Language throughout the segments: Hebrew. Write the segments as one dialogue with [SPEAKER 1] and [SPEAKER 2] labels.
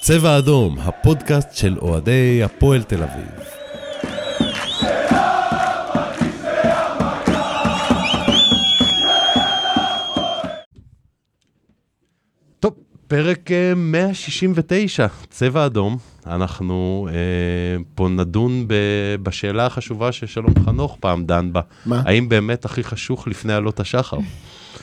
[SPEAKER 1] צבע אדום, הפודקאסט של אוהדי הפועל תל אביב. טוב, פרק אה, 169, צבע אדום. אנחנו אה, פה נדון ב, בשאלה החשובה ששלום חנוך פעם דן בה.
[SPEAKER 2] מה?
[SPEAKER 1] האם באמת הכי חשוך לפני עלות השחר?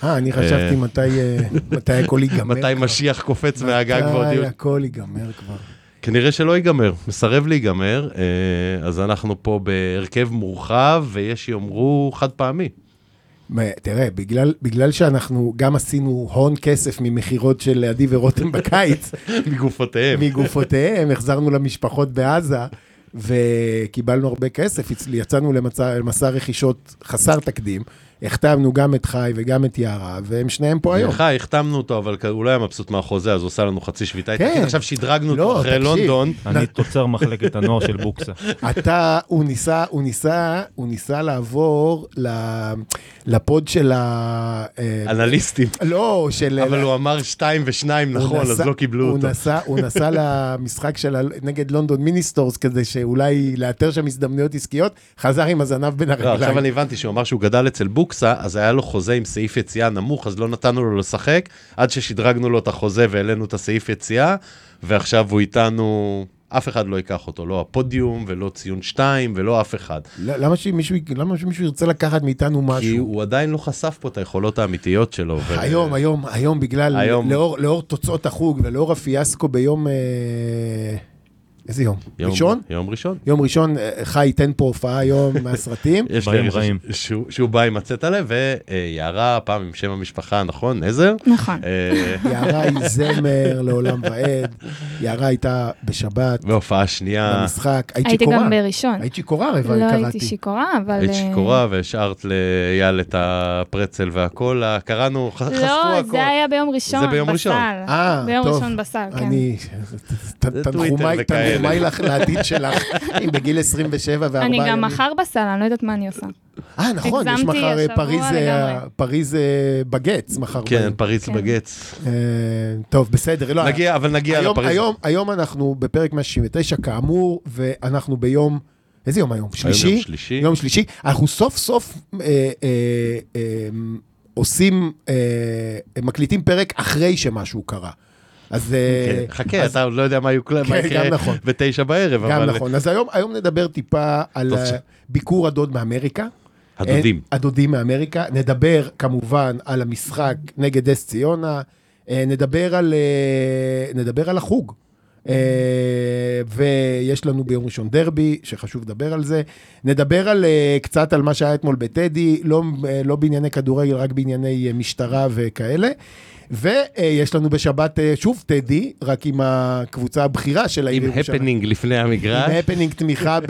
[SPEAKER 2] אה, אני חשבתי מתי, אה, מתי הכל ייגמר.
[SPEAKER 1] מתי
[SPEAKER 2] כבר.
[SPEAKER 1] משיח קופץ מהגג ועוד יהיו
[SPEAKER 2] מתי הכל ייגמר כבר.
[SPEAKER 1] כנראה שלא ייגמר, מסרב להיגמר, אה, אז אנחנו פה בהרכב מורחב, ויש שיאמרו חד פעמי.
[SPEAKER 2] מ- תראה, בגלל, בגלל שאנחנו גם עשינו הון כסף ממכירות של עדי ורותם בקיץ,
[SPEAKER 1] כן. מגופותיהם.
[SPEAKER 2] מגופותיהם, החזרנו למשפחות בעזה, וקיבלנו הרבה כסף, הצ- יצאנו למסע, למסע רכישות חסר תקדים, החתמנו גם את חי וגם את יערה, והם שניהם פה היום.
[SPEAKER 1] לך, החתמנו אותו, אבל כ- הוא לא היה מבסוט מהחוזה, אז הוא עשה לנו חצי שביתה.
[SPEAKER 2] כן.
[SPEAKER 1] כן. עכשיו שדרגנו
[SPEAKER 2] לא,
[SPEAKER 1] אותו אחרי
[SPEAKER 2] תקשיב.
[SPEAKER 1] לונדון.
[SPEAKER 3] אני תוצר מחלקת הנוער של בוקסה.
[SPEAKER 2] אתה, הוא ניסה, הוא ניסה, הוא ניסה לעבור ל- לפוד של ה... אה,
[SPEAKER 1] אנליסטים,
[SPEAKER 2] לא, של...
[SPEAKER 1] אבל הוא אמר שתיים ושניים
[SPEAKER 2] הוא
[SPEAKER 1] נכון, אז
[SPEAKER 2] נסע-
[SPEAKER 1] לא קיבלו
[SPEAKER 2] הוא
[SPEAKER 1] אותו.
[SPEAKER 2] נסע, הוא נסע למשחק של ה- נגד לונדון מיניסטורס, כדי שאולי לאתר שם הזדמנויות עסקיות, חזר עם הזנב בין
[SPEAKER 1] לא, עכשיו
[SPEAKER 2] הרגליים.
[SPEAKER 1] אני הבנתי שהוא אמר שהוא גדל אצל בוקסה, אז היה לו חוזה עם סעיף יציאה נמוך, אז לא נתנו לו לשחק, עד ששדרגנו לו את החוזה והעלינו את הסעיף יציאה, ועכשיו הוא איתנו, אף אחד לא ייקח אותו, לא הפודיום ולא ציון 2 ולא אף אחד.
[SPEAKER 2] לא, למה שמישהו י- למה שמישהו ירצה לקחת מאיתנו
[SPEAKER 1] כי
[SPEAKER 2] משהו?
[SPEAKER 1] הוא עדיין לא חשף פה את היכולות האמיתיות שלו. ו-
[SPEAKER 2] היום, היום, היום, בגלל,
[SPEAKER 1] היום.
[SPEAKER 2] לאור- לאור תוצאות החוג ולאור הפיאסקו ביום... אה, איזה יום?
[SPEAKER 1] יום-
[SPEAKER 2] ראשון?
[SPEAKER 1] יום ראשון.
[SPEAKER 2] יום ראשון, אה, חי ייתן פה הופעה היום מהסרטים.
[SPEAKER 1] יש
[SPEAKER 3] דברים
[SPEAKER 1] לי הרגשה
[SPEAKER 3] רעים.
[SPEAKER 1] שהוא- שהוא בא עם הצאת הלב, ויערה, פעם עם שם המשפחה, נכון, נזר?
[SPEAKER 4] נכון.
[SPEAKER 1] אה,
[SPEAKER 2] יערה היא זמר לעולם ועד, יערה הייתה בשבת,
[SPEAKER 1] והופעה שנייה,
[SPEAKER 2] במשחק, היית
[SPEAKER 4] הייתי
[SPEAKER 2] שיכורה.
[SPEAKER 4] גם בראשון.
[SPEAKER 2] היית שיכורה, אבל
[SPEAKER 4] לא
[SPEAKER 2] קראתי.
[SPEAKER 4] הייתי שיכורה, אבל...
[SPEAKER 1] היית
[SPEAKER 4] אה,
[SPEAKER 1] שיכורה והשארת לאייל את הפרצל והקולה, קראנו, ח- חשפו
[SPEAKER 4] לא,
[SPEAKER 1] הכל.
[SPEAKER 4] זה היה ביום ראשון.
[SPEAKER 1] זה ביום ראשון.
[SPEAKER 4] בסל.
[SPEAKER 2] אה,
[SPEAKER 4] ביום
[SPEAKER 2] טוב.
[SPEAKER 4] ראשון בסל, כן.
[SPEAKER 2] אני, ת-
[SPEAKER 1] זה
[SPEAKER 2] תנחומיי
[SPEAKER 1] טוויטר וכאלה.
[SPEAKER 2] תנחומיי לך לעתיד שלך, אם בגיל 27 וארבעה
[SPEAKER 4] אני
[SPEAKER 2] ימים.
[SPEAKER 4] גם מחר בסל, אני לא יודעת מה אני עושה.
[SPEAKER 2] אה, נכון, יש
[SPEAKER 4] הגזמתי
[SPEAKER 2] מחר אה,
[SPEAKER 4] השבוע
[SPEAKER 2] פריז, אה,
[SPEAKER 4] לגמרי.
[SPEAKER 2] פריז אה, בגץ, מחר.
[SPEAKER 1] כן,
[SPEAKER 2] בערב.
[SPEAKER 1] פריץ
[SPEAKER 4] כן.
[SPEAKER 1] בגץ.
[SPEAKER 2] אה, טוב, בסדר, לא,
[SPEAKER 1] נגיע, אבל נגיע
[SPEAKER 2] היום,
[SPEAKER 1] לפריץ.
[SPEAKER 2] היום, היום אנחנו בפרק 169 כאמור, ואנחנו ביום, איזה יום היום? שלישי?
[SPEAKER 1] יום שלישי.
[SPEAKER 2] יום שלישי. אנחנו סוף סוף אה, אה, אה, עושים, אה, מקליטים פרק אחרי שמשהו קרה. אז... אה,
[SPEAKER 1] כן, חכה, אתה עוד לא יודע מה יוקלט, מה
[SPEAKER 2] כן, גם
[SPEAKER 1] יקרה
[SPEAKER 2] נכון.
[SPEAKER 1] בתשע בערב,
[SPEAKER 2] גם
[SPEAKER 1] אוקיי, אבל
[SPEAKER 2] נכון. אז היום, היום נדבר טיפה על
[SPEAKER 1] טוב,
[SPEAKER 2] אה,
[SPEAKER 1] ש-
[SPEAKER 2] ביקור הדוד מאמריקה.
[SPEAKER 1] הדודים.
[SPEAKER 2] אה, הדודים מאמריקה. נדבר כמובן על המשחק נגד אס ציונה. אה, נדבר על, אה, נדבר על החוג. אה, ויש לנו ביום ראשון דרבי, שחשוב לדבר על זה. נדבר על, אה, קצת על מה שהיה אתמול בטדי, לא, אה, לא בענייני כדורגל, רק בענייני אה, משטרה וכאלה. ויש לנו בשבת אה, שוב טדי, רק עם הקבוצה הבכירה של העיר
[SPEAKER 1] עם
[SPEAKER 2] ירושלים.
[SPEAKER 1] הפנינג לפני
[SPEAKER 2] עם
[SPEAKER 1] המגרש,
[SPEAKER 2] הפנינג תמיכה ב...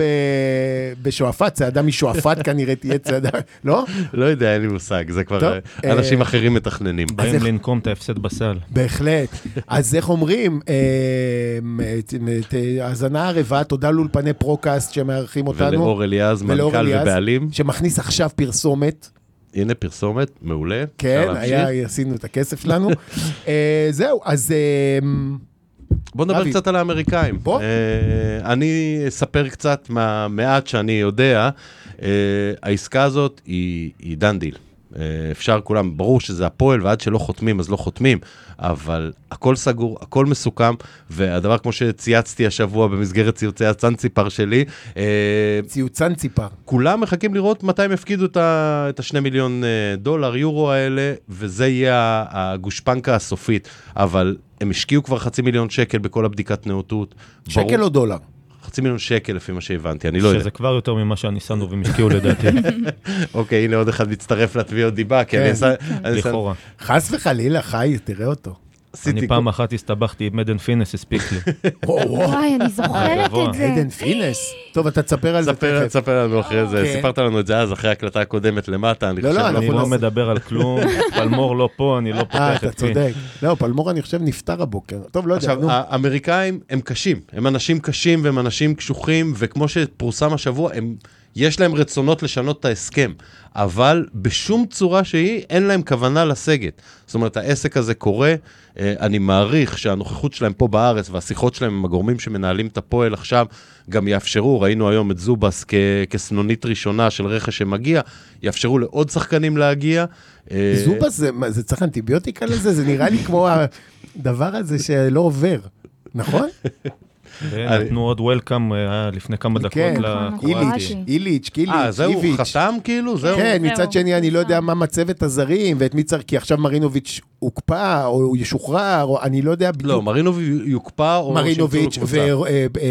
[SPEAKER 2] בשועפאט, צעדה משועפאט כנראה תהיה צעדה, לא?
[SPEAKER 1] לא יודע, אין לי מושג, זה כבר
[SPEAKER 2] טוב,
[SPEAKER 1] אה, אנשים אחרים מתכננים.
[SPEAKER 3] באים
[SPEAKER 2] איך-
[SPEAKER 3] לנקום את ההפסד בסל.
[SPEAKER 2] בהחלט. אז איך אומרים, אה, ת- ת- האזנה ערבה, תודה לאולפני פרוקאסט שמארחים אותנו,
[SPEAKER 1] ולאור אליעז,
[SPEAKER 2] ולאור
[SPEAKER 1] מנכ"ל
[SPEAKER 2] אליעז.
[SPEAKER 1] ובעלים,
[SPEAKER 2] שמכניס עכשיו פרסומת,
[SPEAKER 1] הנה פרסומת, מעולה.
[SPEAKER 2] כן,
[SPEAKER 1] אפשר להמשיך?
[SPEAKER 2] היה, עשינו את הכסף שלנו. אה, זהו, אז אה,
[SPEAKER 1] בוא נדבר
[SPEAKER 2] אבי.
[SPEAKER 1] קצת על האמריקאים.
[SPEAKER 2] בוא.
[SPEAKER 1] אה, אני אספר קצת מהמעט שאני יודע. אה, העסקה הזאת היא, היא דן דיל. אה, אפשר כולם, ברור שזה הפועל, ועד שלא חותמים אז לא חותמים, אבל הכל סגור, הכל מסוכם, והדבר כמו שצייצתי השבוע במסגרת ציוצי הצאנציפר שלי, אה,
[SPEAKER 2] ציוצן ציפר.
[SPEAKER 1] כולם מחכים לראות מתי הם יפקידו את ה- את השני מיליון אה, דולר, יורו האלה, וזה יהיה ה- הגושפנקה הסופית. אבל הם השקיעו כבר חצי מיליון שקל בכל הבדיקת נאותות.
[SPEAKER 2] שקל
[SPEAKER 1] ברור-
[SPEAKER 2] או דולר?
[SPEAKER 1] חצי מיליון שקל לפי מה שהבנתי, אני לא יודע.
[SPEAKER 3] שזה כבר יותר ממה שהניסנובים השקיעו לדעתי,
[SPEAKER 1] אוקיי, הנה עוד אחד מצטרף לתביעות דיבה, כי
[SPEAKER 2] כן,
[SPEAKER 1] אני עשה- אני עשה-
[SPEAKER 3] לכאורה.
[SPEAKER 2] חס וחלילה, חי, תראה אותו.
[SPEAKER 1] עשיתי...
[SPEAKER 3] אני פעם אחת הסתבכתי עם עדן פינס, הספיק לי.
[SPEAKER 2] וואו, וואו,
[SPEAKER 4] וואי, אני זוכרת
[SPEAKER 3] גבוה.
[SPEAKER 4] את זה.
[SPEAKER 2] עדן פינס. טוב, אתה תספר על זה
[SPEAKER 1] ספר,
[SPEAKER 2] תכף.
[SPEAKER 1] ספר לנו אחרי זה,
[SPEAKER 2] כן.
[SPEAKER 1] סיפרת לנו את זה אז, אחרי ההקלטה הקודמת למטה, אני
[SPEAKER 2] לא,
[SPEAKER 1] חושב...
[SPEAKER 2] לא,
[SPEAKER 1] לא-
[SPEAKER 3] אני
[SPEAKER 2] אנחנו
[SPEAKER 3] לא
[SPEAKER 2] נעשה-
[SPEAKER 3] מדבר על כלום, פלמור לא פה, אני לא
[SPEAKER 2] אה,
[SPEAKER 3] פותח
[SPEAKER 2] אתה
[SPEAKER 3] את פי.
[SPEAKER 2] צודק. לא, פלמור, אני חושב, נפטר הבוקר. טוב, לא יודע, נו.
[SPEAKER 1] עכשיו, האמריקאים הם קשים, הם אנשים קשים והם אנשים קשוחים, וכמו שפורסם השבוע, הם יש להם רצונות לשנות את ההסכם, אבל בשום צורה שהיא אין להם כוונה לסגת. זאת אומרת, העסק הזה קורה, אה, אני מעריך שהנוכחות שלהם פה בארץ והשיחות שלהם עם הגורמים שמנהלים את הפועל עכשיו גם יאפשרו, ראינו היום את זובס כ- כסנונית ראשונה של רכש שמגיע, יאפשרו לעוד שחקנים להגיע. אה,
[SPEAKER 2] זובה זה, מה, זה צריך אנטיביוטיקה לזה? זה נראה לי כמו הדבר הזה שלא עובר, נכון?
[SPEAKER 3] נתנו עוד וולקאם, היה לפני כמה דקות
[SPEAKER 2] אה, כן, איליץ',
[SPEAKER 3] לקרואטי.
[SPEAKER 4] קרואטי.
[SPEAKER 2] איליץ', קיליץ',
[SPEAKER 1] נכון, אה, זהו,
[SPEAKER 2] איביץ'.
[SPEAKER 1] חתם כאילו? זהו? נכון.
[SPEAKER 2] כן,
[SPEAKER 4] זהו.
[SPEAKER 2] מצד שני, אני לא יודע מה מצבת הזרים, ואת מי צריך, כי עכשיו מרינוביץ' הוקפא, או הוא ישוחרר, או אני לא יודע
[SPEAKER 1] לא,
[SPEAKER 2] בדיוק.
[SPEAKER 1] מרינוביץ' יוקפא או...
[SPEAKER 2] מרינוביץ' אה,
[SPEAKER 1] שימצאו לו קבוצה.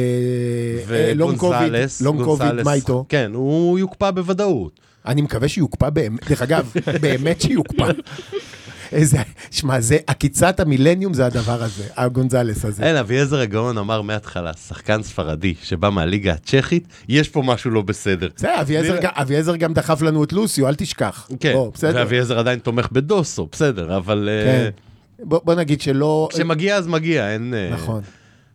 [SPEAKER 2] ולונקוביד,
[SPEAKER 1] וגונסלס,
[SPEAKER 2] לונקוביד,
[SPEAKER 1] גונסלס,
[SPEAKER 2] אה, מה איתו?
[SPEAKER 1] כן, הוא יוקפא בוודאות.
[SPEAKER 2] אני מקווה שיוקפא באמת, דרך אגב, באמת שיוקפא. איזה, שמע, זה עקיצת המילניום זה הדבר הזה, הגונזלס הזה.
[SPEAKER 1] אין, אביעזר הגאון אמר מההתחלה, שחקן ספרדי שבא מהליגה הצ'כית, יש פה משהו לא בסדר.
[SPEAKER 2] בסדר, אביעזר
[SPEAKER 1] נראה-
[SPEAKER 2] גם- אביעזר גם דחף לנו את לוסיו, אל תשכח.
[SPEAKER 1] כן,
[SPEAKER 2] בוא, בסדר.
[SPEAKER 1] ואביעזר עדיין תומך בדוסו, בסדר, אבל אה,
[SPEAKER 2] כן. בוא בוא נגיד שלא...
[SPEAKER 1] כשמגיע אז מגיע, אין... אה,
[SPEAKER 2] נכון,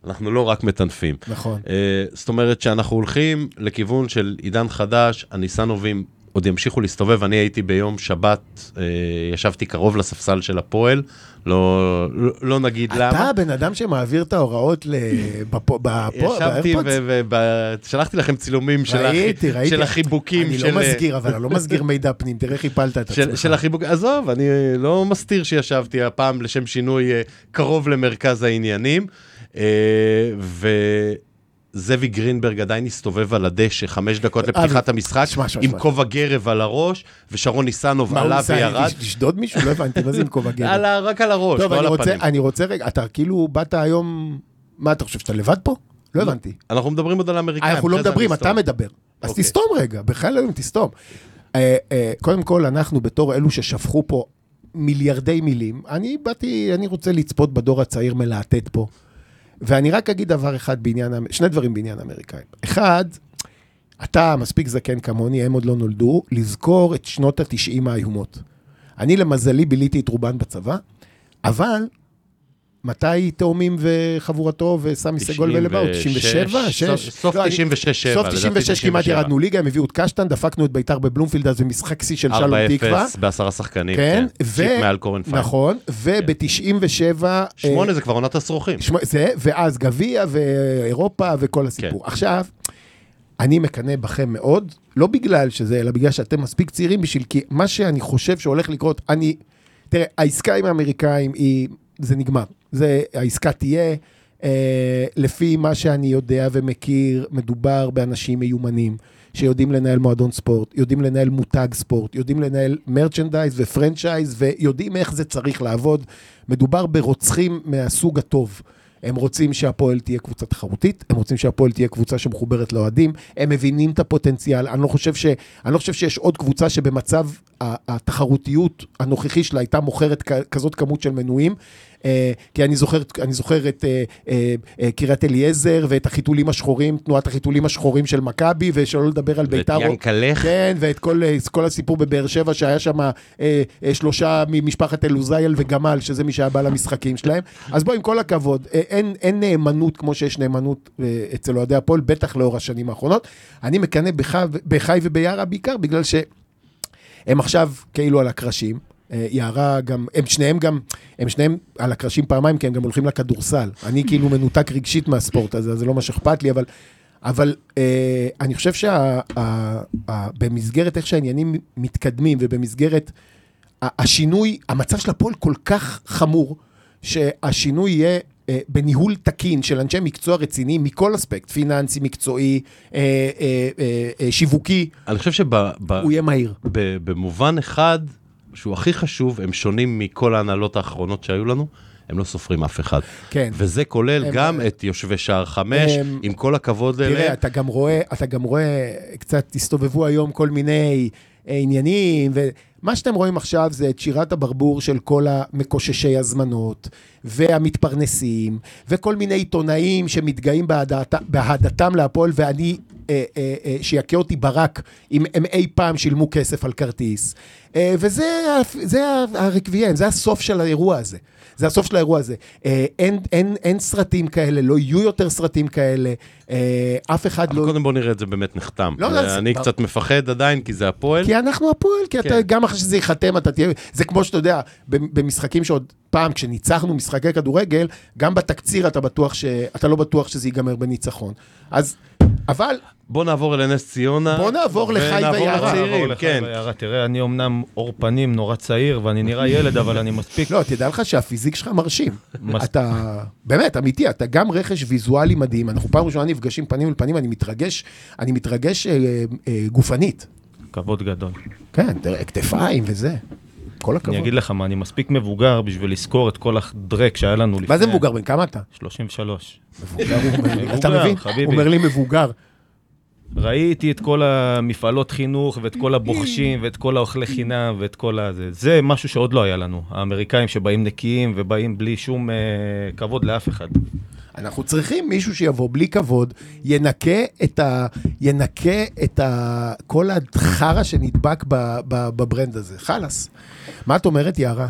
[SPEAKER 1] אנחנו לא רק מטנפים.
[SPEAKER 2] נכון.
[SPEAKER 1] אה, זאת אומרת שאנחנו הולכים לכיוון של עידן חדש, הניסנובים עוד ימשיכו להסתובב. אני הייתי ביום שבת, אה, ישבתי קרוב לספסל של הפועל, לא, לא, לא נגיד
[SPEAKER 2] אתה
[SPEAKER 1] למה.
[SPEAKER 2] הבן אדם שמעביר את ההוראות ל- בפו- בפו-
[SPEAKER 1] ישבתי
[SPEAKER 2] באיירפודס?
[SPEAKER 1] ושלחתי לכם צילומים של,
[SPEAKER 2] ראיתי,
[SPEAKER 1] הח...
[SPEAKER 2] ראיתי.
[SPEAKER 1] של החיבוקים.
[SPEAKER 2] אני
[SPEAKER 1] של... אה,
[SPEAKER 2] לא מסגיר, אבל אני לא מסגיר מידע פנים, תראה איך הפלת את
[SPEAKER 1] של,
[SPEAKER 2] עצמך.
[SPEAKER 1] של החיבוק, עזוב, אני אה, לא מסתיר שישבתי הפעם לשם שינוי אה, קרוב למרכז העניינים. אה, וזאבי גרינברג עדיין הסתובב על הדשא חמש דקות לפתיחת
[SPEAKER 2] אבל-
[SPEAKER 1] המשחק,
[SPEAKER 2] שמע, שמע,
[SPEAKER 1] עם
[SPEAKER 2] שמע.
[SPEAKER 1] כובע גרב על הראש, ושרון ניסנוב
[SPEAKER 2] מה הוא
[SPEAKER 1] עלה
[SPEAKER 2] עשה,
[SPEAKER 1] וירד.
[SPEAKER 2] לש- לשדוד מישהו? לא הבנתי, מה זה עם כובע גבר?
[SPEAKER 1] על ה- רק על הראש,
[SPEAKER 2] טוב,
[SPEAKER 1] לא
[SPEAKER 2] אני
[SPEAKER 1] על
[SPEAKER 2] רוצה,
[SPEAKER 1] הפנים.
[SPEAKER 2] אני רוצה רגע, אתה כאילו באת היום, מה אתה חושב, שאתה לבד פה? לא הבנתי.
[SPEAKER 1] אנחנו מדברים עוד על האמריקאים.
[SPEAKER 2] אנחנו לא
[SPEAKER 1] אחרי זה
[SPEAKER 2] מדברים,
[SPEAKER 1] אני
[SPEAKER 2] אתה
[SPEAKER 1] אסתום.
[SPEAKER 2] מדבר. אז
[SPEAKER 1] אוקיי.
[SPEAKER 2] תסתום רגע, בחיי אלוהים תסתום. אה, אה, קודם כל, אנחנו בתור אלו ששפכו פה מיליארדי מילים, אני באתי, אני רוצה לצפות בדור הצעיר מלהטט פה. ואני רק אגיד דבר אחד בעניין, האמ- שני דברים בעניין האמריקאים. אחד, אתה מספיק זקן כמוני, הם עוד לא נולדו, לזכור את שנות התשעים האיומות. אני למזלי ביליתי את רובן בצבא, אבל מתי תאומים וחבורתו וסמי סגול ולבאו? 97?
[SPEAKER 1] 96,
[SPEAKER 2] 6?
[SPEAKER 1] לא, סוף 96,
[SPEAKER 2] לא, סוף
[SPEAKER 1] לדעתי
[SPEAKER 2] 96 כמעט
[SPEAKER 1] 97.
[SPEAKER 2] ירדנו ליגה, הם הביאו את קשטן, דפקנו את ביתר בבלומפילד, אז במשחק שיא של שלום תקווה.
[SPEAKER 1] 4-0 בעשרה שחקנים,
[SPEAKER 2] כן,
[SPEAKER 1] כן.
[SPEAKER 2] ו...
[SPEAKER 1] צ'יפ מעל קורן פיין.
[SPEAKER 2] נכון, אה, וב-97...
[SPEAKER 1] שמונה זה כבר עונת הסרוכים.
[SPEAKER 2] שמע, זה, ואז גביע ואירופה וכל הסיפור. כן. עכשיו, אני מקנא בכם מאוד, לא בגלל שזה, אלא בגלל שאתם מספיק צעירים בשביל, כי מה שאני חושב שהולך לקרות, אני, תראה, העסקה עם האמריקאים היא, זה נגמר. זה, העסקה תהיה, אה, לפי מה שאני יודע ומכיר, מדובר באנשים מיומנים, שיודעים לנהל מועדון ספורט, יודעים לנהל מותג ספורט, יודעים לנהל מרצ'נדייז ופרנצ'ייז, ויודעים איך זה צריך לעבוד. מדובר ברוצחים מהסוג הטוב. הם רוצים שהפועל תהיה קבוצה תחרותית, הם רוצים שהפועל תהיה קבוצה שמחוברת לאוהדים, הם מבינים את הפוטנציאל. אני לא חושב, ש, אני לא חושב שיש עוד קבוצה שבמצב ה- התחרותיות הנוכחי שלה הייתה מוכרת כ- כזאת כמות של מנויים. אה, כי אני זוכר, אני זוכר את אה, אה, אה, קריית אליעזר ואת החיתולים השחורים, תנועת החיתולים השחורים של מכבי, ושלא לדבר על
[SPEAKER 1] ואת
[SPEAKER 2] ביתר. או-
[SPEAKER 1] ינקלך,
[SPEAKER 2] כן, ואת כל, אה, כל הסיפור בבאר שבע, שהיה שם אה, אה, שלושה ממשפחת אלוזייל וגמל, שזה מי שהיה בא למשחקים שלהם. אז בוא, עם כל הכבוד, אה, אין, אין נאמנות כמו שיש נאמנות אה, אצל אוהדי הפועל, בטח לאור השנים האחרונות. אני מקנא בך- בחי וביארה בעיקר, בגלל ש... הם עכשיו כאילו על הקרשים. אה, יערה גם, הם שניהם גם, הם שניהם על הקרשים פעמיים, כי הם גם הולכים לכדורסל. אני כאילו מנותק רגשית מהספורט הזה, אז זה לא מה שאכפת לי, אבל, אבל אה, אני חושב שבמסגרת איך שהעניינים מתקדמים ובמסגרת ה- השינוי, המצב של הפועל כל כך חמור, שהשינוי יהיה אה, בניהול תקין של אנשי מקצוע רציניים מכל אספקט, פיננסי, מקצועי, אה, אה, אה, אה, שיווקי,
[SPEAKER 1] אני חושב שב... ב-
[SPEAKER 2] הוא יהיה מהיר.
[SPEAKER 1] ב- במובן אחד, שהוא הכי חשוב, הם שונים מכל ההנהלות האחרונות שהיו לנו, הם לא סופרים אף אחד.
[SPEAKER 2] כן.
[SPEAKER 1] וזה כולל
[SPEAKER 2] הם-
[SPEAKER 1] גם את יושבי שער חמש,
[SPEAKER 2] הם-
[SPEAKER 1] עם כל הכבוד
[SPEAKER 2] תראה,
[SPEAKER 1] אליהם.
[SPEAKER 2] אתה גם רואה, אתה גם רואה, קצת הסתובבו היום כל מיני אה, עניינים, ומה שאתם רואים עכשיו זה את שירת הברבור של כל המקוששי הזמנות, והמתפרנסים, וכל מיני עיתונאים שמתגאים בהדעת- באהדתם להפועל, ואני אה, אה, אה, שיכה אותי ברק אם הם אי פעם שילמו כסף על כרטיס. אה, וזה ה- זה ה- הרקוויאן, זה הסוף של האירוע הזה. זה הסוף של האירוע הזה. אה, אין, אין, אין סרטים כאלה, לא יהיו יותר סרטים כאלה, אה, אף אחד
[SPEAKER 1] אבל
[SPEAKER 2] לא...
[SPEAKER 1] קודם בוא נראה את זה באמת נחתם.
[SPEAKER 2] לא, לא, זה-
[SPEAKER 1] אני
[SPEAKER 2] בר-
[SPEAKER 1] קצת מפחד עדיין, כי זה הפועל.
[SPEAKER 2] כי אנחנו הפועל, כי אתה,
[SPEAKER 1] כן.
[SPEAKER 2] גם אחרי שזה ייחתם, אתה תהיה... זה כמו שאתה יודע, במ- במשחקים שעוד פעם, כשניצחנו משחקי כדורגל, גם בתקציר אתה בטוח ש... אתה לא בטוח שזה ייגמר בניצחון. אז... אבל
[SPEAKER 1] בוא נעבור לנס ציונה.
[SPEAKER 2] בוא נעבור לחי ויערה.
[SPEAKER 1] לצעירים,
[SPEAKER 3] נעבור לך
[SPEAKER 1] כן.
[SPEAKER 3] ביערה. תראה, אני אמנם עור פנים נורא צעיר, ואני נראה ילד, אבל אני מספיק...
[SPEAKER 2] לא, תדע לך שהפיזיק שלך מרשים.
[SPEAKER 3] מס-
[SPEAKER 2] אתה, באמת, אמיתי, אתה גם רכש ויזואלי מדהים. אנחנו פעם ראשונה נפגשים פנים אל פנים, אני מתרגש, אני מתרגש אה, אה, גופנית.
[SPEAKER 3] כבוד גדול.
[SPEAKER 2] כן, תראה, כתפיים וזה. כל הכבוד.
[SPEAKER 3] אני אגיד לך מה, אני מספיק מבוגר בשביל לזכור את כל הדרק שהיה לנו לפני...
[SPEAKER 2] מה זה מבוגר? בן כמה אתה?
[SPEAKER 3] 33.
[SPEAKER 2] מבוגר, הוא אומר לי.
[SPEAKER 3] מבוגר,
[SPEAKER 2] אתה מבין?
[SPEAKER 3] חביבי.
[SPEAKER 2] הוא אומר לי מבוגר.
[SPEAKER 3] ראיתי את כל המפעלות חינוך, ואת כל הבוחשים, ואת כל האוכלי חינם, ואת כל הזה. זה משהו שעוד לא היה לנו. האמריקאים שבאים נקיים, ובאים בלי שום אה, כבוד לאף אחד.
[SPEAKER 2] אנחנו צריכים מישהו שיבוא בלי כבוד, ינקה את ה... ינקה את ה... כל החרא שנדבק ב- ב- בברנד הזה. חלאס. מה את אומרת, יערה?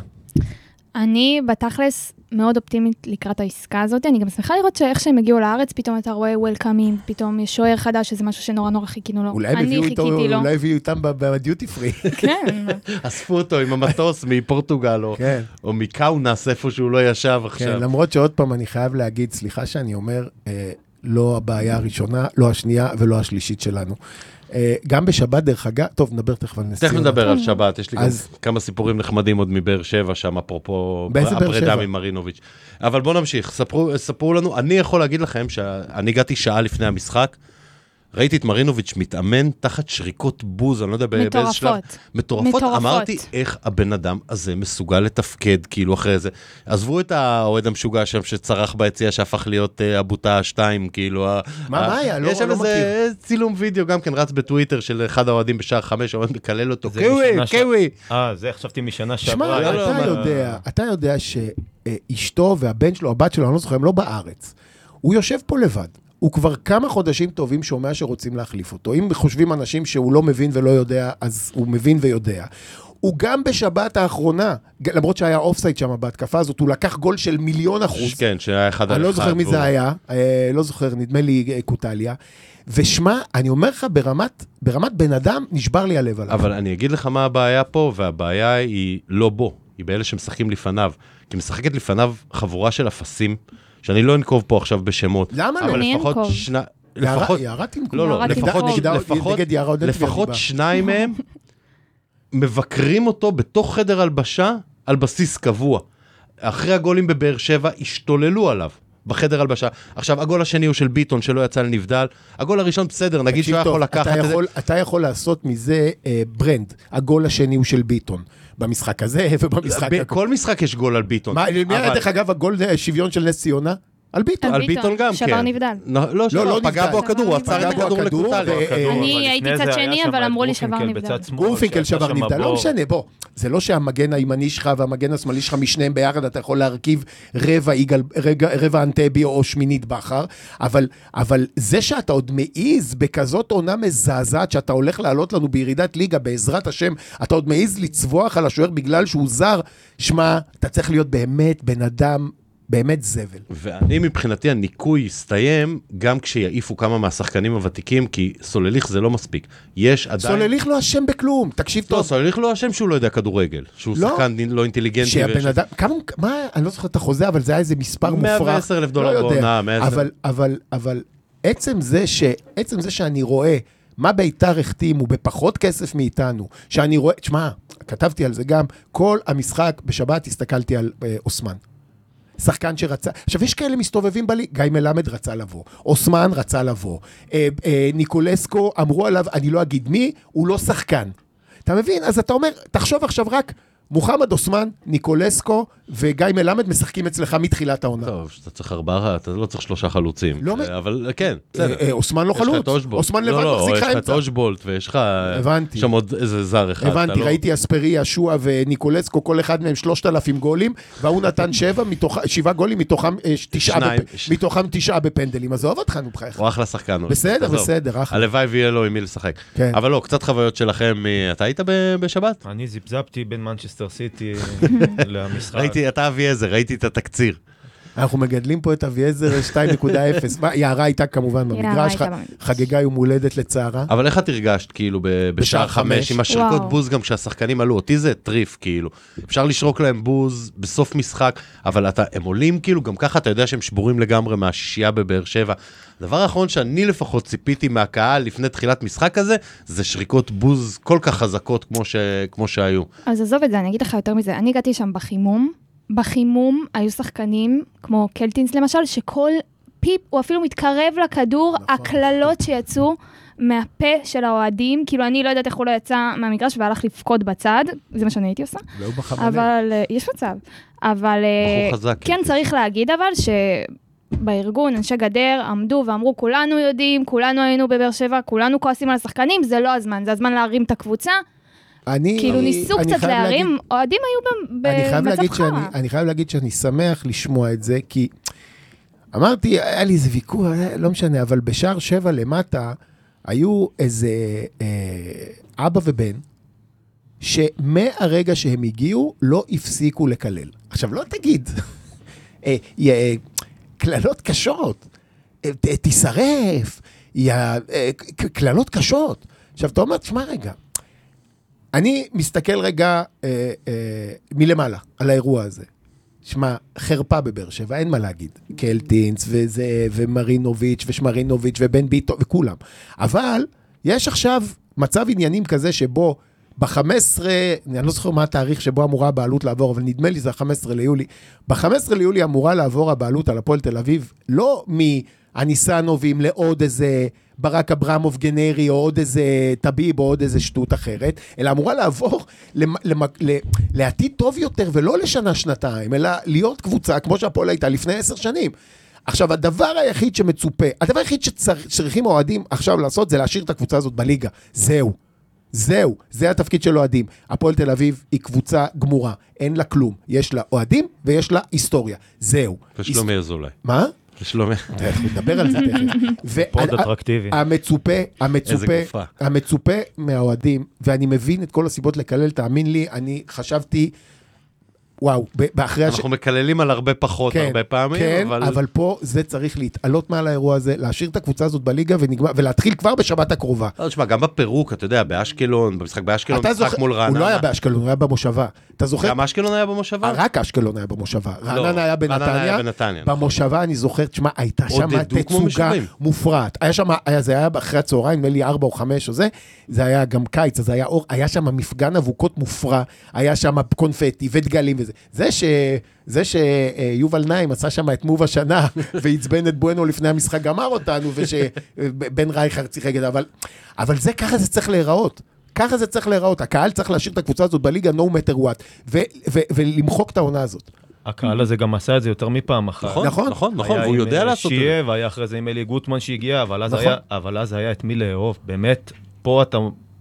[SPEAKER 4] אני בתכלס מאוד אופטימית לקראת העסקה הזאת. אני גם שמחה לראות שאיך שהם הגיעו לארץ, פתאום אתה רואה וולקאמים, פתאום יש שוער חדש, שזה משהו שנורא נורא חיכינו לו.
[SPEAKER 2] אולי הם
[SPEAKER 4] אני
[SPEAKER 2] הביאו איתו-
[SPEAKER 4] חיכיתי לו.
[SPEAKER 2] אולי הביאו איתם ב- בדיוטי פרי.
[SPEAKER 4] כן,
[SPEAKER 1] אספו אותו עם המטוס מפורטוגל, או-
[SPEAKER 2] כן.
[SPEAKER 1] או מקאונס, איפה שהוא לא ישב
[SPEAKER 2] כן,
[SPEAKER 1] עכשיו.
[SPEAKER 2] למרות שעוד פעם אני חייב להגיד, סליחה שאני אומר, אה, לא הבעיה הראשונה, לא השנייה ולא השלישית שלנו. אה, גם בשבת, דרך אגב, טוב, נדבר תכף על נס
[SPEAKER 1] תכף
[SPEAKER 2] ציונה.
[SPEAKER 1] נדבר על שבת, יש לי גם
[SPEAKER 2] אז-
[SPEAKER 1] כמה סיפורים נחמדים עוד מבאר שבע שם, אפרופו
[SPEAKER 2] באיזה באר
[SPEAKER 1] הפרידה
[SPEAKER 2] שבע?
[SPEAKER 1] ממרינוביץ'. אבל בואו נמשיך, ספרו, ספרו לנו, אני יכול להגיד לכם שאני הגעתי שעה לפני המשחק, ראיתי את מרינוביץ' מתאמן תחת שריקות בוז, אני לא יודע באיזה
[SPEAKER 4] מטורפות.
[SPEAKER 1] שלב. מטורפות.
[SPEAKER 4] מטורפות.
[SPEAKER 1] אמרתי, איך הבן אדם הזה מסוגל לתפקד, כאילו, אחרי זה. עזבו את האוהד המשוגע שם שצרח ביציע, שהפך להיות אה, הבוטה 2, כאילו... ה-
[SPEAKER 2] מה,
[SPEAKER 1] ה-
[SPEAKER 2] מה היה? לא-
[SPEAKER 1] יש שם
[SPEAKER 2] לא
[SPEAKER 1] איזה צילום וידאו, גם כן רץ בטוויטר של אחד האוהדים בשער 5, עומד מקלל אותו,
[SPEAKER 3] זה
[SPEAKER 1] קווי,
[SPEAKER 3] משנה ש-
[SPEAKER 1] קווי.
[SPEAKER 3] אה, זה חשבתי משנה שעברה.
[SPEAKER 2] שמע,
[SPEAKER 1] לא, לא,
[SPEAKER 2] אתה
[SPEAKER 1] אבל-
[SPEAKER 2] יודע, אתה יודע שאשתו והבן שלו, הבת שלו, אני לא זוכר, הם לא בארץ. הוא יושב פה לבד. הוא כבר כמה חודשים טובים שומע שרוצים להחליף אותו. אם חושבים אנשים שהוא לא מבין ולא יודע, אז הוא מבין ויודע. הוא גם בשבת האחרונה, ג- למרות שהיה אופסייד שם בהתקפה הזאת, הוא לקח גול של מיליון אחוז.
[SPEAKER 1] כן, שהיה אחד על
[SPEAKER 2] אני לא
[SPEAKER 1] אחד,
[SPEAKER 2] זוכר מי
[SPEAKER 1] והוא-
[SPEAKER 2] זה היה, אה, לא זוכר, נדמה לי אה, קוטליה. ושמע, אני אומר לך, ברמת, ברמת בן אדם, נשבר לי הלב עליו.
[SPEAKER 1] אבל אני אגיד לך מה הבעיה פה, והבעיה היא לא בו, היא באלה שמשחקים לפניו. כי משחקת לפניו חבורה של אפסים, שאני לא אנקוב פה עכשיו בשמות.
[SPEAKER 2] למה לא?
[SPEAKER 1] אבל
[SPEAKER 4] אני
[SPEAKER 1] לפחות
[SPEAKER 4] אנקוב.
[SPEAKER 1] שני...
[SPEAKER 2] יערה-
[SPEAKER 1] לפחות...
[SPEAKER 2] יערה תנקום.
[SPEAKER 1] לא, לא,
[SPEAKER 4] יערה
[SPEAKER 1] לפחות,
[SPEAKER 4] תנקוב.
[SPEAKER 2] נגד-
[SPEAKER 1] לפחות,
[SPEAKER 2] נגד יערה עוד אין תביעת
[SPEAKER 1] לפחות
[SPEAKER 2] דיבה.
[SPEAKER 1] שניים מהם מבקרים אותו בתוך חדר הלבשה על בסיס קבוע. אחרי הגולים בבאר שבע השתוללו עליו. בחדר הלבשה. עכשיו, הגול השני הוא של ביטון שלא יצא לנבדל. הגול הראשון בסדר, נגיד שהוא
[SPEAKER 2] תקשיב
[SPEAKER 1] היה
[SPEAKER 2] טוב,
[SPEAKER 1] יכול לקחת
[SPEAKER 2] אתה
[SPEAKER 1] את זה.
[SPEAKER 2] יכול- אתה יכול לעשות מזה אה, ברנד. הגול השני הוא של ביטון. במשחק הזה ובמשחק
[SPEAKER 1] ב-
[SPEAKER 2] הכל.
[SPEAKER 1] כל משחק יש גול על ביטון.
[SPEAKER 2] מה, למי היה,
[SPEAKER 1] אבל-
[SPEAKER 2] דרך אגב, הגול אה, שוויון של נס ציונה? על ביטון.
[SPEAKER 1] על ביטון גם, כן.
[SPEAKER 4] שבר נפגע.
[SPEAKER 1] לא, לא,
[SPEAKER 2] לא,
[SPEAKER 1] שבר,
[SPEAKER 2] לא
[SPEAKER 1] פגע
[SPEAKER 2] נפגע.
[SPEAKER 1] בו הכדור, הוא עצר
[SPEAKER 4] פגע
[SPEAKER 1] את
[SPEAKER 4] בו
[SPEAKER 1] הכדור
[SPEAKER 2] הכדור,
[SPEAKER 1] לקוטליה.
[SPEAKER 2] ו-
[SPEAKER 3] הכדור,
[SPEAKER 4] אני
[SPEAKER 3] אבל
[SPEAKER 4] הייתי
[SPEAKER 3] לפני
[SPEAKER 4] צד
[SPEAKER 3] זה
[SPEAKER 4] שני,
[SPEAKER 3] היה שם
[SPEAKER 4] אבל
[SPEAKER 3] את
[SPEAKER 4] אמרו לי
[SPEAKER 3] גורפינקל
[SPEAKER 4] שבר נבדל.
[SPEAKER 3] בצד שמאל,
[SPEAKER 2] גורפינקל
[SPEAKER 3] שעשה
[SPEAKER 2] שבר
[SPEAKER 3] שם
[SPEAKER 2] נבדל, לא
[SPEAKER 3] בור.
[SPEAKER 2] משנה, בוא. זה לא שהמגן הימני שלך והמגן השמאלי שלך משניהם ביחד, אתה יכול להרכיב רבע יגאל- רגע- רבע אנטבי או שמינית בכר, אבל, אבל זה שאתה עוד מעז בכזאת עונה מזעזעת, שאתה הולך לעלות לנו בירידת ליגה, בעזרת השם, אתה עוד מעז לצווח על השוער בגלל שהוא זר, שמע, אתה צריך להיות באמת בן אדם, באמת זבל.
[SPEAKER 1] ואני מבחינתי הניקוי יסתיים גם כשיעיפו כמה מהשחקנים הוותיקים, כי סולליך זה לא מספיק. יש עדיין...
[SPEAKER 2] סולליך לא אשם בכלום, תקשיב
[SPEAKER 1] לא,
[SPEAKER 2] טוב.
[SPEAKER 1] סולליך לא אשם שהוא לא יודע כדורגל, שהוא
[SPEAKER 2] לא.
[SPEAKER 1] שחקן לא אינטליגנטי. ויש-
[SPEAKER 2] שהבן אדם, כמה, הוא- מה, אני לא זוכר את החוזה, אבל זה היה איזה מספר מופרך.
[SPEAKER 1] 110,000 דולר
[SPEAKER 2] לא יודע.
[SPEAKER 1] בעונה, 110,000.
[SPEAKER 2] אבל, אבל, אבל עצם זה, ש, עצם זה שאני רואה מה ביתר החתימו בפחות כסף מאיתנו, שאני רואה, תשמע, כתבתי על זה גם, כל המשחק בשבת הסתכלתי על אה, אוסמן. שחקן שרצה, עכשיו יש כאלה מסתובבים בלי, גיא מלמד רצה לבוא, אוסמן רצה לבוא, אה, אה, ניקולסקו אמרו עליו, אני לא אגיד מי, הוא לא שחקן. אתה מבין? אז אתה אומר, תחשוב עכשיו רק, מוחמד אוסמן, ניקולסקו וגיא מלמד משחקים אצלך מתחילת העונה.
[SPEAKER 1] טוב, שאתה צריך ארבעה, אתה לא צריך שלושה חלוצים.
[SPEAKER 2] לא מ-
[SPEAKER 1] אה, אבל אה, כן,
[SPEAKER 2] אה,
[SPEAKER 1] בסדר.
[SPEAKER 2] אה, אוסמן לא
[SPEAKER 1] יש לך
[SPEAKER 2] חלוץ,
[SPEAKER 1] את אושבולט.
[SPEAKER 2] אוסמן לבד
[SPEAKER 1] לא, לא,
[SPEAKER 2] מחזיק לך
[SPEAKER 1] יש לך את
[SPEAKER 2] אמצע.
[SPEAKER 1] אושבולט ויש לך...
[SPEAKER 2] הבנתי.
[SPEAKER 1] שם עוד איזה זר אחד. אתה
[SPEAKER 2] הבנתי,
[SPEAKER 1] לא-
[SPEAKER 2] ראיתי אספרי, ישוע וניקולסקו, כל אחד מהם 3,000 גולים, וההוא נתן שבע, מתוך- שבעה גולים, מתוכם אה, ש- תשעה
[SPEAKER 1] שניים.
[SPEAKER 2] בפ- מתוכם תשעה בפנדלים. עזוב אותך, נו, בחייך.
[SPEAKER 1] הוא אחלה שחקן. הוא.
[SPEAKER 2] בסדר,
[SPEAKER 1] עזוב.
[SPEAKER 2] בסדר, אחלה.
[SPEAKER 1] הלוואי ויהיה לו עם מי לשחק.
[SPEAKER 2] כן.
[SPEAKER 1] אבל לא, קצת חוויות שלכם, מ- אתה היית ב- בשבת?
[SPEAKER 3] אני זיפזפתי בין מנצ'סטר סיטי למשחק.
[SPEAKER 1] ראיתי, אתה אביעזר, ראיתי את התקציר.
[SPEAKER 2] אנחנו מגדלים פה את אביעזר 2.0. מה, יערה הייתה כמובן
[SPEAKER 4] יערה
[SPEAKER 2] במגרש,
[SPEAKER 4] הייתה
[SPEAKER 2] ח-
[SPEAKER 4] במגרש.
[SPEAKER 2] חגגה יום הולדת לצערה.
[SPEAKER 1] אבל איך את הרגשת, כאילו, ב- בשער
[SPEAKER 2] בשער
[SPEAKER 1] חמש,
[SPEAKER 2] חמש?
[SPEAKER 1] עם השריקות
[SPEAKER 4] וואו.
[SPEAKER 1] בוז גם כשהשחקנים עלו? אותי זה הטריף, כאילו. אפשר לשרוק להם בוז בסוף משחק, אבל אתה, הם עולים, כאילו, גם ככה אתה יודע שהם שבורים לגמרי מהשישייה בבאר שבע. הדבר האחרון שאני לפחות ציפיתי מהקהל לפני תחילת משחק הזה, זה שריקות בוז כל כך חזקות כמו, ש... כמו שהיו.
[SPEAKER 4] אז עזוב את זה, אני אגיד לך יותר מזה. אני הגעתי שם בחימום. בחימום היו שחקנים, כמו קלטינס למשל, שכל פיפ, הוא אפילו מתקרב לכדור,
[SPEAKER 1] נכון.
[SPEAKER 4] הקללות שיצאו מהפה של האוהדים, כאילו אני לא יודעת איך הוא לא יצא מהמגרש והלך לבכות בצד, זה מה שאני הייתי עושה.
[SPEAKER 2] לא בחמלה.
[SPEAKER 4] אבל אה, יש מצב. אבל אה,
[SPEAKER 1] בחור חזק.
[SPEAKER 4] כן צריך להגיד אבל שבארגון אנשי גדר עמדו ואמרו כולנו יודעים, כולנו היינו בבאר שבע, כולנו כועסים על השחקנים, זה לא הזמן, זה הזמן להרים את הקבוצה.
[SPEAKER 2] אני-
[SPEAKER 4] כאילו
[SPEAKER 2] אני-
[SPEAKER 4] ניסו
[SPEAKER 2] אני
[SPEAKER 4] קצת
[SPEAKER 2] חייב להגיד-
[SPEAKER 4] להרים, אוהדים היו ב-
[SPEAKER 2] אני חייב
[SPEAKER 4] במצב
[SPEAKER 2] להגיד
[SPEAKER 4] חרא.
[SPEAKER 2] שאני- אני חייב להגיד שאני שמח לשמוע את זה, כי אמרתי, היה לי איזה ויכוח, לא משנה, אבל בשער שבע למטה היו איזה אה, אבא ובן, שמהרגע שהם הגיעו, לא הפסיקו לקלל. עכשיו, לא תגיד, אה, יא, אה, קללות קשות, אה, ת- תישרף, יא, אה, ק- קללות קשות. עכשיו, אתה אומר, תשמע רגע, אני מסתכל רגע אה, אה, מלמעלה על האירוע הזה. שמע, חרפה בבאר שבע, אין מה להגיד. קלטינס וזה, ומרינוביץ' ושמרינוביץ' ובן ביטון וכולם. אבל יש עכשיו מצב עניינים כזה שבו ב-15, אני לא זוכר מה התאריך שבו אמורה הבעלות לעבור, אבל נדמה לי זה ה-15 ליולי. ב-15 ליולי אמורה לעבור הבעלות על הפועל תל אביב, לא מהניסנובים לעוד איזה ברק אברמוב גנרי, או עוד איזה טביב, או עוד איזה שטות אחרת, אלא אמורה לעבור למ- למק- ל- לעתיד טוב יותר, ולא לשנה-שנתיים, אלא להיות קבוצה כמו שהפועל הייתה לפני עשר שנים. עכשיו, הדבר היחיד שמצופה, הדבר היחיד שצריכים האוהדים עכשיו לעשות, זה להשאיר את הקבוצה הזאת בליגה. זהו. זהו, זה התפקיד של אוהדים. הפועל תל אביב היא קבוצה גמורה, אין לה כלום. יש לה אוהדים ויש לה היסטוריה. זהו.
[SPEAKER 1] ושלומי אזולאי.
[SPEAKER 2] מה?
[SPEAKER 1] ושלומי...
[SPEAKER 2] אנחנו נדבר על זה תכף.
[SPEAKER 3] מאוד
[SPEAKER 2] וה-
[SPEAKER 3] אטרקטיבי.
[SPEAKER 2] המצופה,
[SPEAKER 1] איזה
[SPEAKER 2] המצופה,
[SPEAKER 1] גופה.
[SPEAKER 2] המצופה מהאוהדים, ואני מבין את כל הסיבות לקלל, תאמין לי, אני חשבתי, וואו, ב- באחרי הש...
[SPEAKER 1] אנחנו מקללים על הרבה פחות הרבה פעמים,
[SPEAKER 2] כן,
[SPEAKER 1] אבל...
[SPEAKER 2] אבל פה זה צריך להתעלות מעל האירוע הזה, להשאיר את הקבוצה הזאת בליגה ונגמר, ולהתחיל כבר בשבת הקרובה.
[SPEAKER 1] לא, תשמע, גם בפירוק, אתה יודע, באשקלון, במשחק באשקלון,
[SPEAKER 2] אתה
[SPEAKER 1] כאילו, משחק
[SPEAKER 2] זוכר,
[SPEAKER 1] מול רעננה.
[SPEAKER 2] הוא לא היה באשקלון, הוא היה במושבה. אתה זוכר?
[SPEAKER 1] גם אשקלון היה במושבה?
[SPEAKER 2] רק אשקלון היה במושבה, רעננה היה
[SPEAKER 1] רעננה היה
[SPEAKER 2] בנתניה,
[SPEAKER 1] בנתניה, נכון.
[SPEAKER 2] במושבה אני זוכר, תשמע, הייתה שם
[SPEAKER 1] עודדו כמו
[SPEAKER 2] תצוגה
[SPEAKER 1] משוגעים.
[SPEAKER 2] מופרעת, היה שם, היה- זה היה אחרי הצהריים, נדמה לי ארבע או חמש או זה, זה היה גם קיץ, אז היה אור, היה שם מפגן אבוקות מופרע, היה שם קונפטי ודגלים וזה. זה ש... זה שיובל נעים עשה שם את מוב השנה ועצבן את בואנו לפני המשחק גמר אותנו, ושבן רייכרד שיחק את זה, אבל, אבל זה ככה זה צריך להיראות. ככה זה צריך להיראות, הקהל צריך להשאיר את הקבוצה הזאת בליגה no matter what, ו- ו- ולמחוק את העונה הזאת.
[SPEAKER 3] הקהל הזה גם עשה את זה יותר מפעם אחת.
[SPEAKER 1] נכון, נכון,
[SPEAKER 2] נכון.
[SPEAKER 1] נכון, נכון, והוא
[SPEAKER 3] עם,
[SPEAKER 1] יודע
[SPEAKER 3] אה,
[SPEAKER 1] לעשות את זה.
[SPEAKER 3] שיה, והיה אחרי זה עם אלי גוטמן שהגיע, אבל אז,
[SPEAKER 2] נכון.
[SPEAKER 3] היה, אבל אז היה את מי לאהוב. באמת, פה אתה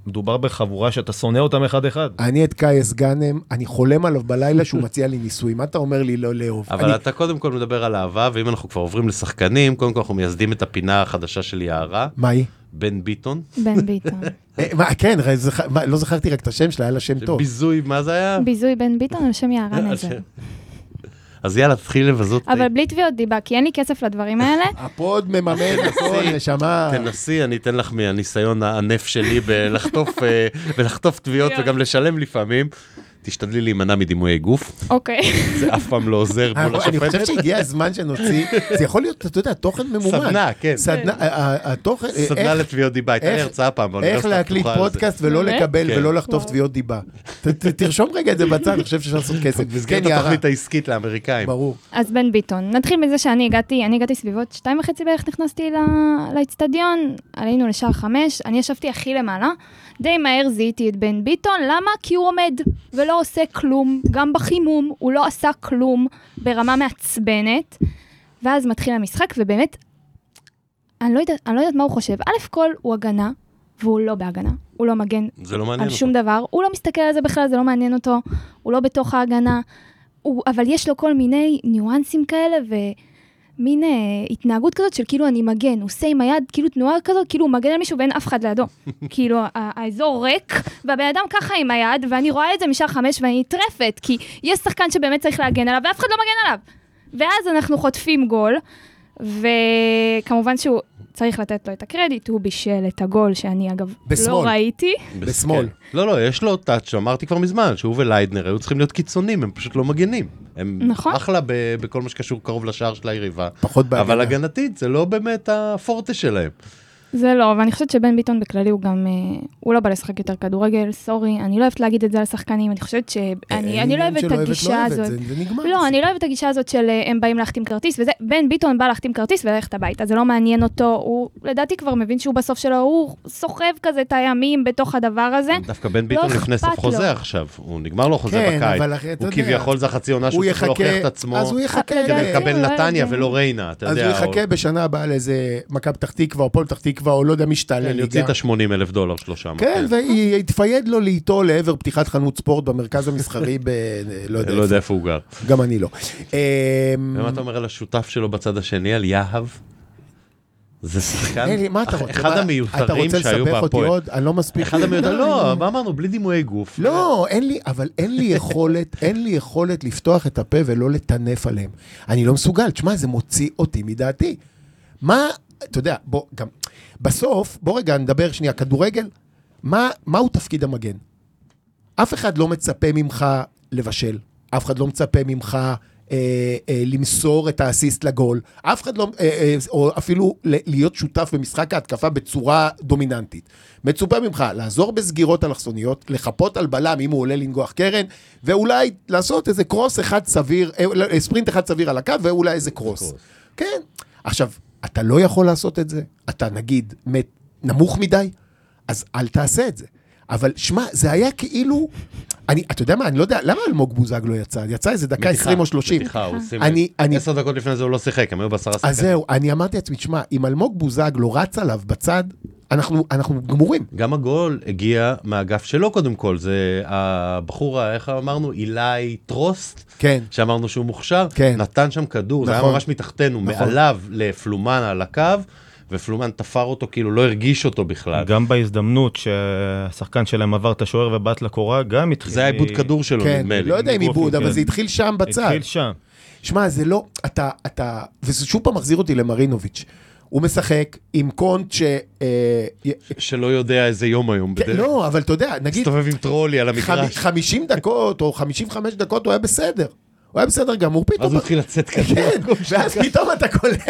[SPEAKER 3] מדובר בחבורה שאתה שונא אותם אחד-אחד.
[SPEAKER 2] אני את קייס גאנם, אני חולם עליו בלילה שהוא מציע לי ניסוי, מה אתה אומר לי לא לאהוב?
[SPEAKER 1] אבל
[SPEAKER 2] אני-
[SPEAKER 1] אתה קודם כל מדבר על אהבה, ואם אנחנו כבר עוברים לשחקנים, קודם כל אנחנו מייסדים את הפינה החדשה של יערה,
[SPEAKER 2] מה היא?
[SPEAKER 1] בן ביטון.
[SPEAKER 4] בן ביטון.
[SPEAKER 2] אה, מה, כן, הרי זכ- מה, לא זכרתי רק את השם שלה, היה לה שם טוב.
[SPEAKER 1] ביזוי, מה זה היה?
[SPEAKER 4] ביזוי בן ביטון על שם יערה נזר.
[SPEAKER 1] אז יאללה, תתחיל לבזות. את
[SPEAKER 4] אבל בלי תביעות דיבה, כי אין לי כסף לדברים האלה.
[SPEAKER 2] הפוד מממן הכל, נשמה.
[SPEAKER 1] תנסי, אני אתן לך מהניסיון הענף שלי בלחטוף אה, ולחטוף תביעות
[SPEAKER 4] יאללה.
[SPEAKER 1] וגם לשלם לפעמים. תשתדלי להימנע מדימויי גוף,
[SPEAKER 4] אוקיי.
[SPEAKER 1] זה אף פעם לא עוזר מול
[SPEAKER 2] אה, אני חושב
[SPEAKER 1] השופטת.
[SPEAKER 2] שהגיע הזמן שנוציא, זה יכול להיות, אתה יודע, תוכן ממומן.
[SPEAKER 1] סדנה, כן.
[SPEAKER 2] סדנה, ה- ה- התוכן, אה,
[SPEAKER 1] סדנה
[SPEAKER 2] איך-
[SPEAKER 1] לתביעות דיבה, הייתה לי
[SPEAKER 2] איך-
[SPEAKER 1] הרצאה פעם לא
[SPEAKER 2] איך
[SPEAKER 1] באוניברסיטה
[SPEAKER 2] להקליט
[SPEAKER 1] הפתוחה על זה.
[SPEAKER 2] פודקאסט ולא
[SPEAKER 4] באמת?
[SPEAKER 2] לקבל
[SPEAKER 1] כן.
[SPEAKER 2] ולא לחטוף
[SPEAKER 4] וואו.
[SPEAKER 2] תביעות דיבה. ת- ת- תרשום רגע את זה בצד, אני חושב שאפשר לעשות כסף.
[SPEAKER 1] במסגרת
[SPEAKER 2] כן, יערה,
[SPEAKER 1] התוכנית העסקית לאמריקאים.
[SPEAKER 2] ברור.
[SPEAKER 4] אז בן ביטון, נתחיל מזה שאני הגעתי, אני הגעתי סביבות שתיים וחצי בערך נכנסתי ל- לאצטדיון, עלינו לשער חמש, אני ישבתי הכי למעלה, די מהר זיהיתי את בן ביטון, למה? כי הוא עומד ולא לא עושה כלום, גם בחימום, הוא לא עשה כלום ברמה מעצבנת. ואז מתחיל המשחק, ובאמת, אני לא יודעת, אני לא יודעת מה הוא חושב. א' כל, הוא הגנה, והוא לא בהגנה. הוא לא מגן
[SPEAKER 1] זה לא מעניין
[SPEAKER 4] על
[SPEAKER 1] אותו.
[SPEAKER 4] שום דבר, הוא לא מסתכל על זה בכלל, זה לא מעניין אותו, הוא לא בתוך ההגנה, הוא, אבל יש לו כל מיני ניואנסים כאלה ומין אה, התנהגות כזאת של כאילו אני מגן, הוא עושה עם היד כאילו תנועה כזאת, כאילו הוא מגן על מישהו ואין אף אחד לידו. כאילו ה- האזור ריק, והבן אדם ככה עם היד, ואני רואה את זה משער חמש ואני נטרפת, כי יש שחקן שבאמת צריך להגן עליו ואף אחד לא מגן עליו. ואז אנחנו חוטפים גול, וכמובן שהוא... צריך לתת לו את הקרדיט, הוא בישל את הגול שאני אגב לא
[SPEAKER 2] בשמאל.
[SPEAKER 4] ראיתי.
[SPEAKER 2] בשמאל.
[SPEAKER 1] כן. לא, לא, יש לו טאץ' שאמרתי כבר מזמן, שהוא וליידנר היו צריכים להיות קיצונים, הם פשוט לא מגנים. הם
[SPEAKER 4] נכון.
[SPEAKER 1] אחלה ב- בכל מה שקשור קרוב לשער של היריבה,
[SPEAKER 2] פחות בהגנה.
[SPEAKER 1] אבל הגנתית זה לא באמת הפורטה שלהם.
[SPEAKER 4] זה לא, ואני חושבת שבן ביטון בכללי הוא גם, אה, הוא לא בא לשחק יותר כדורגל, סורי, אני לא אוהבת להגיד את זה על שחקנים, אני חושבת ש... אני, אני לא אוהבת את הגישה הזאת.
[SPEAKER 2] זה זה נגמר.
[SPEAKER 4] לא, אני לא אוהבת את הגישה הזאת של אה, הם באים להחתים כרטיס, וזה, בן ביטון בא להחתים כרטיס וללכת הביתה, זה לא מעניין אותו, הוא לדעתי כבר מבין שהוא בסוף שלו, הוא סוחב כזה את הימים בתוך הדבר הזה.
[SPEAKER 3] כן,
[SPEAKER 1] דווקא בן ביטון
[SPEAKER 4] לא
[SPEAKER 1] לפני סוף
[SPEAKER 4] אכפת לו.
[SPEAKER 1] חוזה עכשיו, הוא נגמר לו חוזה
[SPEAKER 2] כן,
[SPEAKER 1] בקיץ.
[SPEAKER 2] אבל אחי, אתה
[SPEAKER 1] הוא
[SPEAKER 2] יודע.
[SPEAKER 1] כביכול זה החצי עונה
[SPEAKER 2] הוא
[SPEAKER 1] שהוא צריך
[SPEAKER 2] יחכה,
[SPEAKER 1] להוכיח את עצמו.
[SPEAKER 2] אז הוא יחכה,
[SPEAKER 4] אתה יודע,
[SPEAKER 1] כדי לקבל
[SPEAKER 4] כן, הוא אוהב
[SPEAKER 1] נתניה
[SPEAKER 4] את זה.
[SPEAKER 1] ולא ריינה, אתה
[SPEAKER 2] אז
[SPEAKER 1] יודע.
[SPEAKER 2] הוא
[SPEAKER 1] או-
[SPEAKER 2] יחכה בשנה הבאה לאיזה מכבי פתח תקווה או הפועל פתח תקווה או לא יודע מי שתעלה
[SPEAKER 1] כן, יוציא
[SPEAKER 2] ליגה.
[SPEAKER 1] את ה-80 אלף דולר שלו שם.
[SPEAKER 2] כן, ויתפייד לו לאיטו לעבר פתיחת חנות ספורט במרכז המסחרי ב... לא יודע
[SPEAKER 1] לא
[SPEAKER 2] איפה.
[SPEAKER 1] יודע איפה הוא גר.
[SPEAKER 4] Mm.
[SPEAKER 2] גם אני לא. אמ,
[SPEAKER 1] ומה אתה אומר על השותף שלו בצד השני, על יהב? זה שחקן,
[SPEAKER 2] אלי, מה אתה
[SPEAKER 1] אח-
[SPEAKER 2] רוצה?
[SPEAKER 1] אחד
[SPEAKER 2] מה,
[SPEAKER 1] המיותרים שהיו
[SPEAKER 2] אתה רוצה לסבך אותי
[SPEAKER 1] בהפועל.
[SPEAKER 2] עוד? אני לא מספיק.
[SPEAKER 1] אחד המיותרים,
[SPEAKER 2] די.
[SPEAKER 1] לא, מה אמרנו, בלי דימויי גוף. אה,
[SPEAKER 2] לא, אין לי, אבל אין לי יכולת, אין לי יכולת לפתוח את הפה ולא לטנף עליהם. אני לא מסוגל, תשמע, זה מוציא אותי מדעתי. מה, אתה יודע, בוא, גם, בסוף, בוא רגע נדבר שנייה, כדורגל, מה, מהו תפקיד המגן? אף אחד לא מצפה ממך לבשל, אף אחד לא מצפה ממך אה, אה, למסור את האסיסט לגול, אף אחד לא, אה, אה, או אפילו ל- להיות שותף במשחק ההתקפה בצורה דומיננטית. מצופה ממך לעזור בסגירות אלכסוניות, לחפות על בלם אם הוא עולה לנגוח קרן, ואולי לעשות איזה קרוס אחד סביר, אה, לא, אה, ספרינט אחד סביר על הקו, ואולי איזה קרוס.
[SPEAKER 1] קרוס.
[SPEAKER 2] כן. עכשיו, אתה לא יכול לעשות את זה, אתה נגיד מת- נמוך מדי, אז אל תעשה את זה. אבל שמע, זה היה כאילו, אני, אתה יודע מה, אני לא יודע, למה אלמוג בוזגלו יצא? יצא איזה דקה 20 או 30.
[SPEAKER 1] מתיחה, הוא שים
[SPEAKER 2] אני-
[SPEAKER 1] לב.
[SPEAKER 2] אני-
[SPEAKER 1] עשר דקות לפני זה הוא לא שיחק, הם היו בעשרה שחקנים.
[SPEAKER 2] אז זהו, אני אמרתי לעצמי, שמע, אם אלמוג בוזגלו רץ עליו בצד, אנחנו, אנחנו גמורים.
[SPEAKER 1] גם הגול הגיע מהאגף שלו קודם כל, זה הבחור, ה- איך אמרנו, אילי טרוסט,
[SPEAKER 2] כן.
[SPEAKER 1] שאמרנו שהוא מוכשר,
[SPEAKER 2] כן.
[SPEAKER 1] נתן שם כדור, זה היה
[SPEAKER 2] נכון.
[SPEAKER 1] ממש מתחתנו,
[SPEAKER 2] נכון.
[SPEAKER 1] מעליו לפלומן על הקו, ופלומן תפר אותו, כאילו לא הרגיש אותו בכלל.
[SPEAKER 3] גם בהזדמנות שהשחקן שלהם עבר את השוער ובעט לקורה, גם התחיל...
[SPEAKER 1] זה היה עיבוד
[SPEAKER 3] מ-
[SPEAKER 1] כדור שלו,
[SPEAKER 2] כן,
[SPEAKER 1] נדמה לי.
[SPEAKER 2] לא יודע אם
[SPEAKER 3] מגוף,
[SPEAKER 2] עיבוד, אבל
[SPEAKER 3] כן.
[SPEAKER 2] זה התחיל שם בצד.
[SPEAKER 3] התחיל שם.
[SPEAKER 2] שמע, זה לא, אתה, אתה, וזה שוב פעם מחזיר אותי למרינוביץ'. הוא משחק עם קונט ש... אה, י-
[SPEAKER 1] שלא יודע איזה יום היום.
[SPEAKER 2] כן,
[SPEAKER 1] בדרך.
[SPEAKER 2] לא, אבל אתה יודע, נגיד,
[SPEAKER 1] מסתובב עם טרולי על
[SPEAKER 2] חמ-
[SPEAKER 1] המגרש,
[SPEAKER 2] 50 דקות או 55 דקות הוא היה בסדר. הוא היה בסדר גמור, פתאום...
[SPEAKER 1] אז הוא התחיל לצאת כזה.
[SPEAKER 2] כן, ואז פתאום אתה קולט,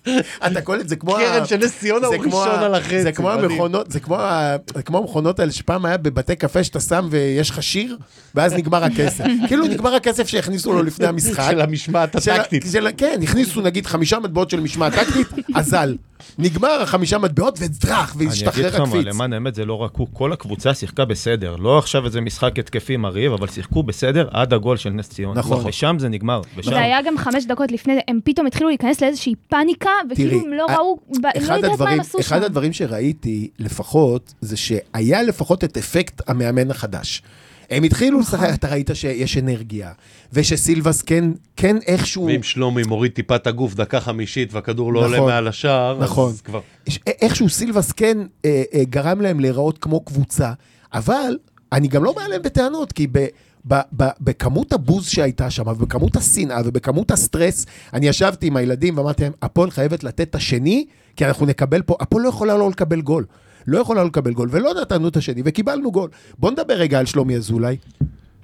[SPEAKER 2] אתה קולט, זה כמו... ה-
[SPEAKER 1] קרן של נס ציונה
[SPEAKER 2] זה
[SPEAKER 1] הוא
[SPEAKER 2] כמו ה-
[SPEAKER 1] ראשון על החצי.
[SPEAKER 2] זה כמו
[SPEAKER 1] מדהים.
[SPEAKER 2] המכונות, זה כמו ה- זה כמו המכונות האלה שפעם היה בבתי קפה שאתה שם ויש לך שיר, ואז נגמר הכסף. כאילו נגמר הכסף שהכניסו לו לפני המשחק.
[SPEAKER 1] של המשמעת
[SPEAKER 2] של-
[SPEAKER 1] הטקטית.
[SPEAKER 2] של- כן, הכניסו נגיד חמישה מטבעות של משמעת טקטית, אזל. נגמר החמישה מטבעות ודרך,
[SPEAKER 3] אני אגיד
[SPEAKER 2] והשתחרר
[SPEAKER 3] לך מה,
[SPEAKER 2] הקפיץ.
[SPEAKER 3] למען האמת זה לא רק הוא, כל הקבוצה שיחקה בסדר. לא עכשיו איזה משחק התקפי מרהיב, אבל שיחקו בסדר עד הגול של נס ציונה.
[SPEAKER 2] נכון.
[SPEAKER 3] ושם זה נגמר. ושם-
[SPEAKER 4] זה היה גם חמש דקות לפני זה, הם פתאום התחילו להיכנס לאיזושהי פאניקה, וכאילו
[SPEAKER 2] תראי,
[SPEAKER 4] הם לא
[SPEAKER 2] ה-
[SPEAKER 4] ראו, ב- לא
[SPEAKER 2] אחד
[SPEAKER 4] יודעת מה
[SPEAKER 2] הדברים,
[SPEAKER 4] הם עשו שם.
[SPEAKER 2] אחד הדברים שראיתי לפחות, זה שהיה לפחות את אפקט המאמן החדש. הם התחילו
[SPEAKER 4] נכון.
[SPEAKER 2] לשחק, אתה ראית שיש אנרגיה, ושסילבס כן, כן איכשהו...
[SPEAKER 1] ואם שלומי מוריד טיפה את הגוף דקה חמישית והכדור לא עולה
[SPEAKER 2] נכון.
[SPEAKER 1] מעל השער,
[SPEAKER 2] נכון.
[SPEAKER 1] אז כבר...
[SPEAKER 2] ש- איכשהו סילבס כן אה, אה, גרם להם להיראות כמו קבוצה, אבל אני גם לא בא אליהם בטענות, כי ב... ב- ב- בכמות הבוז שהייתה שם, ובכמות השנאה, ובכמות הסטרס, אני ישבתי עם הילדים ואמרתי להם, הפועל חייבת לתת את השני, כי אנחנו נקבל פה, הפועל לא יכולה לא לקבל גול. לא יכולה לא לקבל גול, ולא נתנו את השני, וקיבלנו גול. בוא נדבר רגע על שלומי אזולאי.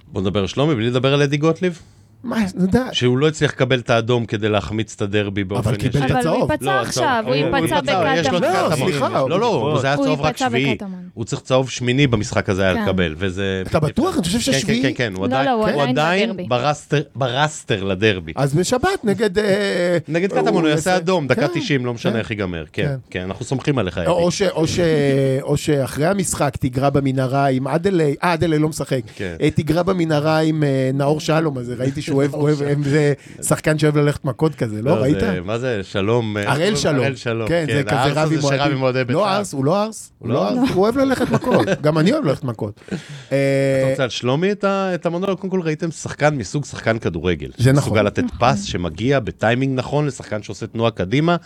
[SPEAKER 1] בוא נדבר על שלומי בלי לדבר על אדי גוטליב,
[SPEAKER 2] מה, נדע,
[SPEAKER 1] שהוא לא הצליח לקבל את האדום כדי להחמיץ את הדרבי באופן
[SPEAKER 2] אבל קיבל
[SPEAKER 1] ישיר. לא,
[SPEAKER 2] את
[SPEAKER 4] אבל הוא
[SPEAKER 2] הצהוב.
[SPEAKER 4] ייפצע עכשיו, הוא
[SPEAKER 1] הוא
[SPEAKER 2] ייפצע
[SPEAKER 4] ייפצע
[SPEAKER 1] יש לו את
[SPEAKER 4] בקטמון.
[SPEAKER 2] לא,
[SPEAKER 1] קטמון.
[SPEAKER 2] סליחה,
[SPEAKER 1] לא, לא,
[SPEAKER 3] הוא
[SPEAKER 1] זה היה
[SPEAKER 4] הוא
[SPEAKER 1] צהוב רק
[SPEAKER 4] ייפצע
[SPEAKER 1] שביעי.
[SPEAKER 4] בקטמון.
[SPEAKER 1] הוא צריך צהוב שמיני במשחק הזה היה
[SPEAKER 4] כן.
[SPEAKER 1] לקבל, וזה...
[SPEAKER 2] אתה בטוח? אני חושב ששביעי-
[SPEAKER 1] כן, כן, כן, הוא
[SPEAKER 4] לא,
[SPEAKER 1] עדיין-
[SPEAKER 4] לא, הוא
[SPEAKER 1] הוא
[SPEAKER 4] עדיין
[SPEAKER 1] עדיין
[SPEAKER 4] בדרבי.
[SPEAKER 1] ברסטר- ברסטר לדרבי.
[SPEAKER 2] אז בשבת נגד... אה,
[SPEAKER 1] נגד קטמון הוא יעשה אדום, דקה
[SPEAKER 2] כן,
[SPEAKER 1] 90, לא
[SPEAKER 2] כן.
[SPEAKER 1] משנה איך ייגמר, כן,
[SPEAKER 2] כן. אה,
[SPEAKER 1] כן, אנחנו סומכים עליך,
[SPEAKER 2] לא, או,
[SPEAKER 1] ידיד.
[SPEAKER 2] או, ש, או, ש, או שאחרי המשחק תיגרע במנהרה עם אדלי, אה, אדלי לא משחק,
[SPEAKER 1] כן.
[SPEAKER 2] אה, תיגרע במנהרה עם אה, נאור שלום הזה, ראיתי שהוא אוהב, אוהב, אוהב, זה שחקן שאוהב ללכת מכות כזה, לא, ראית?
[SPEAKER 1] זה- מה זה, שלום? אה,
[SPEAKER 2] הראל שלום.
[SPEAKER 1] הראל שלום,
[SPEAKER 2] כן, זה כזה
[SPEAKER 1] הארס
[SPEAKER 2] רב
[SPEAKER 1] הזה
[SPEAKER 2] עם
[SPEAKER 1] שרב
[SPEAKER 2] אוהדים.
[SPEAKER 1] עם אוהדי בית"ר.
[SPEAKER 2] לא ארס, הוא לא ארס, הוא
[SPEAKER 1] לא
[SPEAKER 2] לא ארס, הוא אוהב ללכת מכות, גם אני אוהב ללכת מכות. אה,
[SPEAKER 1] אתה רוצה על שלומי את ה- את המונולוג? קודם כל ראיתם שחקן מסוג שחקן כדורגל.
[SPEAKER 2] זה נכון.
[SPEAKER 1] מסוגל לתת פס שמגיע בטיימינג נכון לשחקן שעושה תנועה קדימה.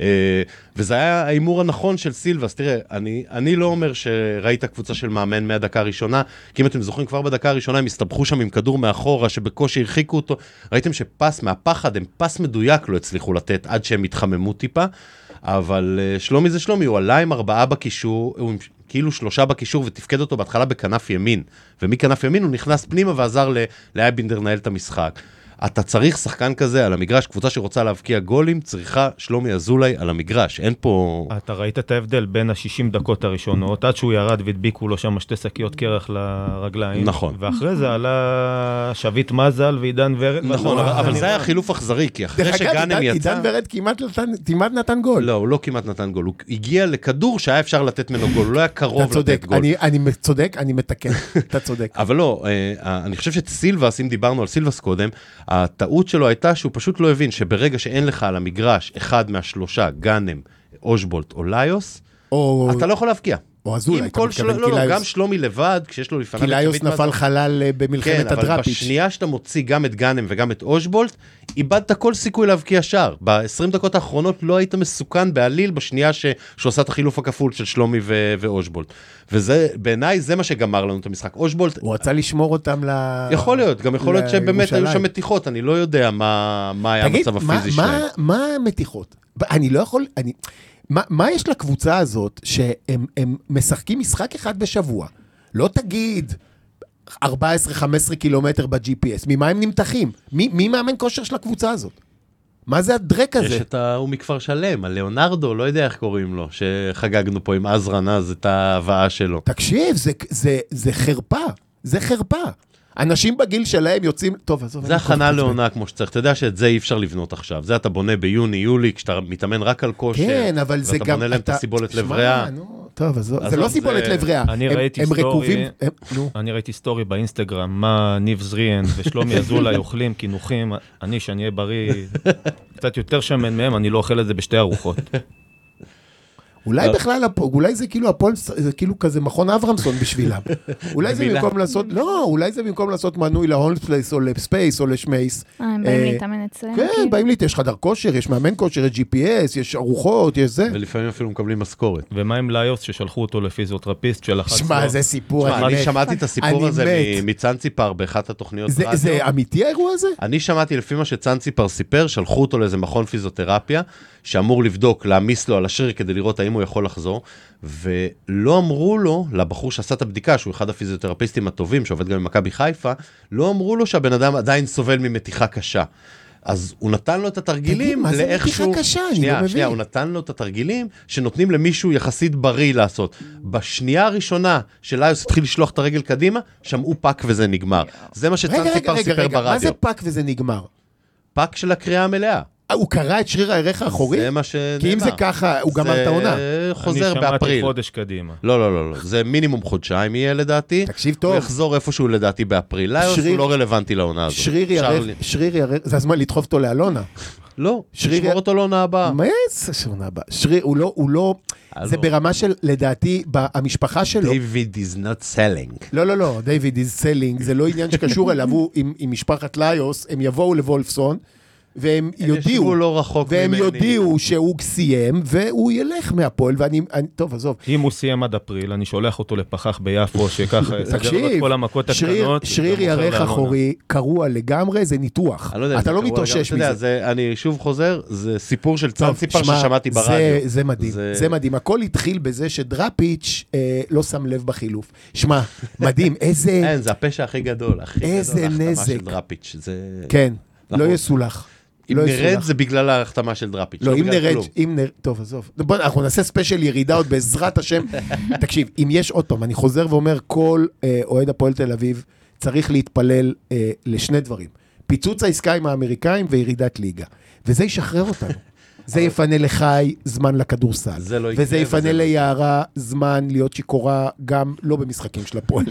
[SPEAKER 1] אה, וזה היה ההימור הנכון של סילבס. תראה, אני, אני לא אומר שראית קבוצה של מאמן מהדקה הראשונה, כי אם אתם זוכרים, כבר בדקה הראשונה הם הסתבכו שם עם כדור מאחורה, שבקושי הרחיקו אותו. ראיתם שפס מהפחד, הם פס מדויק לא הצליחו לתת עד שהם התחממו טיפה. אבל אה, שלומי זה שלומי, הוא עלה עם ארבעה בקישור, הוא עם ש- כאילו שלושה בקישור ותפקד אותו בהתחלה בכנף ימין. ומכנף ימין הוא נכנס פנימה ועזר ל- לאייבינדר לנהל את המשחק. אתה צריך שחקן כזה על המגרש, קבוצה שרוצה להבקיע גולים, צריכה שלומי אזולאי על המגרש, אין פה...
[SPEAKER 3] אתה ראית את ההבדל בין ה-60 דקות הראשונות, עד שהוא ירד והדביקו לו שם שתי שקיות קרח לרגליים.
[SPEAKER 1] נכון.
[SPEAKER 3] ואחרי זה עלה שביט מזל ועידן ורד.
[SPEAKER 1] נכון,
[SPEAKER 3] ואז
[SPEAKER 1] אבל
[SPEAKER 3] אני-
[SPEAKER 1] זה היה חילוף אכזרי, כי אחרי
[SPEAKER 2] דרך אגב,
[SPEAKER 1] שגאנם
[SPEAKER 2] עידן-
[SPEAKER 1] יצא...
[SPEAKER 2] עידן ורד כמעט נתן- כמעט נתן גול.
[SPEAKER 1] לא, הוא לא כמעט נתן גול, הוא הגיע לכדור שהיה אפשר לתת ממנו גול, הוא לא היה
[SPEAKER 2] אתה
[SPEAKER 1] קרוב
[SPEAKER 2] צודק,
[SPEAKER 1] לתת גול.
[SPEAKER 2] אני- אני צודק, אני מתקן, אתה צודק.
[SPEAKER 1] אבל לא, אה, אני חושב שסילבס, אם דיברנו על סילבס קודם, הטעות שלו הייתה שהוא פשוט לא הבין שברגע שאין לך על המגרש אחד מהשלושה, גאנם, אושבולט או ליוס,
[SPEAKER 2] או
[SPEAKER 1] אתה לא יכול להבקיע.
[SPEAKER 2] או אזולאי,
[SPEAKER 1] אם
[SPEAKER 2] אתה
[SPEAKER 1] כל של...
[SPEAKER 2] מתכוון
[SPEAKER 1] לא, לא, גם
[SPEAKER 2] קיליוס.
[SPEAKER 1] שלומי לבד, כשיש לו לפניו... את
[SPEAKER 2] קיליוס
[SPEAKER 1] שביט מזל-
[SPEAKER 2] נפל חלל אה, במלחמת
[SPEAKER 1] כן, אבל
[SPEAKER 2] הדראפיץ'.
[SPEAKER 1] בשנייה שאתה מוציא גם את גאנם וגם את אושבולט, איבדת כל סיכוי להבקיע שער. ב-20 דקות האחרונות לא היית מסוכן בעליל בשנייה ש... שהוא עשה את החילוף הכפול של שלומי ו... ואושבולט. וזה, בעיניי, זה מה שגמר לנו את המשחק. אושבולט
[SPEAKER 2] הוא רצה לשמור אותם ל...
[SPEAKER 1] יכול להיות, גם יכול להיות שבאמת היו שם
[SPEAKER 2] לירושלים.
[SPEAKER 1] מתיחות, אני לא יודע מה מה היה
[SPEAKER 2] תגיד,
[SPEAKER 1] המצב
[SPEAKER 2] מה-
[SPEAKER 1] הפיזי
[SPEAKER 2] מה-
[SPEAKER 1] שלהם.
[SPEAKER 2] מה המתיחות? ב- אני לא יכול... אני- מה- מה יש לקבוצה הזאת שהם הם משחקים משחק אחד בשבוע? לא תגיד 14-15 קילומטר ב-GPS, ממה הם נמתחים? מי מי מאמן כושר של הקבוצה הזאת? מה זה הדרק הזה?
[SPEAKER 1] יש את ההוא מכפר שלם, הלאונרדו, לא יודע איך קוראים לו, שחגגנו פה עם עזרן אז את ההבאה שלו.
[SPEAKER 2] תקשיב, זה- זה- זה חרפה, זה חרפה. אנשים בגיל שלהם יוצאים... טוב, עזוב.
[SPEAKER 1] זה
[SPEAKER 2] אני כל כך
[SPEAKER 1] הכנה
[SPEAKER 2] מתעצבן.
[SPEAKER 1] לעונה כמו שצריך, אתה יודע שאת זה אי אפשר לבנות עכשיו, זה אתה בונה ביוני-יולי, כשאתה מתאמן רק על כושר,
[SPEAKER 2] כן, אבל זה גם...
[SPEAKER 1] ואתה בונה להם את
[SPEAKER 2] אתה-
[SPEAKER 1] הסיבולת לב
[SPEAKER 2] שמע,
[SPEAKER 1] ריאה.
[SPEAKER 2] נו, טוב, אז זה
[SPEAKER 1] עזוב,
[SPEAKER 2] לא
[SPEAKER 1] זה-
[SPEAKER 2] סיבולת לב ריאה.
[SPEAKER 3] אני
[SPEAKER 2] הם-
[SPEAKER 3] ראיתי
[SPEAKER 2] הם
[SPEAKER 3] סטורי-
[SPEAKER 2] רקובים- הם- נו.
[SPEAKER 3] אני ראיתי סטורי באינסטגרם, מה ניב זריאן ושלומי אזולאי אוכלים קינוחים, אני, שאני אהיה בריא, קצת יותר שמן מהם, אני לא אוכל את זה בשתי ארוחות.
[SPEAKER 2] אולי
[SPEAKER 1] לא.
[SPEAKER 2] בכלל, הפ- אולי זה כאילו הפועל, ס- זה כאילו כזה מכון אברמסון בשבילם. אולי זה
[SPEAKER 1] במילה.
[SPEAKER 2] במקום לעשות, לא, אולי זה במקום לעשות מנוי להולמספלייס או לספייס או לשמייס.
[SPEAKER 4] אה, הם
[SPEAKER 2] אה,
[SPEAKER 4] באים להתאמן אצלנו.
[SPEAKER 2] כן,
[SPEAKER 4] כאילו.
[SPEAKER 2] באים לי, יש חדר כושר, יש מאמן כושר, יש GPS, יש ארוחות, יש זה.
[SPEAKER 1] ולפעמים אפילו מקבלים משכורת.
[SPEAKER 3] ומה עם ליוס ששלחו אותו לפיזיותרפיסט של אחת...
[SPEAKER 2] שמע, זה סיפור,
[SPEAKER 1] תשמע,
[SPEAKER 2] אני
[SPEAKER 1] אני
[SPEAKER 2] מת.
[SPEAKER 1] שמעתי את הסיפור
[SPEAKER 2] אני
[SPEAKER 1] הזה
[SPEAKER 2] מת.
[SPEAKER 1] מ- מצאנציפר באחת התוכניות
[SPEAKER 2] זה- זה אמיתי האירוע הזה?
[SPEAKER 1] אני שמעתי לפי מה שצאנציפר סיפר, שלחו אותו לאיזה מכון פיזיותרפיה, שאמור לבדוק, להעמיס לו על השריר כדי לראות האם הוא יכול לחזור, ולא אמרו לו, לבחור שעשה את הבדיקה, שהוא אחד הפיזיותרפיסטים הטובים, שעובד גם במכבי חיפה, לא אמרו לו שהבן אדם עדיין סובל ממתיחה קשה. אז הוא נתן לו את התרגילים
[SPEAKER 2] תגיד, מה זה
[SPEAKER 1] לאיכשהו...
[SPEAKER 2] מתיחה קשה? אני לא
[SPEAKER 1] שנייה,
[SPEAKER 2] מבין.
[SPEAKER 1] שנייה, הוא נתן לו את התרגילים שנותנים למישהו יחסית בריא לעשות. בשנייה הראשונה שליוס התחיל לשלוח את הרגל קדימה, שמעו פאק וזה נגמר. זה מה
[SPEAKER 2] רגע, רגע,
[SPEAKER 1] שצאנציפר
[SPEAKER 2] רגע,
[SPEAKER 1] סיפר
[SPEAKER 2] רגע, מה
[SPEAKER 1] ברדיו.
[SPEAKER 2] זה פאק וזה נגמר?
[SPEAKER 1] פאק של הקריאה המלאה.
[SPEAKER 2] אה, הוא קרע את שריר הירך האחורי?
[SPEAKER 1] זה מה שנאמר.
[SPEAKER 2] כי אם זה ככה, הוא גמר את העונה.
[SPEAKER 1] זה חוזר
[SPEAKER 3] אני שמעתי
[SPEAKER 1] באפריל.
[SPEAKER 3] חודש קדימה.
[SPEAKER 1] לא, לא, לא, לא, זה מינימום חודשיים יהיה לדעתי.
[SPEAKER 2] תקשיב
[SPEAKER 1] הוא
[SPEAKER 2] טוב,
[SPEAKER 1] יחזור איפשהו לדעתי באפריל. ליוס
[SPEAKER 2] שריר-
[SPEAKER 1] הוא לא רלוונטי לעונה הזאת.
[SPEAKER 2] שריר
[SPEAKER 1] צ'רלי.
[SPEAKER 2] ירך, שריר ירך, זה הזמן לדחוף אותו לאלונה.
[SPEAKER 1] לא,
[SPEAKER 2] שריר-
[SPEAKER 1] תשמור אותו לעונה הבאה.
[SPEAKER 2] מה זה שרונה הבאה? שריר, הוא לא, הוא לא,
[SPEAKER 1] אה. הלו.
[SPEAKER 2] זה ברמה של, לדעתי, ב- המשפחה שלו,
[SPEAKER 1] דיוויד is not selling.
[SPEAKER 2] לא, לא, לא, דיוויד is selling, זה לא עניין שקשור אליו, הוא עם עם משפחת ליוס, הם יבואו לוולפסון, והם
[SPEAKER 1] ישבו
[SPEAKER 2] יודיעו,
[SPEAKER 1] לא רחוק
[SPEAKER 2] והם
[SPEAKER 1] ממני.
[SPEAKER 2] יודיעו שהוא סיים, והוא ילך מהפועל, ואני, אני- טוב, עזוב.
[SPEAKER 3] אם הוא סיים עד אפריל, אני שולח אותו לפחח ביפו, שככה יסדר לו את
[SPEAKER 2] תקשיב,
[SPEAKER 3] כל המכות
[SPEAKER 2] שריר-
[SPEAKER 3] הקטנות.
[SPEAKER 2] שריר
[SPEAKER 3] ומוכר
[SPEAKER 2] ירך
[SPEAKER 3] לאלונה.
[SPEAKER 2] אחורי קרוע לגמרי, זה ניתוח.
[SPEAKER 1] אני לא יודע,
[SPEAKER 2] אתה
[SPEAKER 1] זה
[SPEAKER 2] לא
[SPEAKER 1] קרוע לגמרי.
[SPEAKER 2] מתאושש
[SPEAKER 1] אתה יודע,
[SPEAKER 2] מזה.
[SPEAKER 1] זה- אני שוב חוזר, זה סיפור של
[SPEAKER 2] טוב,
[SPEAKER 1] צאנציפר
[SPEAKER 2] שמע,
[SPEAKER 1] ששמעתי
[SPEAKER 2] זה-
[SPEAKER 1] ברדיו.
[SPEAKER 2] זה מדהים,
[SPEAKER 1] זה-
[SPEAKER 2] זה מדהים. הכל התחיל בזה שדראפיץ' אה, לא שם לב בחילוף. שמע, מדהים, איזה...
[SPEAKER 1] אין, זה הפשע הכי גדול, הכי גדול.
[SPEAKER 2] איזה
[SPEAKER 1] ההחתמה
[SPEAKER 2] נזק.
[SPEAKER 1] של דראפיץ', זה...
[SPEAKER 2] כן,
[SPEAKER 1] נכון.
[SPEAKER 2] לא יסולח.
[SPEAKER 1] אם
[SPEAKER 2] לא
[SPEAKER 1] נרד
[SPEAKER 2] יסולח.
[SPEAKER 1] זה בגלל ההחתמה של דראפיץ'.
[SPEAKER 2] לא, אם
[SPEAKER 1] בגלל
[SPEAKER 2] נרד,
[SPEAKER 1] כלום.
[SPEAKER 2] אם נרד, טוב, עזוב. בוא, אנחנו נעשה ספיישל ירידה עוד בעזרת השם. תקשיב, אם יש עוד פעם, אני חוזר ואומר, כל אה, אוהד הפועל תל אביב צריך להתפלל אה, לשני דברים. פיצוץ העסקה עם האמריקאים וירידת ליגה. וזה ישחרר אותנו. זה יפנה לחי זמן לכדורסל.
[SPEAKER 1] זה לא יקרה,
[SPEAKER 2] וזה
[SPEAKER 1] וזה
[SPEAKER 2] יפנה
[SPEAKER 1] לא
[SPEAKER 2] ליערה זמן להיות שיכורה גם לא במשחקים של הפועל.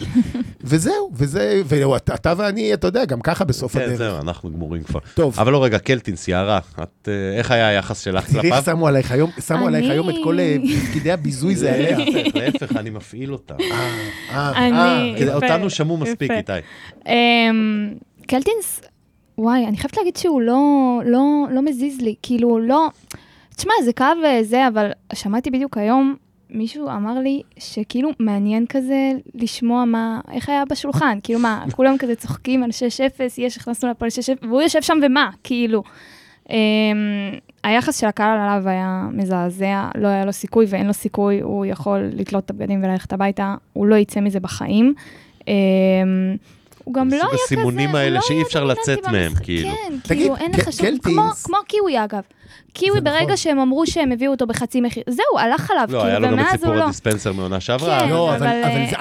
[SPEAKER 2] וזהו, וזה, ואתה ואני, אתה יודע, גם ככה בסוף
[SPEAKER 1] כן,
[SPEAKER 2] הדרך.
[SPEAKER 1] זהו, אנחנו גמורים כבר.
[SPEAKER 2] טוב.
[SPEAKER 1] אבל לא, רגע, קלטינס, יערה, את, אה, איך היה היחס שלך
[SPEAKER 2] תראי
[SPEAKER 1] כלפיו?
[SPEAKER 2] איך שמו עלייך היום, שמו עלייך
[SPEAKER 4] אני-
[SPEAKER 2] היום את כל אה, פקידי הביזוי זה עליה.
[SPEAKER 1] להפך, להפך, אני מפעיל אותה.
[SPEAKER 2] אה,
[SPEAKER 4] אני...
[SPEAKER 1] כדי-
[SPEAKER 4] יפה,
[SPEAKER 1] אותנו שמעו מספיק,
[SPEAKER 4] יפה.
[SPEAKER 1] איתי.
[SPEAKER 4] אמ, קלטינס, וואי, אני חייבת להגיד שהוא לא, לא, לא מזיז לי, כאילו, לא... תשמע, זה כאב וזה, אבל שמעתי בדיוק היום, מישהו אמר לי שכאילו מעניין כזה לשמוע מה, איך היה בשולחן, כאילו מה, כולם כזה צוחקים על 6-0, יש, הכנסנו לפועל 6-0, והוא יושב שם ומה, כאילו. אמ, היחס של הקהל עליו היה מזעזע, לא היה לו סיכוי ואין לו סיכוי, הוא יכול לתלות את הבגדים וללכת הביתה, הוא לא יצא מזה בחיים. אמ, הוא גם לא
[SPEAKER 1] מסוג
[SPEAKER 4] היה כזה,
[SPEAKER 1] הסימונים
[SPEAKER 4] הוא
[SPEAKER 1] האלה
[SPEAKER 4] לא
[SPEAKER 1] שאי
[SPEAKER 4] היה
[SPEAKER 1] אפשר לצאת
[SPEAKER 4] דומיננטי
[SPEAKER 1] מהם,
[SPEAKER 4] במשחק.
[SPEAKER 1] כאילו.
[SPEAKER 4] כן,
[SPEAKER 2] תגיד,
[SPEAKER 4] כאילו, אין לך
[SPEAKER 2] ק-
[SPEAKER 4] שום...
[SPEAKER 2] קלטינס-
[SPEAKER 4] כמו, כמו קיווי, אגב. קיווי,
[SPEAKER 2] זה
[SPEAKER 4] ברגע
[SPEAKER 2] נכון.
[SPEAKER 4] שהם אמרו שהם הביאו אותו בחצי מחיר, זהו, הלך עליו,
[SPEAKER 1] לא,
[SPEAKER 4] כאילו,
[SPEAKER 1] היה לו גם את
[SPEAKER 4] ומאז הוא
[SPEAKER 1] סיפור
[SPEAKER 4] לא...
[SPEAKER 1] הדיספנסר מעונה שעברה.
[SPEAKER 4] כן,
[SPEAKER 2] לא, אבל-
[SPEAKER 4] אבל
[SPEAKER 2] אבל
[SPEAKER 4] אה,
[SPEAKER 2] זה-
[SPEAKER 4] לא היה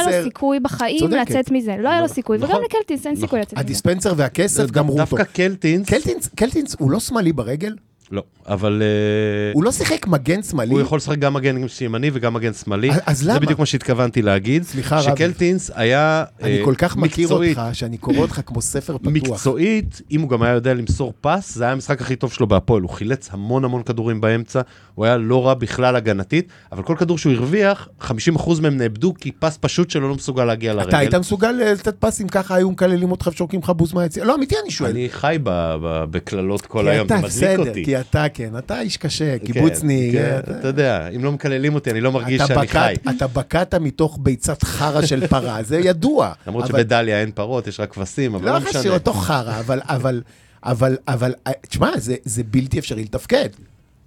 [SPEAKER 2] הדיספנסר-
[SPEAKER 4] לו סיכוי בחיים
[SPEAKER 2] צודקת.
[SPEAKER 4] לצאת מזה, לא היה לו
[SPEAKER 2] נכון.
[SPEAKER 4] סיכוי, וגם
[SPEAKER 1] נכון.
[SPEAKER 4] לקלטינס אין סיכוי לצאת מזה.
[SPEAKER 2] הדיספנסר והכסף גמרו אותו.
[SPEAKER 1] אה, דווקא קלטינס,
[SPEAKER 2] קלטינס, קלטינס הוא לא שמאלי ברגל?
[SPEAKER 1] לא, אבל אה,
[SPEAKER 2] הוא לא שיחק מגן שמאלי?
[SPEAKER 1] הוא יכול לשחק גם מגן ימני וגם מגן שמאלי.
[SPEAKER 2] אז- אז למה?
[SPEAKER 1] זה בדיוק מה שהתכוונתי להגיד.
[SPEAKER 2] סליחה, רבי.
[SPEAKER 1] שקלטינס היה
[SPEAKER 2] אני
[SPEAKER 1] אה,
[SPEAKER 2] כל כך מכיר
[SPEAKER 1] מקצועית-
[SPEAKER 2] אותך, שאני קורא אותך כמו ספר פתוח.
[SPEAKER 1] מקצועית, אם הוא גם היה יודע למסור פס, זה היה המשחק הכי טוב שלו בהפועל. הוא חילץ המון המון כדורים באמצע, הוא היה לא רע בכלל הגנתית, אבל כל כדור שהוא הרוויח, 50% מהם נאבדו, כי פס פשוט שלו לא מסוגל להגיע לרגל.
[SPEAKER 2] אתה היית מסוגל אה, לתת פסים ככה, היו מקללים אותך ושורקים לך בוז מהיציאה? לא, אמיתי אני שואל.
[SPEAKER 1] אני חי ב- ב- בקללות כל
[SPEAKER 2] כי
[SPEAKER 1] היום, זה
[SPEAKER 2] אתה
[SPEAKER 1] מדליק
[SPEAKER 2] בסדר,
[SPEAKER 1] אותי.
[SPEAKER 2] כי אתה כן, אתה איש קשה,
[SPEAKER 1] כן,
[SPEAKER 2] קיבוצניק.
[SPEAKER 1] כן,
[SPEAKER 2] אתה-
[SPEAKER 1] אתה יודע, אם לא מקללים אותי, אני לא מרגיש
[SPEAKER 2] אתה
[SPEAKER 1] שאני
[SPEAKER 2] בקעת-
[SPEAKER 1] חי.
[SPEAKER 2] אתה בקעת מתוך ביצת חרא של פרה, זה ידוע.
[SPEAKER 1] למרות
[SPEAKER 2] אבל-
[SPEAKER 1] שבדליה אין פרות, יש רק כבשים, אבל
[SPEAKER 2] לא
[SPEAKER 1] לא
[SPEAKER 2] חשוב,
[SPEAKER 1] משנה.
[SPEAKER 2] אותו חרא, אבל, אבל, אבל, אבל, אה, תשמע, זה, זה בלתי אפשרי לתפקד.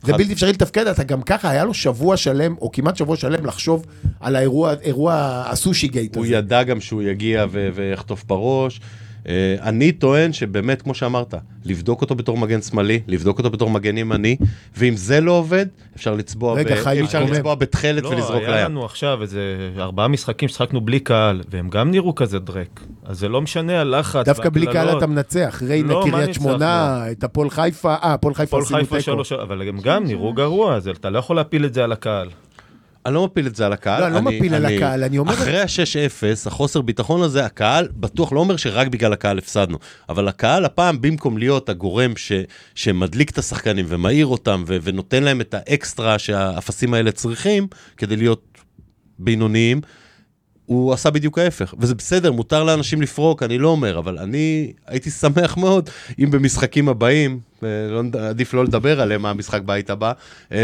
[SPEAKER 2] זה
[SPEAKER 1] חד-
[SPEAKER 2] בלתי אפשרי לתפקד, אתה גם ככה, היה לו שבוע שלם, או כמעט שבוע שלם, לחשוב על האירוע, אירוע הסושי גייט
[SPEAKER 1] הוא
[SPEAKER 2] הזה.
[SPEAKER 1] ידע גם שהוא יגיע ו- ויחטוף בראש. אה, אני טוען שבאמת, כמו שאמרת, לבדוק אותו בתור מגן שמאלי, לבדוק אותו בתור מגן ימני, ואם זה לא עובד, אפשר לצבוע,
[SPEAKER 2] רגע,
[SPEAKER 1] ב-
[SPEAKER 2] חיים,
[SPEAKER 1] אפשר
[SPEAKER 2] התקומם.
[SPEAKER 1] לצבוע בתכלת ולזרוק
[SPEAKER 3] לא, היה
[SPEAKER 1] לים.
[SPEAKER 3] לנו עכשיו איזה ארבעה משחקים ששחקנו בלי קהל, והם גם נראו כזה דרק. אז זה לא משנה הלחץ.
[SPEAKER 2] דווקא בלי
[SPEAKER 3] והקללות.
[SPEAKER 2] קהל אתה מנצח, ריינה,
[SPEAKER 3] לא, מה
[SPEAKER 2] קריית
[SPEAKER 3] ניצחנו?
[SPEAKER 2] שמונה, את הפועל חיפה, אה, הפועל חיפה
[SPEAKER 3] הפועל
[SPEAKER 2] עשינו
[SPEAKER 3] חיפה
[SPEAKER 2] תיקו.
[SPEAKER 3] שלוש, אבל הם גם נראו גרוע, אז אתה לא יכול להפיל את זה על הקהל.
[SPEAKER 1] אני לא מפיל את זה על הקהל.
[SPEAKER 2] לא, אני לא מפיל על הקהל, אני אומר-
[SPEAKER 1] אחרי ה-6-0, החוסר ביטחון הזה, הקהל בטוח לא אומר שרק בגלל הקהל הפסדנו, אבל הקהל הפעם, במקום להיות הגורם ש, שמדליק את השחקנים ומאיר אותם ו, ונותן להם את האקסטרה שהאפסים האלה צריכים כדי להיות בינוניים, הוא עשה בדיוק ההפך, וזה בסדר, מותר לאנשים לפרוק, אני לא אומר, אבל אני הייתי שמח מאוד אם במשחקים הבאים, אה, לא, נד- עדיף לא לדבר עליהם, מה המשחק בית הבא, אה,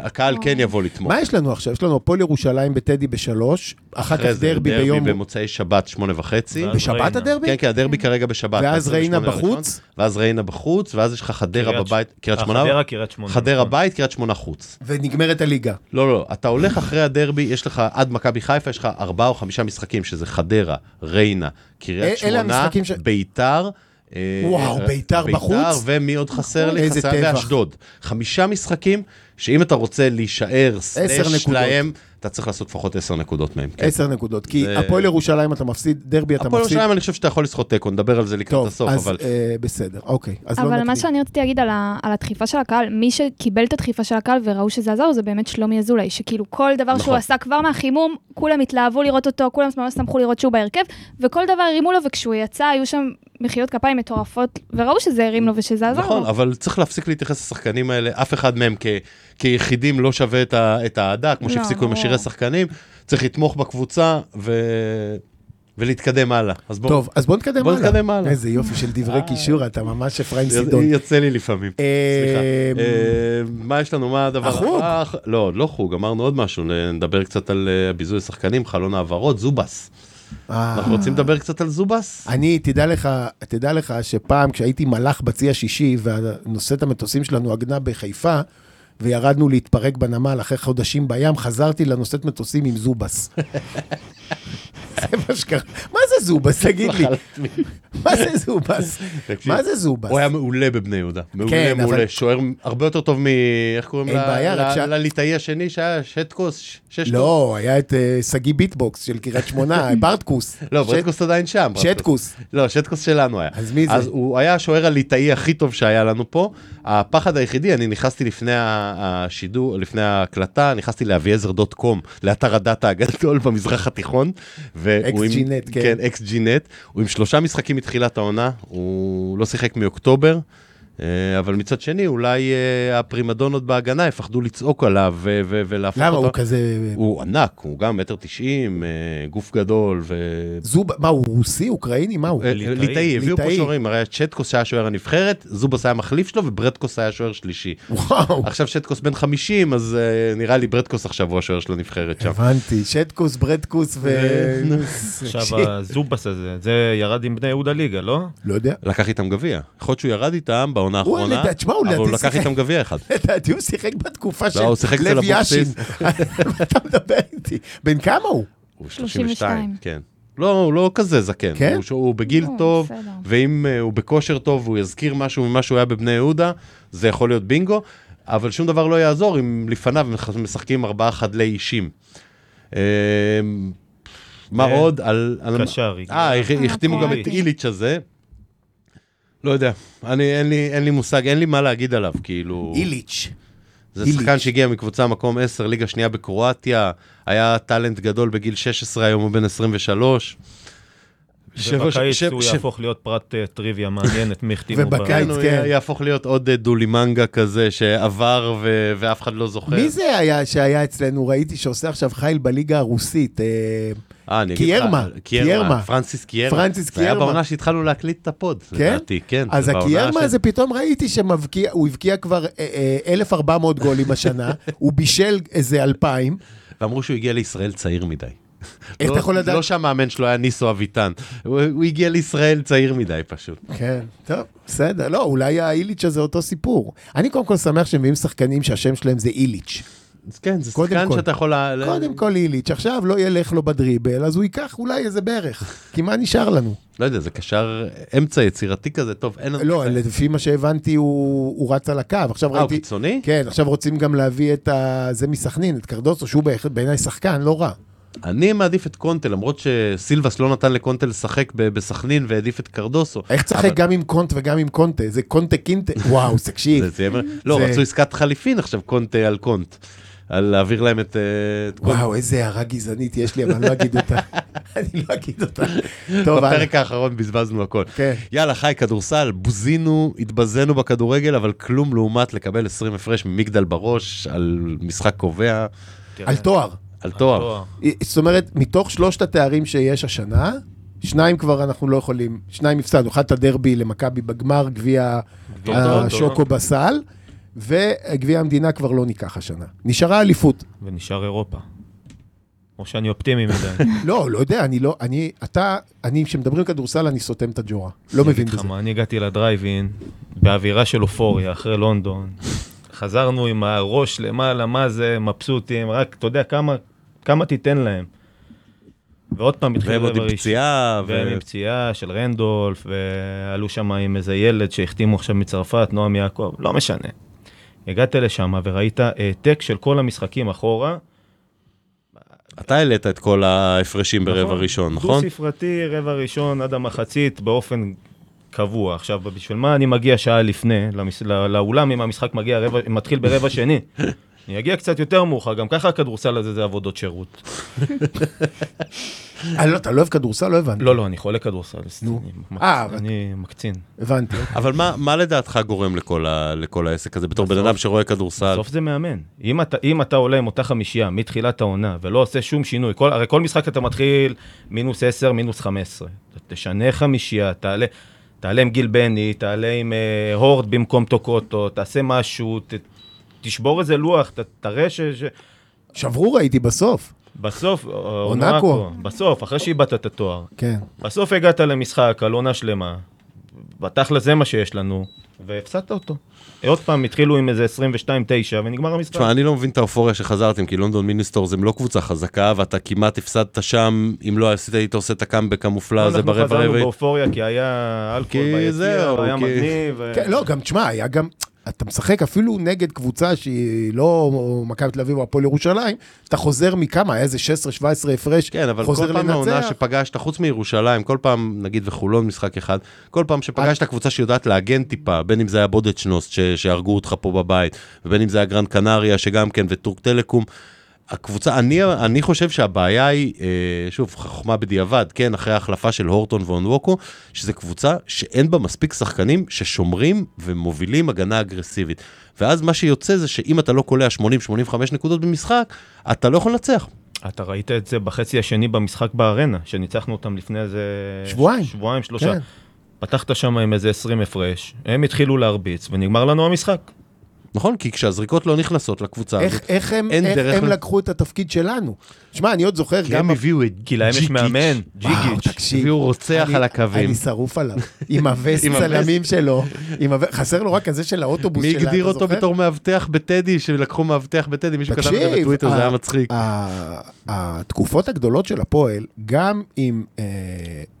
[SPEAKER 1] הקהל כן יבוא לתמוך.
[SPEAKER 2] מה יש לנו עכשיו? יש לנו הפועל ירושלים בטדי בשלוש, אחר כך
[SPEAKER 1] אחרי זה
[SPEAKER 2] דרבי ביום...
[SPEAKER 1] במוצאי שבת, שמונה וחצי.
[SPEAKER 3] ואז
[SPEAKER 2] בשבת
[SPEAKER 3] ריינה.
[SPEAKER 2] הדרבי?
[SPEAKER 1] כן, כן, הדרבי כרגע בשבת.
[SPEAKER 2] ואז
[SPEAKER 1] ב-
[SPEAKER 2] ריינה
[SPEAKER 1] 28 הראשון,
[SPEAKER 2] בחוץ?
[SPEAKER 1] ואז ריינה בחוץ, ואז יש לך חדרה
[SPEAKER 3] קריית ש-
[SPEAKER 1] בבית, קריית
[SPEAKER 3] אה,
[SPEAKER 1] שמונה?
[SPEAKER 3] חדרה, קריית שמונה,
[SPEAKER 1] חדרה
[SPEAKER 3] נכון.
[SPEAKER 1] בית, קריית שמונה חוץ.
[SPEAKER 2] ונגמרת הליגה.
[SPEAKER 1] לא, לא, אתה הולך אחרי הדרבי, יש לך עד מכבי חיפה, יש לך ארבעה או חמישה משחקים, שזה חדרה, ריינה,
[SPEAKER 2] אה, אלה
[SPEAKER 1] קריית שמונה,
[SPEAKER 2] המשחקים ש-
[SPEAKER 1] ביתר. אה,
[SPEAKER 2] וואו,
[SPEAKER 1] אה,
[SPEAKER 2] ביתר בחוץ?
[SPEAKER 1] ומי עוד חסר לי?
[SPEAKER 2] איזה
[SPEAKER 1] חסר
[SPEAKER 2] טבח.
[SPEAKER 1] ואשדוד. חמישה משחקים, שאם אתה רוצה להישאר סלאש
[SPEAKER 2] נקודות.
[SPEAKER 1] להם, אתה צריך לעשות לפחות עשר נקודות מהם. כן.
[SPEAKER 2] עשר נקודות. כי
[SPEAKER 1] זה-
[SPEAKER 2] הפועל ירושלים אתה מפסיד, דרבי אתה
[SPEAKER 1] הפועל
[SPEAKER 2] מפסיד.
[SPEAKER 1] ירושלים אני חושב שאתה יכול לסחוט תיקו, נדבר על זה לקראת
[SPEAKER 2] טוב,
[SPEAKER 1] הסוף,
[SPEAKER 2] אז
[SPEAKER 1] אבל...
[SPEAKER 2] אה, בסדר, אוקיי. אז לא
[SPEAKER 4] אבל
[SPEAKER 2] נקדים.
[SPEAKER 4] מה שאני רציתי להגיד על, ה, על הדחיפה של הקהל, מי שקיבל את הדחיפה של הקהל וראו שזה עזר, זה באמת שלומי אזולאי, שכאילו כל דבר נכון.
[SPEAKER 1] נכון.
[SPEAKER 4] שהוא עשה כבר מהחימום, כולם התלהבו לראות אותו, כולם ממש שמחו לראות שהוא בהרכב, וכל דבר הרימו לו, וכשהוא יצא היו שם מחיאות כפיים מטורפות, וראו שזה הרים לו ושזה עזר
[SPEAKER 1] נכון,
[SPEAKER 4] לו.
[SPEAKER 1] אבל צריך להפסיק להתייחס לשחקנים האלה, אף אחד מהם כ- כיחידים לא שווה את ה- את האהדה, כמו
[SPEAKER 4] לא,
[SPEAKER 1] שהפסיקו עם
[SPEAKER 4] ברור.
[SPEAKER 1] השירי שחקנים, צריך לתמוך בקבוצה ו- ולהתקדם הלאה. אז בואו,
[SPEAKER 2] טוב, אז בוא נתקדם
[SPEAKER 1] בוא
[SPEAKER 2] הלאה.
[SPEAKER 1] נתקדם הלאה.
[SPEAKER 2] איזה יופי של דברי
[SPEAKER 4] אה.
[SPEAKER 2] קישור, אתה ממש אפרים
[SPEAKER 1] יוצא-
[SPEAKER 2] סידון.
[SPEAKER 1] יוצא לי לפעמים,
[SPEAKER 2] אה,
[SPEAKER 1] סליחה. אה, מה יש לנו, מה הדבר
[SPEAKER 2] החוג.
[SPEAKER 1] הבא? לא, עוד לא חוג, אמרנו עוד משהו, נדבר קצת על אה, ביזוי שחקנים, חלון העברות, זובס.
[SPEAKER 2] אה,
[SPEAKER 1] אנחנו רוצים לדבר קצת על זובס?
[SPEAKER 2] אני, תדע לך, תדע לך שפעם כשהייתי מלאך בצי השישי, ונושאת המטוסים שלנו עגנה בחיפה, וירדנו להתפרק בנמל אחרי חודשים בים, חזרתי לנושאת מטוסים עם זובס. מה שקרה. מה זה זובס, תגיד לי? מה זה זובס?
[SPEAKER 1] תקשיב,
[SPEAKER 2] מה זה זובס?
[SPEAKER 1] הוא היה מעולה בבני יהודה.
[SPEAKER 2] כן,
[SPEAKER 1] מעולה,
[SPEAKER 2] אבל-
[SPEAKER 1] מעולה. שוער הרבה יותר טוב מ... איך קוראים
[SPEAKER 2] אין בעיה, רק
[SPEAKER 1] ל-
[SPEAKER 2] שה-
[SPEAKER 1] לליטאי השני שהיה שטקוס? ש- ששטקוס?
[SPEAKER 2] לא, היה את אה, שגיא ביטבוקס של קריית שמונה, ברטקוס.
[SPEAKER 1] לא,
[SPEAKER 2] שט-
[SPEAKER 1] ברטקוס עדיין שם. ברטקוס.
[SPEAKER 2] שטקוס.
[SPEAKER 1] לא, שטקוס שלנו היה.
[SPEAKER 2] אז מי זה?
[SPEAKER 1] אז הוא היה השוער הליטאי הכי טוב שהיה לנו פה. הפחד היחידי, אני נכנסתי לפני ה- השידור, לפני ההקלטה, נכנסתי לאביעזר דוט קום, לאתר הדאטה הגדול במזרח התיכון. והוא עם-
[SPEAKER 2] XGNet, כן.
[SPEAKER 1] כן, XGNet. הוא עם שלושה משחקים מתחילת העונה, הוא לא שיחק מאוקטובר. אה, אבל מצד שני, אולי אה, הפרימדונות בהגנה יפחדו לצעוק עליו ו- ו- ולהפוך
[SPEAKER 2] למה?
[SPEAKER 1] אותו.
[SPEAKER 2] הוא כזה...
[SPEAKER 1] הוא ענק, הוא גם מטר תשעים, אה, גוף גדול, ו...
[SPEAKER 2] זוב... מה, הוא רוסי, אוקראיני? מה הוא?
[SPEAKER 1] אה,
[SPEAKER 3] ליטאי.
[SPEAKER 1] ליטאי, הביאו פה
[SPEAKER 2] ליטאי.
[SPEAKER 1] שוערים, הרי צ'טקוס היה שוער הנבחרת, זובס היה מחליף שלו וברדקוס היה שוער שלישי.
[SPEAKER 2] וואו.
[SPEAKER 1] עכשיו צ'טקוס בן 50, אז אה, נראה לי ברדקוס עכשיו אה, הוא השוער של הנבחרת שם.
[SPEAKER 2] הבנתי, שטקוס, ברדקוס ו...
[SPEAKER 3] עכשיו הזובס הזה, זה ירד עם בני יהודה ליגה, לא?
[SPEAKER 2] לא יודע.
[SPEAKER 1] לקח איתם גביע, יכול להיות שהוא ירד איתם בעונה
[SPEAKER 2] הוא,
[SPEAKER 1] האחרונה,
[SPEAKER 2] לדע- תשמע, הוא
[SPEAKER 1] אבל הוא
[SPEAKER 2] לדעתי
[SPEAKER 1] לקח
[SPEAKER 2] שיחק.
[SPEAKER 1] איתם גביע אחד.
[SPEAKER 2] לדעתי הוא שיחק בתקופה של
[SPEAKER 1] לא, הוא שיחק אצל
[SPEAKER 2] לב יאשין.
[SPEAKER 1] אבוקסיס.
[SPEAKER 2] מה אתה מדבר איתי? בן כמה הוא?
[SPEAKER 1] הוא
[SPEAKER 4] 32.
[SPEAKER 1] כן. לא, הוא לא כזה זקן,
[SPEAKER 2] כן?
[SPEAKER 1] הוא, ש- הוא בגיל
[SPEAKER 4] לא,
[SPEAKER 1] טוב,
[SPEAKER 4] בסדר.
[SPEAKER 1] ואם אה, הוא בכושר טוב, הוא יזכיר משהו ממה שהוא היה בבני יהודה, זה יכול להיות בינגו, אבל שום דבר לא יעזור אם לפניו מח- משחקים ארבעה חדלי אישים. אה, מה
[SPEAKER 3] אה,
[SPEAKER 1] עוד? על... על-
[SPEAKER 3] קשר,
[SPEAKER 1] אה,
[SPEAKER 3] הגיע.
[SPEAKER 1] הח- החתימו גם את
[SPEAKER 4] אוקיי.
[SPEAKER 1] איליץ' הזה. לא יודע, אני, אין, לי, אין לי מושג, אין לי מה להגיד עליו, כאילו...
[SPEAKER 2] איליץ'.
[SPEAKER 1] זה
[SPEAKER 2] איליץ'.
[SPEAKER 1] שחקן שהגיע מקבוצה מקום 10, ליגה שנייה בקרואטיה, היה טאלנט גדול בגיל 16, היום הוא בן 23. שבע-
[SPEAKER 3] ובקיץ
[SPEAKER 1] שב-
[SPEAKER 3] הוא
[SPEAKER 1] שב-
[SPEAKER 3] יהפוך להיות פרט אה, טריוויה מעניינת מי החתימו.
[SPEAKER 2] ובקיץ-
[SPEAKER 1] כן, הוא
[SPEAKER 2] כן.
[SPEAKER 1] יהפוך להיות עוד אה, דולימנגה כזה שעבר ו- ואף אחד לא זוכר.
[SPEAKER 2] מי זה היה שהיה אצלנו, ראיתי שעושה עכשיו חייל בליגה הרוסית? אה,
[SPEAKER 1] אה, אני אגיד לך,
[SPEAKER 2] קיירמה, קיירמה.
[SPEAKER 1] פרנסיס קיירמה.
[SPEAKER 2] פרנסיס
[SPEAKER 1] זה היה
[SPEAKER 2] קיירמה.
[SPEAKER 1] בעונה שהתחלנו להקליט את הפוד,
[SPEAKER 2] כן?
[SPEAKER 1] לדעתי, כן.
[SPEAKER 2] אז
[SPEAKER 1] זה בעונה
[SPEAKER 2] הקיירמה
[SPEAKER 1] של-
[SPEAKER 2] הזה, פתאום ראיתי שהוא הבקיע כבר אה, אה, 1,400 גולים השנה, הוא בישל איזה 2,000.
[SPEAKER 1] ואמרו שהוא הגיע לישראל צעיר מדי.
[SPEAKER 2] איך אתה
[SPEAKER 1] לא-
[SPEAKER 2] יכול לדעת?
[SPEAKER 1] לא שהמאמן שלו היה ניסו אביטן. הוא הוא הגיע לישראל צעיר מדי פשוט.
[SPEAKER 2] כן, טוב, בסדר. לא, אולי האיליץ' הזה אותו סיפור. אני קודם כל שמח שמביאים שחקנים שהשם שלהם זה איליץ'.
[SPEAKER 1] אז כן, זה
[SPEAKER 2] קודם
[SPEAKER 1] שחקן
[SPEAKER 2] כל.
[SPEAKER 1] שאתה יכול... לה- לה-
[SPEAKER 2] קודם כל איליץ', עכשיו לא ילך לו בדריבל, אז הוא ייקח אולי איזה ברך. כי מה נשאר לנו?
[SPEAKER 1] לא יודע, זה קשר אמצע יצירתי כזה, טוב, אין לנו...
[SPEAKER 2] לא,
[SPEAKER 1] אה,
[SPEAKER 2] לפי מה שהבנתי, הוא הוא רץ על הקו. עכשיו
[SPEAKER 1] הוא
[SPEAKER 2] ראיתי...
[SPEAKER 1] קיצוני?
[SPEAKER 2] כן, עכשיו רוצים גם להביא את ה- זה מסכנין, את קרדוסו, שהוא בהחלט- בעיניי שחקן לא רע.
[SPEAKER 1] אני מעדיף את קונטה, למרות שסילבס לא נתן לקונטה לשחק ב- בסכנין והעדיף את קרדוסו.
[SPEAKER 2] איך תשחק גם עם קונט וגם עם קונטה? זה קונטה קינטה. וואו, תקשיב.
[SPEAKER 1] זה- זה יהיה- לא,
[SPEAKER 2] זה-
[SPEAKER 1] רצו עסקת חליפין עכשיו, קונטה על קונט. על להעביר להם את אה, את קונטה.
[SPEAKER 2] וואו, איזה הערה גזענית יש לי, אבל אני לא אגיד אותה. אני לא אגיד אותה. טוב, הלאה.
[SPEAKER 1] בפרק האחרון בזבזנו הכל.
[SPEAKER 2] לא כן.
[SPEAKER 1] יאללה, חי, כדורסל, בוזינו, התבזינו בכדורגל, אבל כלום לעומת לקבל 20 הפרש ממגדל בראש על משחק קובע,
[SPEAKER 3] תראה,
[SPEAKER 2] על תואר.
[SPEAKER 1] על תואר.
[SPEAKER 2] זאת אומרת, מתוך שלושת התארים שיש השנה, שניים כבר אנחנו לא יכולים, שניים הפסדנו, אחד את הדרבי למכבי בגמר, גביע
[SPEAKER 3] גביע הטוטו.
[SPEAKER 2] השוקו בסל, וגביע המדינה כבר לא ניקח השנה. נשארה אליפות.
[SPEAKER 3] ונשאר אירופה. או שאני אופטימי מדי.
[SPEAKER 2] לא, לא יודע, אני לא, אני, אתה, אני, כשמדברים כדורסל, אני סותם את הג'ורה. לא מבין
[SPEAKER 3] אגיד לך
[SPEAKER 2] בזה.
[SPEAKER 3] מה, אני הגעתי לדרייבין באווירה של אופוריה אחרי לונדון. חזרנו עם הראש למעלה, מה זה, מבסוטים, רק, אתה יודע, כמה, כמה תיתן להם. ועוד פעם התחיל
[SPEAKER 1] והם עוד עם
[SPEAKER 3] הראשון.
[SPEAKER 1] פציעה, ו-
[SPEAKER 3] והם עם פציעה של רנדולף, ועלו שם עם איזה ילד שהחתימו עכשיו מצרפת, נועם יעקב, לא משנה. הגעת לשם וראית העתק של כל המשחקים אחורה.
[SPEAKER 1] אתה העלית את כל ההפרשים ברבע
[SPEAKER 3] נכון?
[SPEAKER 1] ראשון, נכון?
[SPEAKER 3] דו-ספרתי, רבע ראשון עד המחצית באופן קבוע. עכשיו, בשביל מה אני מגיע שעה לפני למס... לא- לאולם אם המשחק מגיע רבע... מתחיל ברבע שני? אני אגיע קצת יותר מאוחר, גם ככה הכדורסל הזה זה עבודות שירות.
[SPEAKER 2] אה, לא, אתה לא אוהב כדורסל? לא הבנתי.
[SPEAKER 3] לא, לא, אני חולה כדורסל.
[SPEAKER 2] נו.
[SPEAKER 3] אני מק-
[SPEAKER 2] אה, אבל-
[SPEAKER 3] אני מקצין.
[SPEAKER 2] הבנתי.
[SPEAKER 1] אבל מה, מה לדעתך גורם לכל, ה, לכל העסק הזה, בתור בן
[SPEAKER 3] בסוף-
[SPEAKER 1] אדם שרואה כדורסל?
[SPEAKER 3] בסוף זה מאמן. אם אתה, אם אתה עולה עם אותה חמישייה מתחילת העונה ולא עושה שום שינוי, כל, הרי כל משחק אתה מתחיל מינוס 10, מינוס 15. ת- תשנה חמישייה, תעלה, תעלה עם גיל בני, תעלה עם אה, הורד במקום טוקוטו, תעשה משהו, ת, תשבור איזה לוח, ת, תראה ש... ש...
[SPEAKER 2] שברו ראיתי בסוף.
[SPEAKER 3] בסוף, אה,
[SPEAKER 2] אונקו.
[SPEAKER 3] אונקו, בסוף, אחרי שאיבדת את התואר,
[SPEAKER 2] כן.
[SPEAKER 3] בסוף הגעת למשחק על עונה שלמה. בתכל'ס זה מה שיש לנו, והפסדת אותו. עוד פעם, התחילו עם איזה 22-9 ונגמר המשחק.
[SPEAKER 1] תשמע, אני לא מבין את האופוריה שחזרתם, כי לונדון מיניסטורס הם לא קבוצה חזקה, ואתה כמעט הפסדת שם, אם לא עשית, היית עושה את הקאמבק המופלא הזה לא, ברבע
[SPEAKER 3] לא, אנחנו חזרנו
[SPEAKER 1] רבעי.
[SPEAKER 3] באופוריה כי היה אלכוהול
[SPEAKER 1] כי זהו,
[SPEAKER 3] ביציע, היה
[SPEAKER 1] כי-
[SPEAKER 3] מגניב. ו-
[SPEAKER 2] כן, לא, גם תשמע, היה גם... אתה משחק אפילו נגד קבוצה שהיא לא מכבי תל אביב או הפועל ירושלים, אתה חוזר מכמה, היה איזה 16-17 הפרש,
[SPEAKER 1] כן, אבל כל
[SPEAKER 2] חוזר
[SPEAKER 1] פעם העונה
[SPEAKER 2] לנצח.
[SPEAKER 1] שפגשת, חוץ מירושלים, כל פעם, נגיד וחולון משחק אחד, כל פעם שפגשת קבוצה שיודעת להגן טיפה, בין אם זה היה בודדשנוס ש- שהרגו אותך פה בבית, ובין אם זה היה גרן קנריה שגם כן, וטורק טלקום. הקבוצה, אני, אני חושב שהבעיה היא, אה, שוב, חוכמה בדיעבד, כן, אחרי ההחלפה של הורטון ואונווקו, שזו קבוצה שאין בה מספיק שחקנים ששומרים ומובילים הגנה אגרסיבית. ואז מה שיוצא זה שאם אתה לא קולע 80-85 נקודות במשחק, אתה לא יכול לנצח.
[SPEAKER 3] אתה ראית את זה בחצי השני במשחק בארנה, שניצחנו אותם לפני איזה...
[SPEAKER 2] שבועיים.
[SPEAKER 3] שבועיים, שלושה.
[SPEAKER 2] כן.
[SPEAKER 3] פתחת שם עם איזה 20 הפרש, הם התחילו להרביץ, ונגמר לנו המשחק.
[SPEAKER 1] נכון? כי כשהזריקות לא נכנסות לקבוצה
[SPEAKER 2] איך,
[SPEAKER 1] הזאת,
[SPEAKER 2] איך הם,
[SPEAKER 1] אין
[SPEAKER 2] איך
[SPEAKER 1] דרך
[SPEAKER 2] הם
[SPEAKER 1] ל-
[SPEAKER 2] לקחו את התפקיד שלנו? שמע, אני עוד זוכר
[SPEAKER 1] כי
[SPEAKER 2] גם...
[SPEAKER 1] הם הביאו את
[SPEAKER 3] כי להם יש
[SPEAKER 1] ג'יקיץ'.
[SPEAKER 3] מאמן,
[SPEAKER 2] וואו,
[SPEAKER 3] ג'יגיץ'.
[SPEAKER 2] תקשיב.
[SPEAKER 1] הביאו רוצח
[SPEAKER 2] אני-
[SPEAKER 1] על הקווים.
[SPEAKER 2] אני שרוף עליו, עם הווסט
[SPEAKER 1] עם הווסט.
[SPEAKER 2] צלמים שלו, עם הווסט- חסר לו רק הזה של האוטובוס
[SPEAKER 1] מי
[SPEAKER 2] שלה,
[SPEAKER 1] הגדיר
[SPEAKER 2] אתה
[SPEAKER 1] אותו
[SPEAKER 2] זוכר?
[SPEAKER 1] בתור מאבטח בטדי, שלקחו מאבטח בטדי, מישהו כתב את זה בטוויטר, זה
[SPEAKER 2] ה-
[SPEAKER 1] היה מצחיק.
[SPEAKER 2] ה- התקופות הגדולות של הפועל, גם עם אה,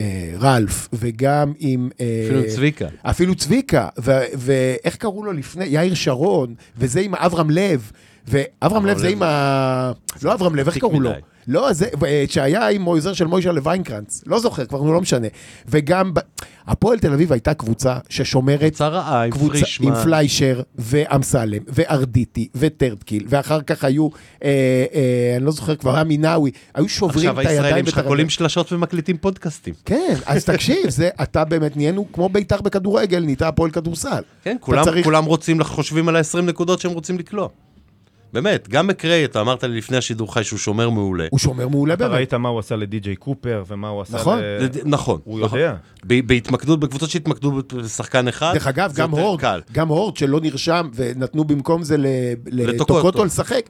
[SPEAKER 2] אה, רלף וגם עם... אה,
[SPEAKER 1] אפילו עם צביקה.
[SPEAKER 2] אפילו צביקה, ו- ואיך קראו לו לפני? יאיר שרון, וזה עם אברהם לב, ואברהם לב זה עם ה... לא אברהם לב, איך
[SPEAKER 1] עתיק
[SPEAKER 2] קראו לו?
[SPEAKER 1] מדי.
[SPEAKER 2] לא, זה, אה, שהיה עם עוזר של מוישה לוויינקרנץ, לא זוכר, כבר נו, לא משנה. וגם, ב- הפועל תל אביב הייתה קבוצה ששומרת
[SPEAKER 1] קבוצה רעה עם
[SPEAKER 2] קבוצה עם
[SPEAKER 1] פרישמן.
[SPEAKER 2] פליישר ואמסלם וארדיטי וטרדקיל, ואחר כך היו, אה, אה, אני לא זוכר כבר, היה מינאווי, היו שוברים
[SPEAKER 1] עכשיו
[SPEAKER 2] את הידיים
[SPEAKER 1] הישראלים שלך
[SPEAKER 2] ואת
[SPEAKER 1] קולים
[SPEAKER 2] הרגליים.
[SPEAKER 1] שלשות ומקליטים פודקאסטים.
[SPEAKER 2] כן, אז תקשיב, זה, אתה באמת נהיינו כמו בית"ר בכדורגל, נהייתה הפועל כדורסל.
[SPEAKER 1] כן,
[SPEAKER 2] אתה
[SPEAKER 1] כולם,
[SPEAKER 2] צריך-
[SPEAKER 1] כולם רוצים, חושבים על ה-20 נקודות שהם רוצים לקלוע. באמת, גם מקריי, אתה אמרת לי לפני השידור חי שהוא שומר מעולה.
[SPEAKER 2] הוא שומר מעולה
[SPEAKER 3] אתה
[SPEAKER 2] באמת.
[SPEAKER 3] ראית מה הוא עשה לדי.ג'יי קופר, ומה הוא עשה
[SPEAKER 2] נכון.
[SPEAKER 1] זה-
[SPEAKER 3] ל...
[SPEAKER 1] נכון.
[SPEAKER 3] הוא
[SPEAKER 1] נכון.
[SPEAKER 3] יודע.
[SPEAKER 1] ב- בהתמקדות, בקבוצות שהתמקדו בשחקן אחד,
[SPEAKER 2] דרך אגב,
[SPEAKER 1] זה
[SPEAKER 2] גם
[SPEAKER 1] יותר
[SPEAKER 2] הורד,
[SPEAKER 1] קל.
[SPEAKER 2] גם הורד שלא נרשם ונתנו במקום זה ל-
[SPEAKER 1] לטוקוטו.
[SPEAKER 2] לטוקוטו לשחק.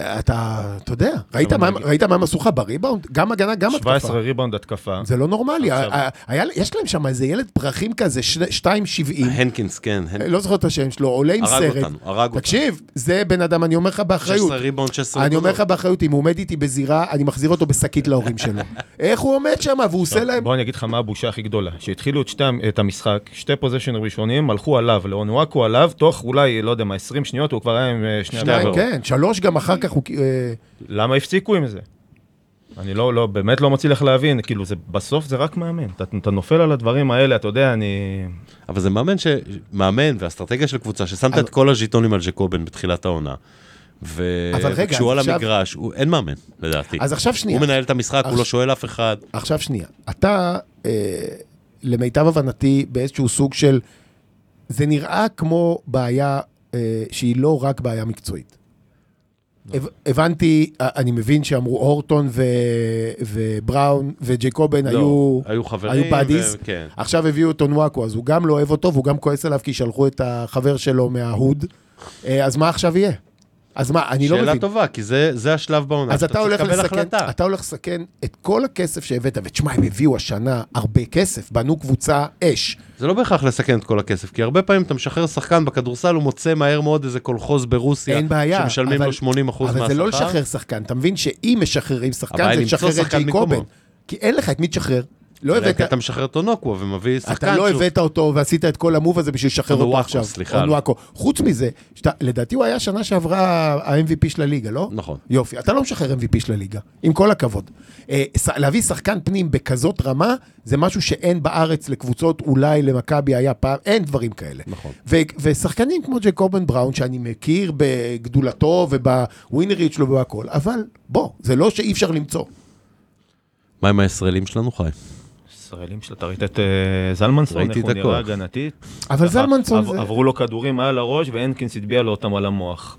[SPEAKER 2] אתה, אתה יודע, ראית
[SPEAKER 1] לא
[SPEAKER 3] אני
[SPEAKER 2] מה-
[SPEAKER 3] אגיד-
[SPEAKER 2] ראית מה הם עשו לך בריבאונד? גם הגנה, גם התקפה.
[SPEAKER 3] 17 ריבאונד התקפה.
[SPEAKER 2] זה לא נורמלי,
[SPEAKER 3] עכשיו-
[SPEAKER 2] ה- ה- היה, יש להם שם איזה ילד פרחים כזה, שני- 2.70,
[SPEAKER 1] הנקינס, כן, הנקינס.
[SPEAKER 2] לא זוכר את השם שלו, עולה עם
[SPEAKER 1] הרג
[SPEAKER 2] סרט.
[SPEAKER 1] אותנו, הרג אותנו.
[SPEAKER 2] תקשיב, זה בן אדם, אני אומר לך באחריות.
[SPEAKER 1] 16 ריבאונד, 16
[SPEAKER 2] אני אומר לך
[SPEAKER 1] נקודות.
[SPEAKER 2] באחריות, אם הוא עומד איתי בזירה, אני מחזיר אותו בשקית להורים שלו. איך הוא עומד שם, והוא עושה לא להם...
[SPEAKER 3] בוא אני אגיד לך מה הבושה הכי גדולה, שהתחילו את, שתי, את המשחק, שתי פוזיישנים ראשונים, הלכו עליו, לאונואקו עליו, תוך אולי, לא יודע מה, 20 שניות, הוא כבר היה עם אה, שני
[SPEAKER 2] שניים,
[SPEAKER 3] עבירות.
[SPEAKER 2] כן, שלוש גם אחר כך הוא... כ- אה,
[SPEAKER 3] למה הפסיקו עם זה? אני לא, לא, באמת לא מצליח להבין, כאילו, זה, בסוף זה רק מאמן. אתה, אתה נופל על הדברים האלה, אתה יודע, אני...
[SPEAKER 1] אבל זה מאמן, ש... מאמן ואסטרטגיה של קבוצה, ששמת
[SPEAKER 2] אבל-
[SPEAKER 1] את כל הז'יטונים על ג'קובן בתחילת העונה. ו...
[SPEAKER 2] אבל רגע,
[SPEAKER 1] וכשהוא
[SPEAKER 2] אז
[SPEAKER 1] על
[SPEAKER 2] עכשיו-
[SPEAKER 1] המגרש, הוא... אין מאמן, לדעתי.
[SPEAKER 2] אז עכשיו שנייה.
[SPEAKER 1] אה, הוא מנהל את המשחק, הוא
[SPEAKER 2] אז-
[SPEAKER 1] לא שואל אף אחד.
[SPEAKER 2] עכשיו שנייה, אתה, אה, למיטב הבנתי, באיזשהו סוג של... זה נראה כמו בעיה אה, שהיא לא רק בעיה מקצועית.
[SPEAKER 1] לא.
[SPEAKER 2] הב- הבנתי, אה, אני מבין שאמרו אורטון ו- ובראון וג'ייקובן
[SPEAKER 1] לא,
[SPEAKER 2] היו...
[SPEAKER 1] היו חברים.
[SPEAKER 2] היו באדיס,
[SPEAKER 1] ו... כן.
[SPEAKER 2] עכשיו הביאו את אונואקו, אז הוא גם לא אוהב אותו, והוא גם כועס עליו כי שלחו את החבר שלו מההוד. אה, אז מה עכשיו יהיה? אז מה, אני לא
[SPEAKER 1] שאלה
[SPEAKER 2] מבין.
[SPEAKER 1] טובה, כי זה, זה השלב בעונה.
[SPEAKER 2] אז אתה
[SPEAKER 1] צריך
[SPEAKER 2] הולך
[SPEAKER 1] לקבל
[SPEAKER 2] לסכן,
[SPEAKER 1] החלטה.
[SPEAKER 2] אתה הולך לסכן את כל הכסף שהבאת, ותשמע, הם הביאו השנה הרבה כסף, בנו קבוצה אש.
[SPEAKER 1] זה לא בהכרח לסכן את כל הכסף, כי הרבה פעמים אתה משחרר שחקן בכדורסל, הוא מוצא מהר מאוד איזה קולחוז ברוסיה.
[SPEAKER 2] אין בעיה.
[SPEAKER 1] שמשלמים
[SPEAKER 2] אבל-
[SPEAKER 1] לו 80 אחוז מהשכר.
[SPEAKER 2] אבל זה לא לשחרר שחקן, אתה מבין שאם משחררים
[SPEAKER 1] הבעיה
[SPEAKER 2] שחקן, זה
[SPEAKER 1] למצוא
[SPEAKER 2] לשחרר את
[SPEAKER 1] שחקן
[SPEAKER 2] ג'ייקובן.
[SPEAKER 1] במקומו.
[SPEAKER 2] כי אין לך את מי תשחרר. לא
[SPEAKER 1] אלא אם
[SPEAKER 2] הבאת...
[SPEAKER 1] כן אתה משחרר את אונוקו ומביא שחקן
[SPEAKER 2] אתה לא הבאת אותו ועשית את כל המוב הזה בשביל לשחרר אותו
[SPEAKER 1] אונואקו,
[SPEAKER 2] עכשיו.
[SPEAKER 1] סליחה.
[SPEAKER 2] אונואקו. חוץ מזה, שאתה- לדעתי הוא היה שנה שעברה ה-MVP של הליגה, לא?
[SPEAKER 1] נכון.
[SPEAKER 2] יופי, אתה לא משחרר MVP של הליגה, עם כל הכבוד. אה, ש- להביא שחקן פנים בכזאת רמה, זה משהו שאין בארץ לקבוצות, אולי למכבי היה פעם, אין דברים כאלה.
[SPEAKER 1] נכון.
[SPEAKER 2] ו- ושחקנים כמו ג'קובן בראון, שאני מכיר בגדולתו ובווינרית שלו ובהכול, אבל בוא, זה לא שאי אפשר למצוא.
[SPEAKER 1] מה עם הישראלים שלנו, חי?
[SPEAKER 3] ישראלים שלה, אתה ראית את אה, זלמנסון,
[SPEAKER 1] ראיתי
[SPEAKER 3] איך הוא
[SPEAKER 1] את הכל.
[SPEAKER 3] נראה הגנתית?
[SPEAKER 2] אבל זלמנסון
[SPEAKER 3] עב-
[SPEAKER 2] זה...
[SPEAKER 3] עברו לו כדורים על הראש, והנקינס הטביע לו אותם על המוח.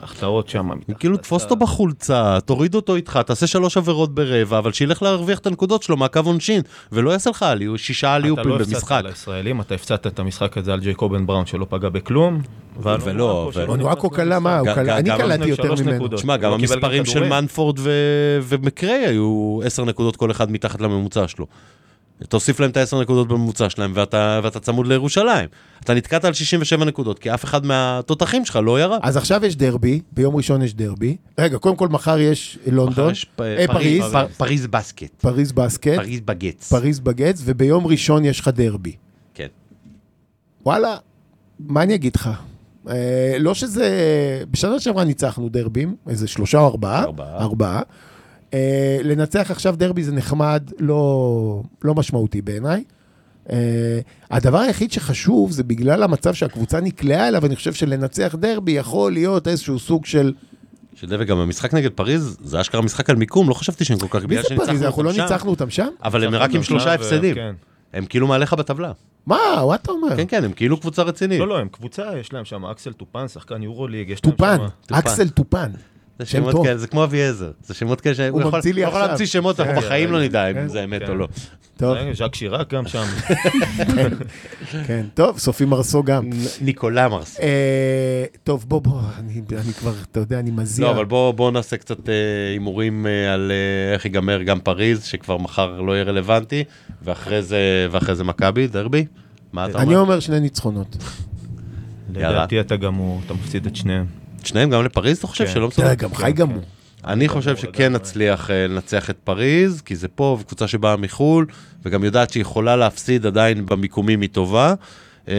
[SPEAKER 3] והחטאות שם. מתחת
[SPEAKER 1] כאילו
[SPEAKER 3] לסל.
[SPEAKER 1] תפוס אותו בחולצה, תוריד אותו איתך, תעשה שלוש עבירות ברבע, אבל שילך להרוויח את הנקודות שלו מהקו עונשין, ולא יעשה לך עליו, שישה עליופים
[SPEAKER 3] אתה לא הפסדת
[SPEAKER 1] במשחק.
[SPEAKER 3] על הישראלים, אתה הפסדת את המשחק הזה על ג'ייקובן בראון שלא פגע בכלום. ועל
[SPEAKER 1] ולא,
[SPEAKER 3] אונואקו
[SPEAKER 1] ו-
[SPEAKER 3] שלא
[SPEAKER 2] אונואקו
[SPEAKER 3] נכנס
[SPEAKER 2] קלה מה? הוא
[SPEAKER 1] גם-
[SPEAKER 2] קלה-
[SPEAKER 1] גם-
[SPEAKER 2] אני
[SPEAKER 1] גם
[SPEAKER 2] קלעתי
[SPEAKER 3] לפני
[SPEAKER 2] יותר
[SPEAKER 3] שלוש
[SPEAKER 2] ממנו.
[SPEAKER 3] נקודות.
[SPEAKER 1] תשמע, גם
[SPEAKER 3] לא קיבל גם
[SPEAKER 1] המספרים של
[SPEAKER 3] כדורים.
[SPEAKER 1] מנפורד ו- ומקריי היו עשר נקודות כל אחד מתחת לממוצע שלו. תוסיף להם את ה-10 נקודות בממוצע שלהם, ואתה, ואתה צמוד לירושלים. אתה נתקעת על 67 נקודות, כי אף אחד מהתותחים שלך לא ירד.
[SPEAKER 2] אז עכשיו יש דרבי, ביום ראשון יש דרבי. רגע, קודם כל מחר יש לונדון,
[SPEAKER 1] יש פ-
[SPEAKER 2] אה, פריז,
[SPEAKER 1] פר- פריז בסקט,
[SPEAKER 2] פריז בסקט,
[SPEAKER 1] פריז בגץ.
[SPEAKER 2] פריז בגץ, וביום ראשון יש לך דרבי.
[SPEAKER 1] כן.
[SPEAKER 2] וואלה, מה אני אגיד לך? אה, לא שזה... בשנה שעברה ניצחנו דרבים, איזה שלושה או ארבעה.
[SPEAKER 1] ארבעה.
[SPEAKER 2] ארבעה. אה, לנצח עכשיו דרבי זה נחמד, לא, לא משמעותי בעיניי. אה, הדבר היחיד שחשוב זה בגלל המצב שהקבוצה נקלעה אליו, אני חושב שלנצח דרבי יכול להיות איזשהו סוג של...
[SPEAKER 1] שזה וגם המשחק נגד פריז, זה אשכרה משחק על מיקום, לא חשבתי שהם כל כך...
[SPEAKER 2] מי
[SPEAKER 1] בגלל
[SPEAKER 2] זה
[SPEAKER 1] שניצחנו
[SPEAKER 2] פריז? אנחנו לא
[SPEAKER 1] אותם שם,
[SPEAKER 2] ניצחנו אותם שם?
[SPEAKER 1] אבל הם רק עם שלושה הפסדים.
[SPEAKER 3] כן.
[SPEAKER 1] הם כאילו מעליך בטבלה.
[SPEAKER 2] מה, מה אתה אומר?
[SPEAKER 1] כן, כן, הם כאילו קבוצה רצינית.
[SPEAKER 3] לא, לא, הם קבוצה, יש להם שם אקסל טופן, שחקן יורו ליג, יש להם
[SPEAKER 2] טופן,
[SPEAKER 3] שם...
[SPEAKER 1] כן, טופן.
[SPEAKER 2] אקסל טופן.
[SPEAKER 1] זה
[SPEAKER 2] שם
[SPEAKER 1] שמות
[SPEAKER 2] טוב.
[SPEAKER 1] כאלה, זה כמו אביעזר. זה שמות כאלה שהוא יכול
[SPEAKER 2] ממציא לי
[SPEAKER 1] הוא יכול
[SPEAKER 2] עכשיו.
[SPEAKER 1] להמציא שמות, אנחנו
[SPEAKER 3] כן,
[SPEAKER 1] בחיים לא
[SPEAKER 3] כן,
[SPEAKER 1] נדע אם
[SPEAKER 3] כן.
[SPEAKER 1] זה אמת
[SPEAKER 3] כן.
[SPEAKER 1] או לא.
[SPEAKER 2] טוב,
[SPEAKER 3] ז'אק שיראק גם שם.
[SPEAKER 1] אוקיי.
[SPEAKER 2] כן, טוב, סופי מרסו גם.
[SPEAKER 1] ניקולה מרס.
[SPEAKER 2] אה, טוב, בוא, בוא, אני אני כבר, אתה יודע, אני מזיע.
[SPEAKER 1] לא, אבל בואו בוא נעשה קצת אה, הימורים אה, על אה, איך ייגמר גם פריז, שכבר מחר לא יהיה רלוונטי, ואחרי זה, ואחרי זה מכבי, דרבי. מה אתה
[SPEAKER 2] אני
[SPEAKER 1] אומר?
[SPEAKER 2] אומר שני ניצחונות.
[SPEAKER 3] לדעתי אתה גמור, אתה מפסיד את שניהם.
[SPEAKER 1] שניהם גם לפריז, אתה חושב
[SPEAKER 3] כן.
[SPEAKER 1] שלא
[SPEAKER 2] אתה
[SPEAKER 1] מסוגל?
[SPEAKER 2] יודע, גם חי גמור.
[SPEAKER 1] אני חושב שכן נצליח אה, לנצח את פריז, כי זה פה, וקבוצה שבאה מחול, וגם יודעת שהיא יכולה להפסיד עדיין במיקומים היא טובה. אה,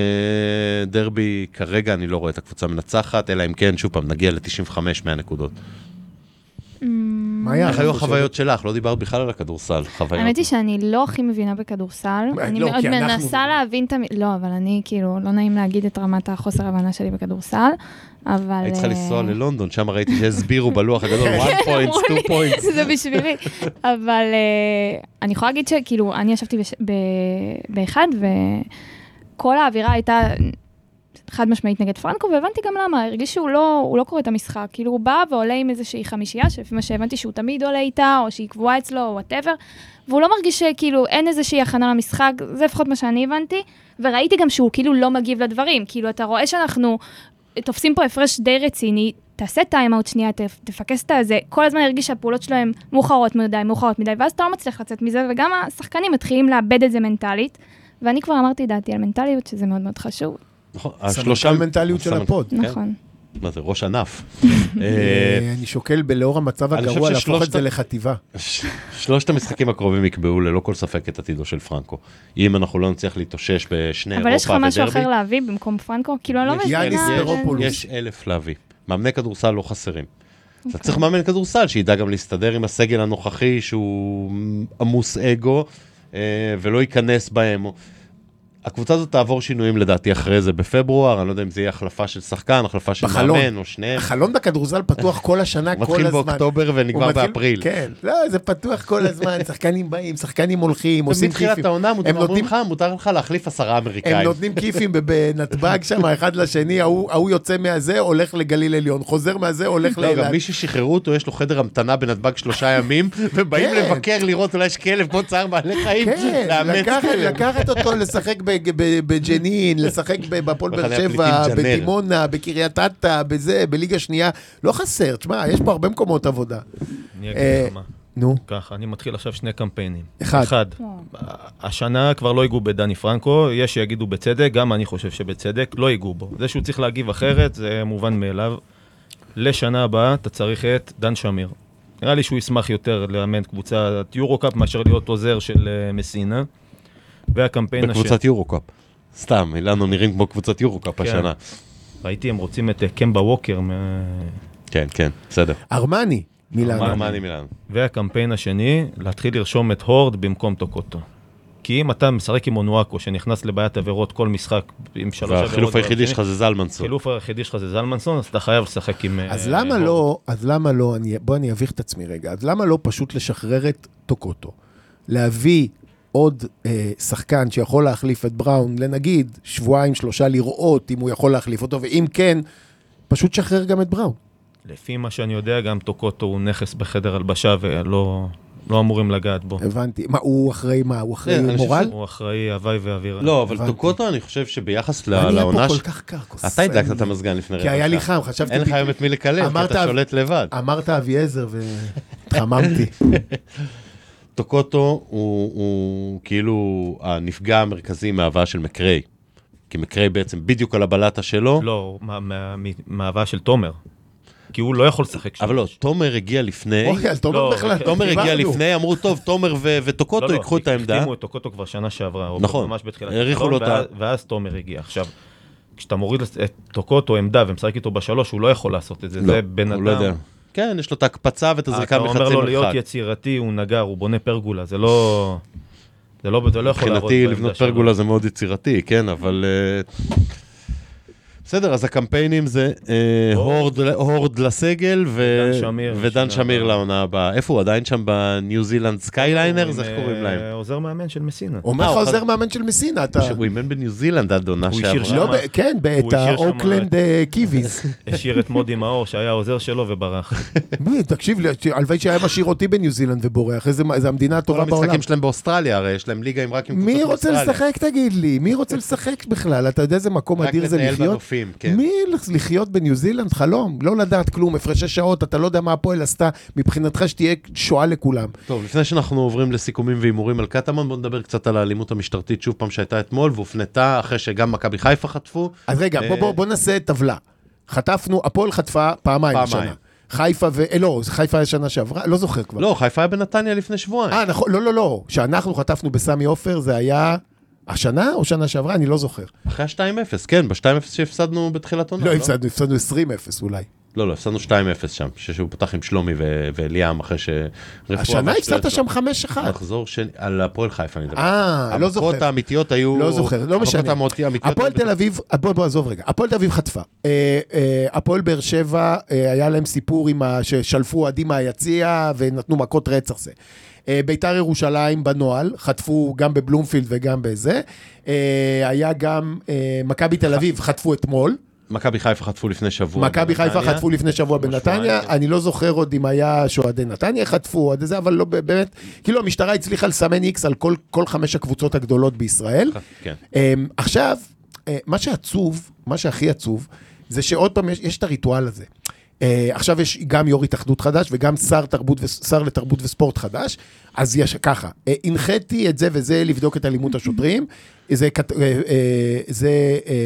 [SPEAKER 1] דרבי, כרגע אני לא רואה את הקבוצה מנצחת, אלא אם כן, שוב פעם, נגיע ל-95 מהנקודות.
[SPEAKER 2] מה היה?
[SPEAKER 1] איך היו החוויות שלך? לא דיברת בכלל על הכדורסל, חוויות.
[SPEAKER 4] האמת היא שאני לא הכי מבינה בכדורסל.
[SPEAKER 2] אה,
[SPEAKER 4] אני
[SPEAKER 2] לא,
[SPEAKER 4] מאוד
[SPEAKER 2] כי אנחנו-
[SPEAKER 4] מנסה להבין את המ... לא, אבל אני כאילו, לא נעים להגיד את רמת החוסר הבנה שלי בכדורסל, אבל...
[SPEAKER 1] היית צריכה
[SPEAKER 4] אה,
[SPEAKER 1] לנסוע ללונדון, שם ראיתי שהסבירו בלוח הגדול,
[SPEAKER 4] כן,
[SPEAKER 1] 1
[SPEAKER 4] אמרו
[SPEAKER 1] points,
[SPEAKER 4] לי.
[SPEAKER 1] 2 points.
[SPEAKER 4] זה בשבילי. אבל אה, אני יכולה להגיד שכאילו, אני ישבתי בש- ב- באחד, וכל האווירה הייתה חד משמעית נגד פרנקו, והבנתי גם למה, הרגיש שהוא לא, הוא לא קורא את המשחק. כאילו, הוא בא ועולה עם איזושהי חמישייה, שלפי מה שהבנתי שהוא תמיד עולה איתה, או שהיא קבועה אצלו, או וואטאבר, והוא לא מרגיש שכאילו אין איזושהי הכנה למשחק, זה לפחות מה שאני הבנתי. וראיתי גם שהוא כאילו לא מגיב לדברים, כאילו, אתה רואה שאנחנו... תופסים פה הפרש די רציני, תעשה טיים-אאוט שנייה, ת- תפקס את הזה, כל הזמן הרגיש שהפעולות שלו הן מאוחרות מדי, מאוחרות מדי, ואז אתה לא מצליח לצאת מזה, וגם השחקנים מתחילים לאבד את זה מנטלית, ואני כבר אמרתי דעתי על מנטליות, שזה מאוד מאוד חשוב,
[SPEAKER 1] נכון,
[SPEAKER 2] סמנכ"ל מנטליות של
[SPEAKER 1] סמנכ"ל,
[SPEAKER 2] הפוד.
[SPEAKER 1] כן.
[SPEAKER 4] נכון.
[SPEAKER 1] מה זה, ראש ענף. אה,
[SPEAKER 2] אה, אני שוקל בלאור המצב
[SPEAKER 1] אני
[SPEAKER 2] הגרוע
[SPEAKER 1] חושב
[SPEAKER 2] להפוך את
[SPEAKER 1] ששלושת- כן.
[SPEAKER 2] זה לחטיבה.
[SPEAKER 1] ש- שלושת המשחקים הקרובים יקבעו ללא כל ספק את עתידו של פרנקו. אם אנחנו לא נצליח להתאושש בשני אירופה
[SPEAKER 4] אבל
[SPEAKER 1] אה, ודרבי...
[SPEAKER 4] יש לך משהו אחר להביא במקום פרנקו? כאילו, אני לא
[SPEAKER 1] יש-
[SPEAKER 4] מבינה...
[SPEAKER 2] יאניס
[SPEAKER 1] יש-
[SPEAKER 2] פרופולוס.
[SPEAKER 1] יש אלף להביא. מאמני כדורסל לא חסרים. אתה צריך מאמן כדורסל שידע גם להסתדר עם הסגל הנוכחי שהוא עמוס אגו אה, ולא ייכנס בהם. הקבוצה הזאת תעבור שינויים לדעתי אחרי זה בפברואר, אני לא יודע אם זה יהיה החלפה של שחקן, החלפה של
[SPEAKER 2] בחלון.
[SPEAKER 1] מאמן או שניהם.
[SPEAKER 2] החלון בכדורזל פתוח כל השנה, כל
[SPEAKER 1] הוא
[SPEAKER 2] הזמן.
[SPEAKER 1] מתחיל באוקטובר
[SPEAKER 2] הוא
[SPEAKER 1] ונגמר
[SPEAKER 2] מתחיל-
[SPEAKER 1] באפריל.
[SPEAKER 2] כן, לא, זה פתוח כל הזמן, שחקנים באים, שחקנים הולכים, עושים
[SPEAKER 1] מתחילת
[SPEAKER 2] כיפים.
[SPEAKER 1] העונה
[SPEAKER 2] הם
[SPEAKER 1] מותר- אומרים
[SPEAKER 2] נותנים-
[SPEAKER 1] לך, מותר לך להחליף עשרה
[SPEAKER 2] הם
[SPEAKER 1] אמריקאים.
[SPEAKER 2] נותנים כיפים בנתב"ג שם, אחד לשני, ההוא ההוא יוצא מהזה, הולך לגליל עליון, חוזר מהזה, הולך
[SPEAKER 1] לא, גם
[SPEAKER 2] לאילת.
[SPEAKER 1] מי ששחררו אותו, יש לו חדר המתנה בנתב"ג שלושה ימים, ובאים
[SPEAKER 2] כן.
[SPEAKER 1] לבקר לראות אולי יש כלב כמו צער בעלי חיים,
[SPEAKER 2] כן,
[SPEAKER 1] לאמץ
[SPEAKER 2] לקחת-
[SPEAKER 1] כלב.
[SPEAKER 2] לקחת אותו לשחק ב- ב- בג'נין, לשחק ב- בהפועל באר
[SPEAKER 1] מחנה
[SPEAKER 2] שבע,
[SPEAKER 1] הפליטים ג'נר.
[SPEAKER 2] בדימונה, בקריית אתא, בזה, בליגה שנייה. לא חסר, תשמע, יש פה הרבה מקומות עבודה.
[SPEAKER 3] אני
[SPEAKER 2] אה,
[SPEAKER 3] אגיד לך מה.
[SPEAKER 2] נו,
[SPEAKER 3] ככה, אני מתחיל עכשיו שני קמפיינים.
[SPEAKER 2] אחד.
[SPEAKER 3] אחד.
[SPEAKER 4] וואו.
[SPEAKER 3] השנה כבר לא ייגעו בדני פרנקו, יש שיגידו בצדק, גם אני חושב שבצדק, לא ייגעו בו. זה שהוא צריך להגיב אחרת, זה מובן מאליו. לשנה הבאה אתה צריך את דן שמיר. נראה לי שהוא ישמח יותר לאמן קבוצת יורו-קאפ מאשר להיות עוזר של אה, מסינה. והקמפיין השני,
[SPEAKER 1] בקבוצת יורו-קאפ. סתם, אילנו נראים כמו קבוצת יורו-קאפ השנה.
[SPEAKER 3] ראיתי הם רוצים את אה, קמבה ווקר. מה-
[SPEAKER 1] כן, כן, בסדר.
[SPEAKER 2] ארמני, מילה.
[SPEAKER 3] ארמני.
[SPEAKER 1] מה אני מילאנו?
[SPEAKER 3] והקמפיין השני, להתחיל לרשום את הורד במקום טוקוטו. כי אם אתה משחק עם אונואקו, שנכנס לבעיית עבירות כל משחק עם שלוש עבירות...
[SPEAKER 1] והחילוף היחידי
[SPEAKER 3] והשני-
[SPEAKER 1] שלך זה זלמנסון.
[SPEAKER 3] החילוף היחידי שלך זה זלמנסון, אז אתה חייב לשחק עם... אה,
[SPEAKER 2] אז למה
[SPEAKER 3] הורד.
[SPEAKER 2] לא, אז למה לא, אני, בוא אני אביך את עצמי רגע, אז למה לא פשוט לשחרר את טוקוטו? להביא עוד אה, שחקן שיכול להחליף את בראון, לנגיד שבועיים, שלושה, לראות אם הוא יכול להחליף אותו, ואם כן, פשוט שחרר גם את בראון.
[SPEAKER 3] לפי מה שאני יודע, גם טוקוטו הוא נכס בחדר הלבשה ולא לא אמורים לגעת בו.
[SPEAKER 2] הבנתי. מה, הוא אחראי מה? הוא
[SPEAKER 1] כן,
[SPEAKER 2] אחראי
[SPEAKER 1] אני חושב
[SPEAKER 2] מורל?
[SPEAKER 3] הוא אחראי הוואי ואווירה.
[SPEAKER 1] לא, אבל
[SPEAKER 2] הבנתי.
[SPEAKER 1] טוקוטו, אני חושב שביחס
[SPEAKER 2] אני
[SPEAKER 1] ל-
[SPEAKER 2] היה פה
[SPEAKER 1] אה, לעונה...
[SPEAKER 2] כל
[SPEAKER 1] ש-
[SPEAKER 2] כך קר, כוס.
[SPEAKER 1] אתה הדלקת את
[SPEAKER 2] אני-
[SPEAKER 1] המזגן לפני רגע.
[SPEAKER 2] כי היה לי
[SPEAKER 1] שעה.
[SPEAKER 2] חם, חשבתי...
[SPEAKER 1] אין לך
[SPEAKER 2] פתאום-
[SPEAKER 1] היום את מי לקלל, כי
[SPEAKER 2] אמרת-
[SPEAKER 1] אתה שולט לבד.
[SPEAKER 2] אמרת אביעזר והתחממתי.
[SPEAKER 1] טוקוטו הוא, הוא כאילו הנפגע המרכזי מההבאה של מקריי. כי מקריי בעצם בדיוק על הבלטה שלו.
[SPEAKER 3] לא, מה- מה- מ- מההבאה של תומר. כי הוא לא יכול לשחק שם.
[SPEAKER 1] אבל לא, תומר הגיע לפני,
[SPEAKER 2] אוקיי, אז תומר
[SPEAKER 3] לא,
[SPEAKER 2] בכלל,
[SPEAKER 1] אה? תומר הגיע
[SPEAKER 2] דיברנו.
[SPEAKER 1] לפני, אמרו, טוב, תומר ו-
[SPEAKER 3] לא,
[SPEAKER 1] וטוקוטו
[SPEAKER 3] לא,
[SPEAKER 1] ייקחו את העמדה.
[SPEAKER 3] החתימו את טוקוטו כבר שנה שעברה. או
[SPEAKER 1] נכון.
[SPEAKER 3] ממש בתחילת
[SPEAKER 1] האריכו
[SPEAKER 3] החלון,
[SPEAKER 1] לו את ה-
[SPEAKER 3] ואז- ואז תומר הגיע. עכשיו, כשאתה מוריד את טוקוטו עמדה ומשחק איתו בשלוש, הוא לא יכול לעשות את זה.
[SPEAKER 1] לא,
[SPEAKER 3] זה בן
[SPEAKER 1] הוא לא יודע.
[SPEAKER 3] אדם. אה,
[SPEAKER 1] כן, יש לו את ההקפצה ואת הזריקה
[SPEAKER 3] אתה אומר
[SPEAKER 1] מחצי
[SPEAKER 3] לו להיות
[SPEAKER 1] מרחק.
[SPEAKER 3] יצירתי, הוא נגר, הוא בונה פרגולה, זה לא... זה לא, זה לא יכול לעבוד.
[SPEAKER 1] מבחינתי
[SPEAKER 3] בעמדה
[SPEAKER 1] לבנות
[SPEAKER 3] שלו.
[SPEAKER 1] פרגולה זה מאוד יצירתי, כן, אבל... אה, בסדר, אז הקמפיינים זה אה,
[SPEAKER 3] הורד.
[SPEAKER 1] הורד- הורד לסגל ו-
[SPEAKER 3] ודן שמיר.
[SPEAKER 1] ודן
[SPEAKER 3] שנה
[SPEAKER 1] שמיר
[SPEAKER 3] הבאה.
[SPEAKER 1] לעונה הבאה. איפה הוא? עדיין שם בניו זילנד סקייליינרס?
[SPEAKER 3] הוא
[SPEAKER 1] איך
[SPEAKER 3] עם,
[SPEAKER 1] לא קוראים
[SPEAKER 3] אה,
[SPEAKER 1] להם?
[SPEAKER 3] עוזר מאמן של מסינה.
[SPEAKER 2] אומר
[SPEAKER 1] אה,
[SPEAKER 2] לך
[SPEAKER 1] הוא
[SPEAKER 2] עוזר
[SPEAKER 1] חז-
[SPEAKER 2] מאמן של מסינה, אתה...
[SPEAKER 1] הוא אימן בניו זילנד עד עונה
[SPEAKER 3] הוא השאיר
[SPEAKER 1] שעברה.
[SPEAKER 2] לא, ב- כן, ב-
[SPEAKER 3] הוא
[SPEAKER 2] את
[SPEAKER 3] השאיר שם
[SPEAKER 2] האוקלנד אה, קיוויז.
[SPEAKER 3] השאיר את מודי מאור שהיה העוזר שלו וברח.
[SPEAKER 2] ב- תקשיב, לי, הלוואי שהיה משאיר אותי בניו זילנד ובורח, איזה מה- איזה
[SPEAKER 1] כל
[SPEAKER 2] המדינה הטובה בעולם.
[SPEAKER 1] המשחקים שלהם באוסטרליה, הרי יש להם ליגה עם רק עם
[SPEAKER 2] מי
[SPEAKER 1] קבוצות
[SPEAKER 2] רוצה
[SPEAKER 1] מאוסטרליה.
[SPEAKER 2] לשחק, תגיד לי? מי רוצה לשחק בכלל? אתה יודע איזה מקום אדיר זה
[SPEAKER 1] רק לטייל
[SPEAKER 2] לחיות?
[SPEAKER 1] בנופים, כן.
[SPEAKER 2] מי לח- לחיות בניו זילנד? חלום. לא לדעת כלום, הפרשי שעות, אתה לא יודע מה הפועל עשתה, מבחינתך שתהיה שואה לכולם.
[SPEAKER 1] טוב, לפני שאנחנו עוברים לסיכומים והימורים על קטמון, בוא נדבר קצת על האלימות המשטרתית שוב פעם שהייתה אתמול והופנתה אחרי שגם מכבי חיפה חטפו.
[SPEAKER 2] אז רגע,
[SPEAKER 1] אה.
[SPEAKER 2] בוא- בוא- בוא נעשה טבלה. חטפנו, הפועל חטפה פעמיים
[SPEAKER 1] פעמיים.
[SPEAKER 2] השנה. חיפה ו... אה, לא, חיפה היה שנה שעברה? לא זוכר כבר.
[SPEAKER 1] לא, חיפה היה בנתניה לפני שבועיים.
[SPEAKER 2] אה, נכון, לא, לא, לא. שאנחנו חטפנו בסמי עופר, זה היה השנה או שנה שעברה? אני לא זוכר.
[SPEAKER 1] אחרי ה-2-0, כן, ב-2-0 שהפסדנו בתחילת עונה.
[SPEAKER 2] לא, הפסדנו, הפסדנו 20-0 אולי.
[SPEAKER 1] לא, לא, הפסדנו 2-0 שם, שהוא פתח עם שלומי ו- ואליאם אחרי שרפואה...
[SPEAKER 2] השנה הפסדת שם 5-1.
[SPEAKER 1] מחזור שני, על הפועל חיפה אני מדבר.
[SPEAKER 2] אה, לא זוכר.
[SPEAKER 1] המכות האמיתיות היו...
[SPEAKER 2] לא זוכר, לא משנה.
[SPEAKER 1] המכות האמיתיות...
[SPEAKER 2] הפועל תל אביב, אה, בוא, בוא, עזוב רגע. הפועל תל אביב חטפה. אה, אה, הפועל באר שבע, אה, היה להם סיפור עם ה... ששלפו אוהדים מהיציע ונתנו מכות רצח זה. אה, ביתר ירושלים בנוהל, חטפו גם בבלומפילד וגם בזה. אה, היה גם אה, מכבי תל אביב, חטפו אתמול.
[SPEAKER 1] מכבי חיפה חטפו לפני שבוע.
[SPEAKER 2] מכבי חיפה
[SPEAKER 1] בנתניה.
[SPEAKER 2] חטפו לפני שבוע
[SPEAKER 1] כמו
[SPEAKER 2] בנתניה,
[SPEAKER 1] שבועיים. כן.
[SPEAKER 2] אני לא זוכר עוד אם היה שאוהדי נתניה חטפו עוד איזה, אבל לא באמת, כאילו המשטרה הצליחה לסמן איקס על כל, כל חמש הקבוצות הגדולות בישראל.
[SPEAKER 1] כן.
[SPEAKER 2] אמ, עכשיו, אה, מה שעצוב, מה שהכי עצוב, זה שעוד פעם יש, יש את הריטואל הזה. אה, עכשיו יש גם יו"ר התאחדות חדש וגם שר, תרבות וס- שר לתרבות וספורט חדש, אז יש ככה, אה, הנחיתי את זה וזה לבדוק את אלימות השוטרים, זה, כת- אה, אה, זה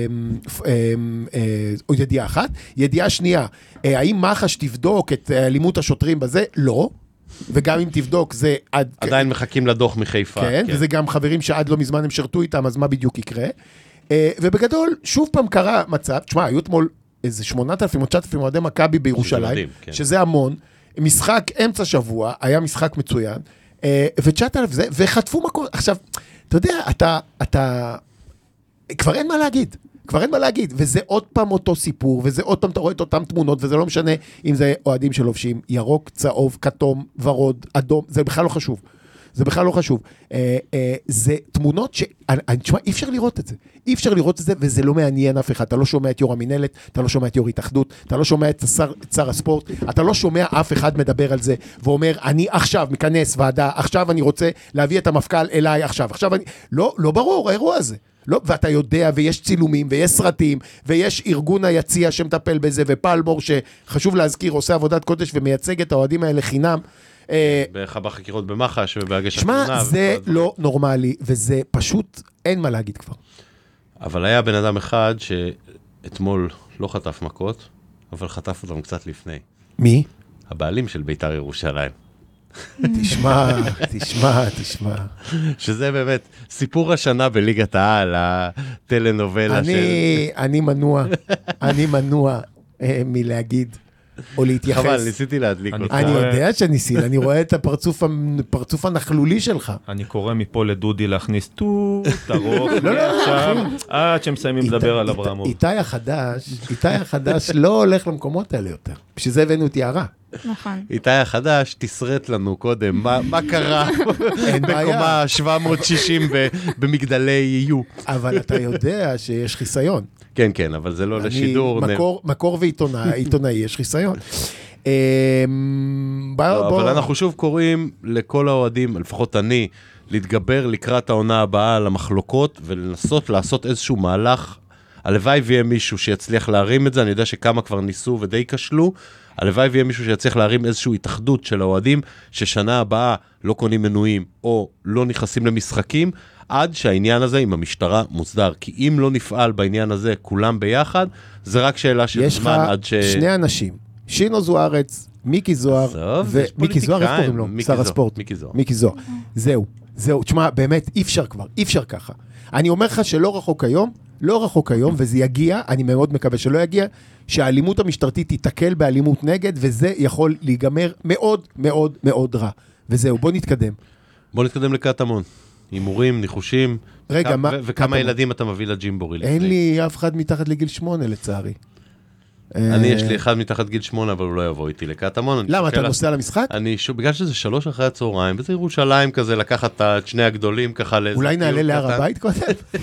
[SPEAKER 2] אמ, פ- אמ, אה, עוד ידיעה אחת. ידיעה שנייה, אה, האם מח"ש תבדוק את אה, אלימות השוטרים בזה? לא. וגם אם תבדוק זה עד...
[SPEAKER 1] עדיין מחכים לדוח מחיפה.
[SPEAKER 2] כן, וזה גם חברים שעד לא מזמן הם שרתו איתם, אז מה בדיוק יקרה? אה, ובגדול, שוב פעם קרה מצב, תשמע, היו אתמול איזה 8,000 או 9,000 אוהדי מכבי בירושלים,
[SPEAKER 1] מדהים, כן.
[SPEAKER 2] שזה המון, משחק אמצע שבוע, היה משחק מצוין, אה, ו-9,000 זה, וחטפו מכות. עכשיו, אתה יודע, אתה, אתה, כבר אין מה להגיד. כבר אין מה להגיד, וזה עוד פעם אותו סיפור, וזה עוד פעם, אתה רואה את אותן תמונות, וזה לא משנה אם זה אוהדים שלובשים ירוק, צהוב, כתום, ורוד, אדום, זה בכלל לא חשוב. זה בכלל לא חשוב. אה, אה, זה תמונות ש... אני- אני- תשמע, אי אפשר לראות את זה. אי אפשר לראות את זה, וזה לא מעניין אף אחד. אתה לא שומע את יו"ר המינהלת, אתה לא שומע את יו"ר התאחדות, אתה לא שומע את שר, את שר הספורט, אתה לא שומע אף אחד מדבר על זה, ואומר, אני עכשיו מכנס ועדה, עכשיו אני רוצה להביא את המפכ"ל אליי עכשיו. עכשיו אני... לא, לא ברור, האירוע הזה. לא, ואתה יודע, ויש צילומים, ויש סרטים, ויש ארגון היציע שמטפל בזה, ופלמור, שחשוב להזכיר, עושה עבודת קודש ומייצג את האוהדים האלה חינם. אה,
[SPEAKER 1] בח- בחקירות במח"ש ובהגשת
[SPEAKER 2] שמע, זה
[SPEAKER 1] וכל
[SPEAKER 2] לא נורמלי, וזה פשוט, אין מה להגיד כבר.
[SPEAKER 1] אבל היה בן אדם אחד שאתמול לא חטף מכות, אבל חטף אותם קצת לפני.
[SPEAKER 2] מי?
[SPEAKER 1] הבעלים של בית"ר ירושלים.
[SPEAKER 2] תשמע, תשמע, תשמע.
[SPEAKER 1] שזה באמת סיפור השנה בליגת העל, הטלנובלה של...
[SPEAKER 2] אני, אני מנוע, אני מנוע אה, מלהגיד או
[SPEAKER 1] חבל,
[SPEAKER 2] להתייחס.
[SPEAKER 1] ניסיתי להדליק
[SPEAKER 3] אני-
[SPEAKER 1] אותך.
[SPEAKER 2] אני
[SPEAKER 3] קורא-
[SPEAKER 2] יודע שניסית, אני רואה את הפרצוף המ- הפרצוף הנכלולי שלך.
[SPEAKER 3] אני קורא מפה לדודי להכניס טוט ארוך
[SPEAKER 2] לא, לא,
[SPEAKER 3] עכשיו, עד שמסיימים לדבר על
[SPEAKER 2] איתי-
[SPEAKER 3] אברמוב.
[SPEAKER 2] איתי החדש, איתי החדש לא הולך למקומות האלה יותר. בשביל זה הבאנו את יערה.
[SPEAKER 4] נכון.
[SPEAKER 1] איתי החדש, תסרט לנו קודם, מה מה קרה
[SPEAKER 2] אין בעיה.
[SPEAKER 1] בקומה 760 ב- במגדלי יו.
[SPEAKER 2] אבל אתה יודע שיש חיסיון.
[SPEAKER 1] כן, כן, אבל זה לא
[SPEAKER 2] אני-
[SPEAKER 1] לשידור. נ-
[SPEAKER 2] מקור- מקור ועיתונאי, עיתונאי יש חיסיון. אמ, בוא-
[SPEAKER 1] לא,
[SPEAKER 2] בוא-
[SPEAKER 1] אבל אנחנו שוב קוראים לכל האוהדים, לפחות אני, להתגבר לקראת העונה הבאה על המחלוקות ולנסות לעשות איזשהו מהלך. הלוואי ויהיה מישהו שיצליח להרים את זה, אני יודע שכמה כבר ניסו ודי כשלו, הלוואי ויהיה מישהו שיצליח להרים איזושהי התאחדות של האוהדים, ששנה הבאה לא קונים מנויים או לא נכנסים למשחקים, עד שהעניין הזה עם המשטרה מוסדר. כי אם לא נפעל בעניין הזה כולם ביחד, זה רק שאלה של
[SPEAKER 2] יש לך
[SPEAKER 1] זמן עד ש...
[SPEAKER 2] שני אנשים, שינו זוארץ, מיקי זוהר,
[SPEAKER 1] עזוב, יש
[SPEAKER 2] ומיקי זוהר, איך
[SPEAKER 1] פוליטיקאים.
[SPEAKER 2] קוראים לו?
[SPEAKER 1] מיקי
[SPEAKER 2] שר
[SPEAKER 1] זוהר,
[SPEAKER 2] הספורט.
[SPEAKER 1] מיקי זוהר.
[SPEAKER 2] מיקי זוהר. זהו, זהו. תשמע, באמת, אי אפשר כבר, אי אפשר ככה. אני אומר לך שלא רחוק היום, לא רחוק היום, וזה יגיע, אני מאוד מקווה שלא יגיע, שהאלימות המשטרתית תיתקל באלימות נגד, וזה יכול להיגמר מאוד מאוד מאוד רע. וזהו, בוא נתקדם.
[SPEAKER 1] בוא נתקדם לקטמון. הימורים, ניחושים.
[SPEAKER 2] רגע,
[SPEAKER 1] כמה-
[SPEAKER 2] מה-
[SPEAKER 1] ו- וכמה
[SPEAKER 2] קטמון.
[SPEAKER 1] ילדים אתה מביא לג'ימבורי לפני?
[SPEAKER 2] אין לי אף אחד מתחת לגיל שמונה, לצערי.
[SPEAKER 1] אני,
[SPEAKER 2] אה,
[SPEAKER 1] יש לי אחד מתחת גיל שמונה, אבל הוא לא יבוא איתי לקטמון. אני
[SPEAKER 2] למה, אתה
[SPEAKER 1] שוקל-
[SPEAKER 2] נוסע למשחק?
[SPEAKER 1] אני שוב, בגלל שזה שלוש אחרי הצהריים, וזה ירושלים כזה, לקחת את ה- את שני הגדולים ככה לאיזה...
[SPEAKER 2] אולי
[SPEAKER 1] טיול
[SPEAKER 2] נעלה להר
[SPEAKER 1] קטן.
[SPEAKER 2] הבית קודם?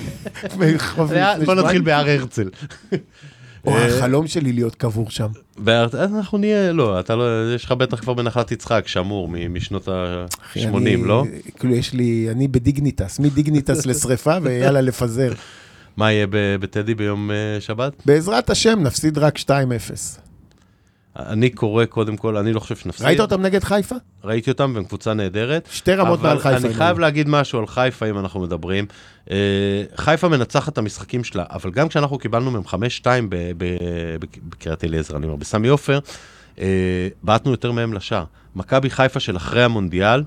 [SPEAKER 2] מרחוב
[SPEAKER 1] וה-
[SPEAKER 2] לפני
[SPEAKER 1] בוא נתחיל
[SPEAKER 2] שבועיים?
[SPEAKER 1] בהר הרצל.
[SPEAKER 2] או, החלום שלי להיות קבור שם.
[SPEAKER 1] בהר- אז אנחנו נהיה, לא, אתה לא, יש לך בטח כבר בנחלת יצחק, שמור מ- משנות
[SPEAKER 2] אחי,
[SPEAKER 1] ה-80,
[SPEAKER 2] אני-
[SPEAKER 1] לא?
[SPEAKER 2] כאילו יש לי, אני בדיגניטס, מדיגניטס לשריפה ויאללה לפזר.
[SPEAKER 1] מה יהיה ב- בטדי ביום אה, שבת?
[SPEAKER 2] בעזרת השם נפסיד רק 2-0.
[SPEAKER 1] אני קורא קודם כל, אני לא חושב שנפסיד.
[SPEAKER 2] ראית אותם נגד חיפה?
[SPEAKER 1] ראיתי אותם, והם קבוצה נהדרת.
[SPEAKER 2] שתי רמות מעל חיפה.
[SPEAKER 1] אבל אני
[SPEAKER 2] הם
[SPEAKER 1] חייב
[SPEAKER 2] היו.
[SPEAKER 1] להגיד משהו על חיפה, אם אנחנו מדברים. אה, חיפה מנצחת את המשחקים שלה, אבל גם כשאנחנו קיבלנו מהם 5-2 ב- ב- בק- בקריית אליעזר, אני אומר, בסמי עופר, אה, בעטנו יותר מהם לשער. מכבי חיפה של אחרי המונדיאל,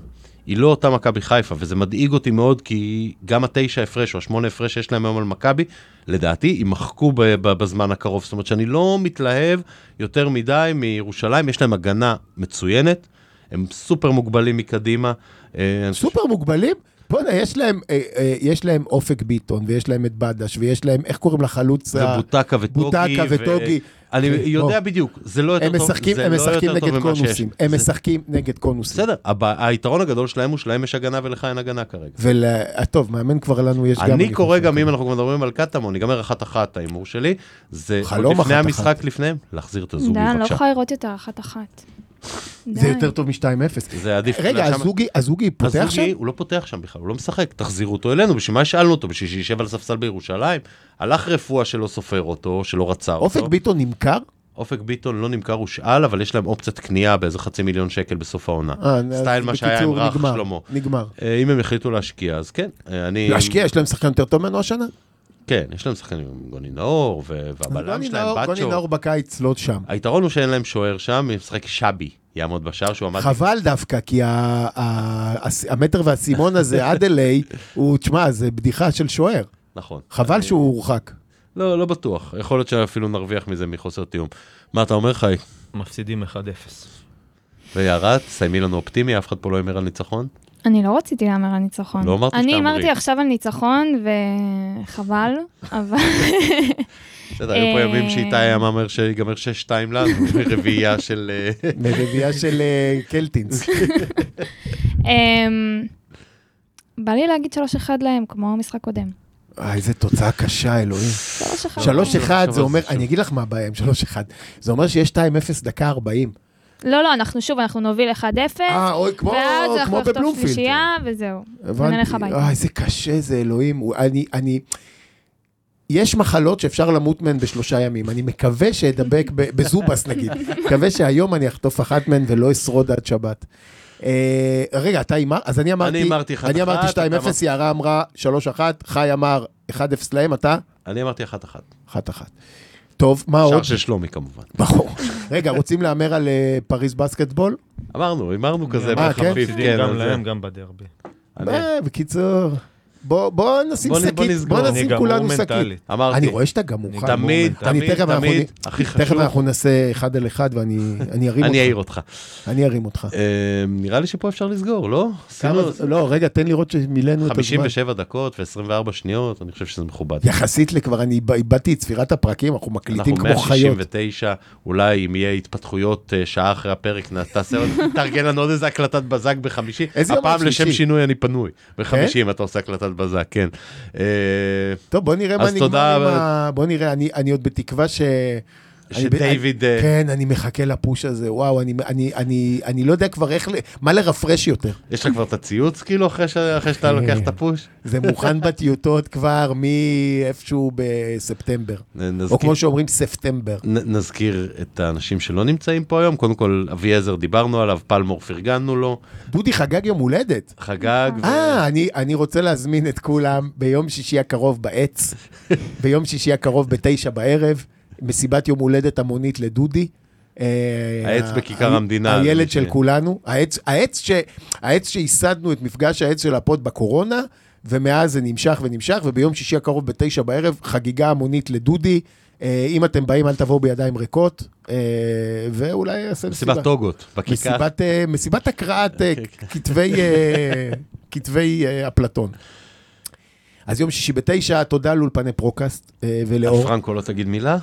[SPEAKER 1] היא לא אותה מכבי חיפה, וזה מדאיג אותי מאוד, כי גם התשע הפרש או השמונה הפרש שיש להם היום על מכבי, לדעתי, יימחקו ב- ב- בזמן הקרוב. זאת אומרת שאני לא מתלהב יותר מדי מירושלים, יש להם הגנה מצוינת, הם סופר מוגבלים מקדימה. אה, אני חושב
[SPEAKER 2] סופר מוגבלים? בוא'נה, יש להם, אה, אה, יש להם אופק ביטון, ויש להם את בדש, ויש להם, איך קוראים לחלוץ? ה-
[SPEAKER 1] ובוטקה וטוגי.
[SPEAKER 2] בוטקה
[SPEAKER 1] ו- אה,
[SPEAKER 2] וטוגי.
[SPEAKER 1] אני
[SPEAKER 2] כן,
[SPEAKER 1] יודע
[SPEAKER 2] בוא.
[SPEAKER 1] בדיוק, זה לא יותר
[SPEAKER 2] הם
[SPEAKER 1] טוב.
[SPEAKER 2] משחקים,
[SPEAKER 1] זה
[SPEAKER 2] הם
[SPEAKER 1] לא
[SPEAKER 2] משחקים
[SPEAKER 1] יותר טוב
[SPEAKER 2] נגד
[SPEAKER 1] ממה שיש.
[SPEAKER 2] קונוסים. הם
[SPEAKER 1] זה-
[SPEAKER 2] משחקים נגד קונוסים.
[SPEAKER 1] בסדר, הב- היתרון הגדול שלהם הוא שלהם יש הגנה ולך אין הגנה כרגע.
[SPEAKER 2] ול... אה, טוב, מאמן כבר לנו יש גם...
[SPEAKER 1] אני קורא
[SPEAKER 2] חושב.
[SPEAKER 1] גם, אם אנחנו כבר מדברים על קטמון, ייגמר אחת-אחת ההימור שלי, זה
[SPEAKER 2] חלום
[SPEAKER 1] עוד לפני
[SPEAKER 2] אחת-אחת.
[SPEAKER 1] המשחק לפניהם, להחזיר את
[SPEAKER 4] די,
[SPEAKER 1] הזוגי
[SPEAKER 4] אני לא
[SPEAKER 1] בבקשה.
[SPEAKER 4] יכולה לראות יותר אחת-אחת.
[SPEAKER 2] זה
[SPEAKER 4] די.
[SPEAKER 2] יותר טוב מ-2-0.
[SPEAKER 1] זה עדיף.
[SPEAKER 2] רגע,
[SPEAKER 1] שם-
[SPEAKER 2] הזוגי, הזוגי פותח שם?
[SPEAKER 1] הזוגי, הוא לא פותח שם בכלל, הוא לא משחק, תחזירו אותו אלינו, בשביל מה שאלנו אותו? בשביל שישב על ספסל בירושלים? הלך רפואה שלא סופר אותו, שלא רצה אותו.
[SPEAKER 2] אופק ביטון נמכר?
[SPEAKER 1] אופק ביטון לא נמכר הושאל, אבל יש להם אופציית קנייה באיזה חצי מיליון שקל בסוף העונה.
[SPEAKER 2] אה, אז
[SPEAKER 1] סטייל מה שהיה עם
[SPEAKER 2] בקיצור,
[SPEAKER 1] רך
[SPEAKER 2] נגמר,
[SPEAKER 1] שלמה.
[SPEAKER 2] נגמר.
[SPEAKER 1] אה, אם הם יחליטו להשקיע, אז כן. אה, אני...
[SPEAKER 2] להשקיע, יש להם שחקן יותר טוב ממנו השנה?
[SPEAKER 1] כן, יש להם שחקנים עם גוני נאור, ו- והבלם
[SPEAKER 2] גוני
[SPEAKER 1] שלהם,
[SPEAKER 2] נאור- גוני
[SPEAKER 1] בצ'ו.
[SPEAKER 2] נאור בקיץ לא שם.
[SPEAKER 1] היתרון הוא שאין להם שוער שם, הם משחק שבי יעמוד בשער שהוא עמד...
[SPEAKER 2] חבל דווקא, כי ה- ה- הס- המטר והסימון הזה עד אליי, הוא, תשמע, זה בדיחה של שוער.
[SPEAKER 1] נכון.
[SPEAKER 2] חבל
[SPEAKER 1] אני-
[SPEAKER 2] שהוא הורחק.
[SPEAKER 1] לא, לא בטוח. יכול להיות שאפילו נרוויח מזה מחוסר תיאום. מה אתה אומר, חי?
[SPEAKER 3] מפסידים 1-0.
[SPEAKER 1] ויערת, סיימי לנו אופטימי, אף אחד פה לא אומר על ניצחון?
[SPEAKER 4] אני לא רציתי להמר על ניצחון.
[SPEAKER 1] לא אמרתי
[SPEAKER 4] אני
[SPEAKER 1] שאתה
[SPEAKER 4] אמרתי
[SPEAKER 1] אמרי.
[SPEAKER 4] עכשיו על ניצחון, וחבל, אבל...
[SPEAKER 1] בסדר, היו פה
[SPEAKER 4] אה.
[SPEAKER 1] ימים שאיתי היה מהמר שיגמר 6-2 לנו, רביעייה של... אה,
[SPEAKER 2] מרביעייה של אה, קלטינס.
[SPEAKER 4] אמ, בא לי להגיד 3-1 להם, כמו המשחק קודם.
[SPEAKER 2] אה, איזה תוצאה קשה, אלוהים.
[SPEAKER 4] 3-1.
[SPEAKER 2] 3-1 זה
[SPEAKER 1] עכשיו זה
[SPEAKER 2] אומר,
[SPEAKER 1] שוב.
[SPEAKER 2] אני אגיד לך מה הבעיה עם 3-1. זה אומר שיש 2-0 דקה 40.
[SPEAKER 4] לא, לא, אנחנו שוב, אנחנו נוביל 1-0,
[SPEAKER 2] אה, אוי, כמו
[SPEAKER 4] ואז אנחנו
[SPEAKER 2] כמו
[SPEAKER 4] נחטוף
[SPEAKER 2] בבלומפילד.
[SPEAKER 4] שלישייה, וזהו.
[SPEAKER 2] הבנתי.
[SPEAKER 4] ונלך הביתה.
[SPEAKER 2] אה, איזה קשה זה, אלוהים. הוא- אני, אני... יש מחלות שאפשר למות מהן בשלושה ימים. אני מקווה שאדבק ב- בזובס, נגיד. מקווה שהיום אני אחטוף אחת מהן ולא אשרוד עד שבת. אה, רגע, אתה הימר? אז אני אמרתי...
[SPEAKER 1] אני אמרתי 1-1,
[SPEAKER 2] אני אמרתי
[SPEAKER 1] אתה
[SPEAKER 2] 2-0, יערה אמרה 3-1, חי אמר 1-0 להם, אתה?
[SPEAKER 1] אני אמרתי 1-1.
[SPEAKER 2] 1-1. טוב, מה
[SPEAKER 1] שער
[SPEAKER 2] אה, עוד?
[SPEAKER 1] של שלומי כמובן.
[SPEAKER 2] ברור. רגע, רוצים להמר על אה, פריז בסקטבול?
[SPEAKER 1] אמרנו, הימרנו כזה
[SPEAKER 2] אה, כן?
[SPEAKER 1] בחפיף,
[SPEAKER 3] מפסידים
[SPEAKER 1] כן,
[SPEAKER 3] גם
[SPEAKER 1] אז זה-
[SPEAKER 3] להם, גם בדרבי.
[SPEAKER 1] אני-
[SPEAKER 2] אה, בקיצור, בוא- בוא נשים
[SPEAKER 1] בוא נ-
[SPEAKER 2] שקית,
[SPEAKER 1] בוא נסגור.
[SPEAKER 2] בוא
[SPEAKER 1] אני
[SPEAKER 2] נשים
[SPEAKER 3] גמור
[SPEAKER 2] כולנו שקית.
[SPEAKER 3] מנטלית.
[SPEAKER 1] אמרתי.
[SPEAKER 2] אני רואה שאתה גמור. חיים.
[SPEAKER 1] תמיד,
[SPEAKER 2] אני
[SPEAKER 1] תמיד,
[SPEAKER 2] תכף אנחנו-
[SPEAKER 1] תמיד, הכי
[SPEAKER 2] תכף
[SPEAKER 1] חשוב.
[SPEAKER 2] אנחנו נעשה אחד על אחד ואני אני ארים
[SPEAKER 1] אני אעיר
[SPEAKER 2] אותך.
[SPEAKER 1] אותך.
[SPEAKER 2] אני ארים אותך.
[SPEAKER 1] אה, נראה לי שפה אפשר לסגור, לא?
[SPEAKER 2] כמה
[SPEAKER 1] עשינו
[SPEAKER 2] זה- לא, רגע, תן לראות שמילאנו את הזמן.
[SPEAKER 1] 57 דקות ו-24 שניות, אני חושב שזה מכובד.
[SPEAKER 2] יחסית לכבר, אני איב- איבדתי את ספירת הפרקים, אנחנו
[SPEAKER 1] אנחנו
[SPEAKER 2] מקליטים כמו חיות.
[SPEAKER 1] 169, אולי אם יהיה התפתחויות אה, שעה אחרי הפרק, נ- תעשה עוד, תארגן לנו עוד איזה הקלטת בזק בחמישי.
[SPEAKER 2] איזה יום
[SPEAKER 1] הפעם
[SPEAKER 2] השלישי? כן?
[SPEAKER 1] לשם שינוי אני פנוי. בחמישי אם אתה עושה הקלטת בזק, כן. אה,
[SPEAKER 2] טוב, בוא נראה מה
[SPEAKER 1] אז
[SPEAKER 2] נגמר
[SPEAKER 1] תודה,
[SPEAKER 2] עם
[SPEAKER 1] אבל-
[SPEAKER 2] ה... בוא נראה, אני אני עוד בתקווה ש... אני ב-
[SPEAKER 1] שדייוויד...
[SPEAKER 2] אני-
[SPEAKER 1] אה,
[SPEAKER 2] כן, אני מחכה לפוש הזה, וואו, אני- אני- אני- אני לא יודע כבר איך, ל- מה לרפרש יותר.
[SPEAKER 1] יש לך כבר את הציוץ, כאילו, אחרי ש- אחרי שאתה לוקח
[SPEAKER 2] כן.
[SPEAKER 1] את הפוש?
[SPEAKER 2] זה מוכן בטיוטות כבר מאיפשהו בספטמבר.
[SPEAKER 1] נ-
[SPEAKER 2] או
[SPEAKER 1] נזכיר-
[SPEAKER 2] כמו שאומרים, ספטמבר.
[SPEAKER 1] נ- נזכיר את האנשים שלא נמצאים פה היום. קודם כל, אביעזר דיברנו עליו, פלמור פרגנו לו,
[SPEAKER 2] דודי חגג יום הולדת.
[SPEAKER 1] חגג. ו-
[SPEAKER 2] אה, אני, אני רוצה להזמין את כולם ביום שישי הקרוב בעץ, ביום שישי הקרוב בתשע בערב, מסיבת יום הולדת המונית לדודי. אה,
[SPEAKER 1] העץ
[SPEAKER 2] ה-
[SPEAKER 1] בכיכר
[SPEAKER 2] ה-
[SPEAKER 1] המדינה, למי
[SPEAKER 2] הילד
[SPEAKER 1] ש-
[SPEAKER 2] של כולנו, העץ, העץ, ש, העץ שייסדנו את מפגש העץ של הפוד בקורונה, ומאז זה נמשך ונמשך, וביום שישי הקרוב בתשע בערב, חגיגה המונית לדודי. אה, אם אתם באים, אל תבואו בידיים ריקות, אה, ואולי אעשה מסיבה.
[SPEAKER 1] מסיבת טוגות, בכיכר.
[SPEAKER 2] מסיבת, אה, מסיבת הקראת אה, כתבי, אה, כתבי אה, אפלטון. אז יום שישי בתשע, תודה לאולפני פרוקאסט אה, ולאור.
[SPEAKER 1] פרנקו לא תגיד מילה?
[SPEAKER 2] כן,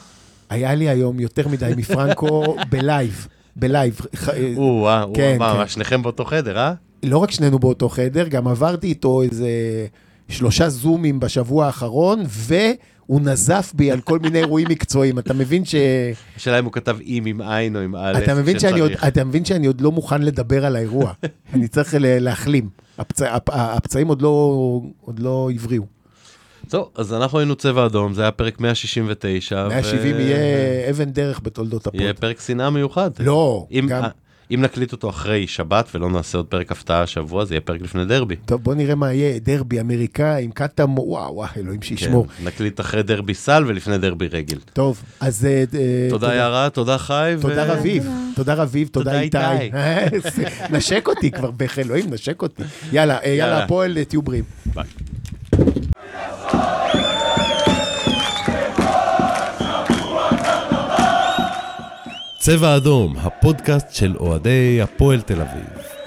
[SPEAKER 2] היה לי היום יותר מדי מפרנקו בלייב, בלייב. ח- אה,
[SPEAKER 1] או, אה, או,
[SPEAKER 2] כן,
[SPEAKER 1] מה,
[SPEAKER 2] כן.
[SPEAKER 1] מה, שניכם באותו חדר, אה?
[SPEAKER 2] לא רק שנינו באותו חדר, גם עברתי איתו איזה שלושה זומים בשבוע האחרון, והוא נזף בי על כל מיני אירועים מקצועיים. אתה מבין ש...
[SPEAKER 1] השאלה אם הוא כתב אם עם עין או עם א',
[SPEAKER 2] אתה מבין, שאני עוד,
[SPEAKER 1] שצריך.
[SPEAKER 2] אתה מבין שאני עוד לא מוכן לדבר על האירוע. אני צריך ל- להחלים. הפצ... הפ... הפצעים עוד לא, עוד לא הבריאו.
[SPEAKER 1] טוב, אז אנחנו היינו צבע אדום, זה היה פרק 169. ו-
[SPEAKER 2] 170 יהיה אבן דרך בתולדות הפוד.
[SPEAKER 1] יהיה פרק שנאה מיוחד.
[SPEAKER 2] לא,
[SPEAKER 1] אם,
[SPEAKER 2] גם...
[SPEAKER 1] אם נקליט אותו אחרי שבת ולא נעשה עוד פרק הפתעה השבוע, זה יהיה פרק לפני דרבי.
[SPEAKER 2] טוב, בוא נראה מה יהיה, דרבי אמריקאי עם קטאמו, וואו, וואו, אלוהים שישמור.
[SPEAKER 1] כן, נקליט אחרי דרבי סל ולפני דרבי רגל.
[SPEAKER 2] טוב, אז... אה, אה,
[SPEAKER 1] תודה יערה, תודה חי. ו-
[SPEAKER 2] תודה רביב, תודה רביב,
[SPEAKER 1] תודה
[SPEAKER 2] תודה איתי.
[SPEAKER 1] איתי.
[SPEAKER 2] נשק אותי כבר, בך אלוהים, נשק אותי. יאללה, אה,
[SPEAKER 1] יאללה.
[SPEAKER 2] יאללה, הפועל, אה, תהיו בריאים.
[SPEAKER 1] ביי.
[SPEAKER 5] צבע אדום, הפודקאסט של אוהדי הפועל תל אביב.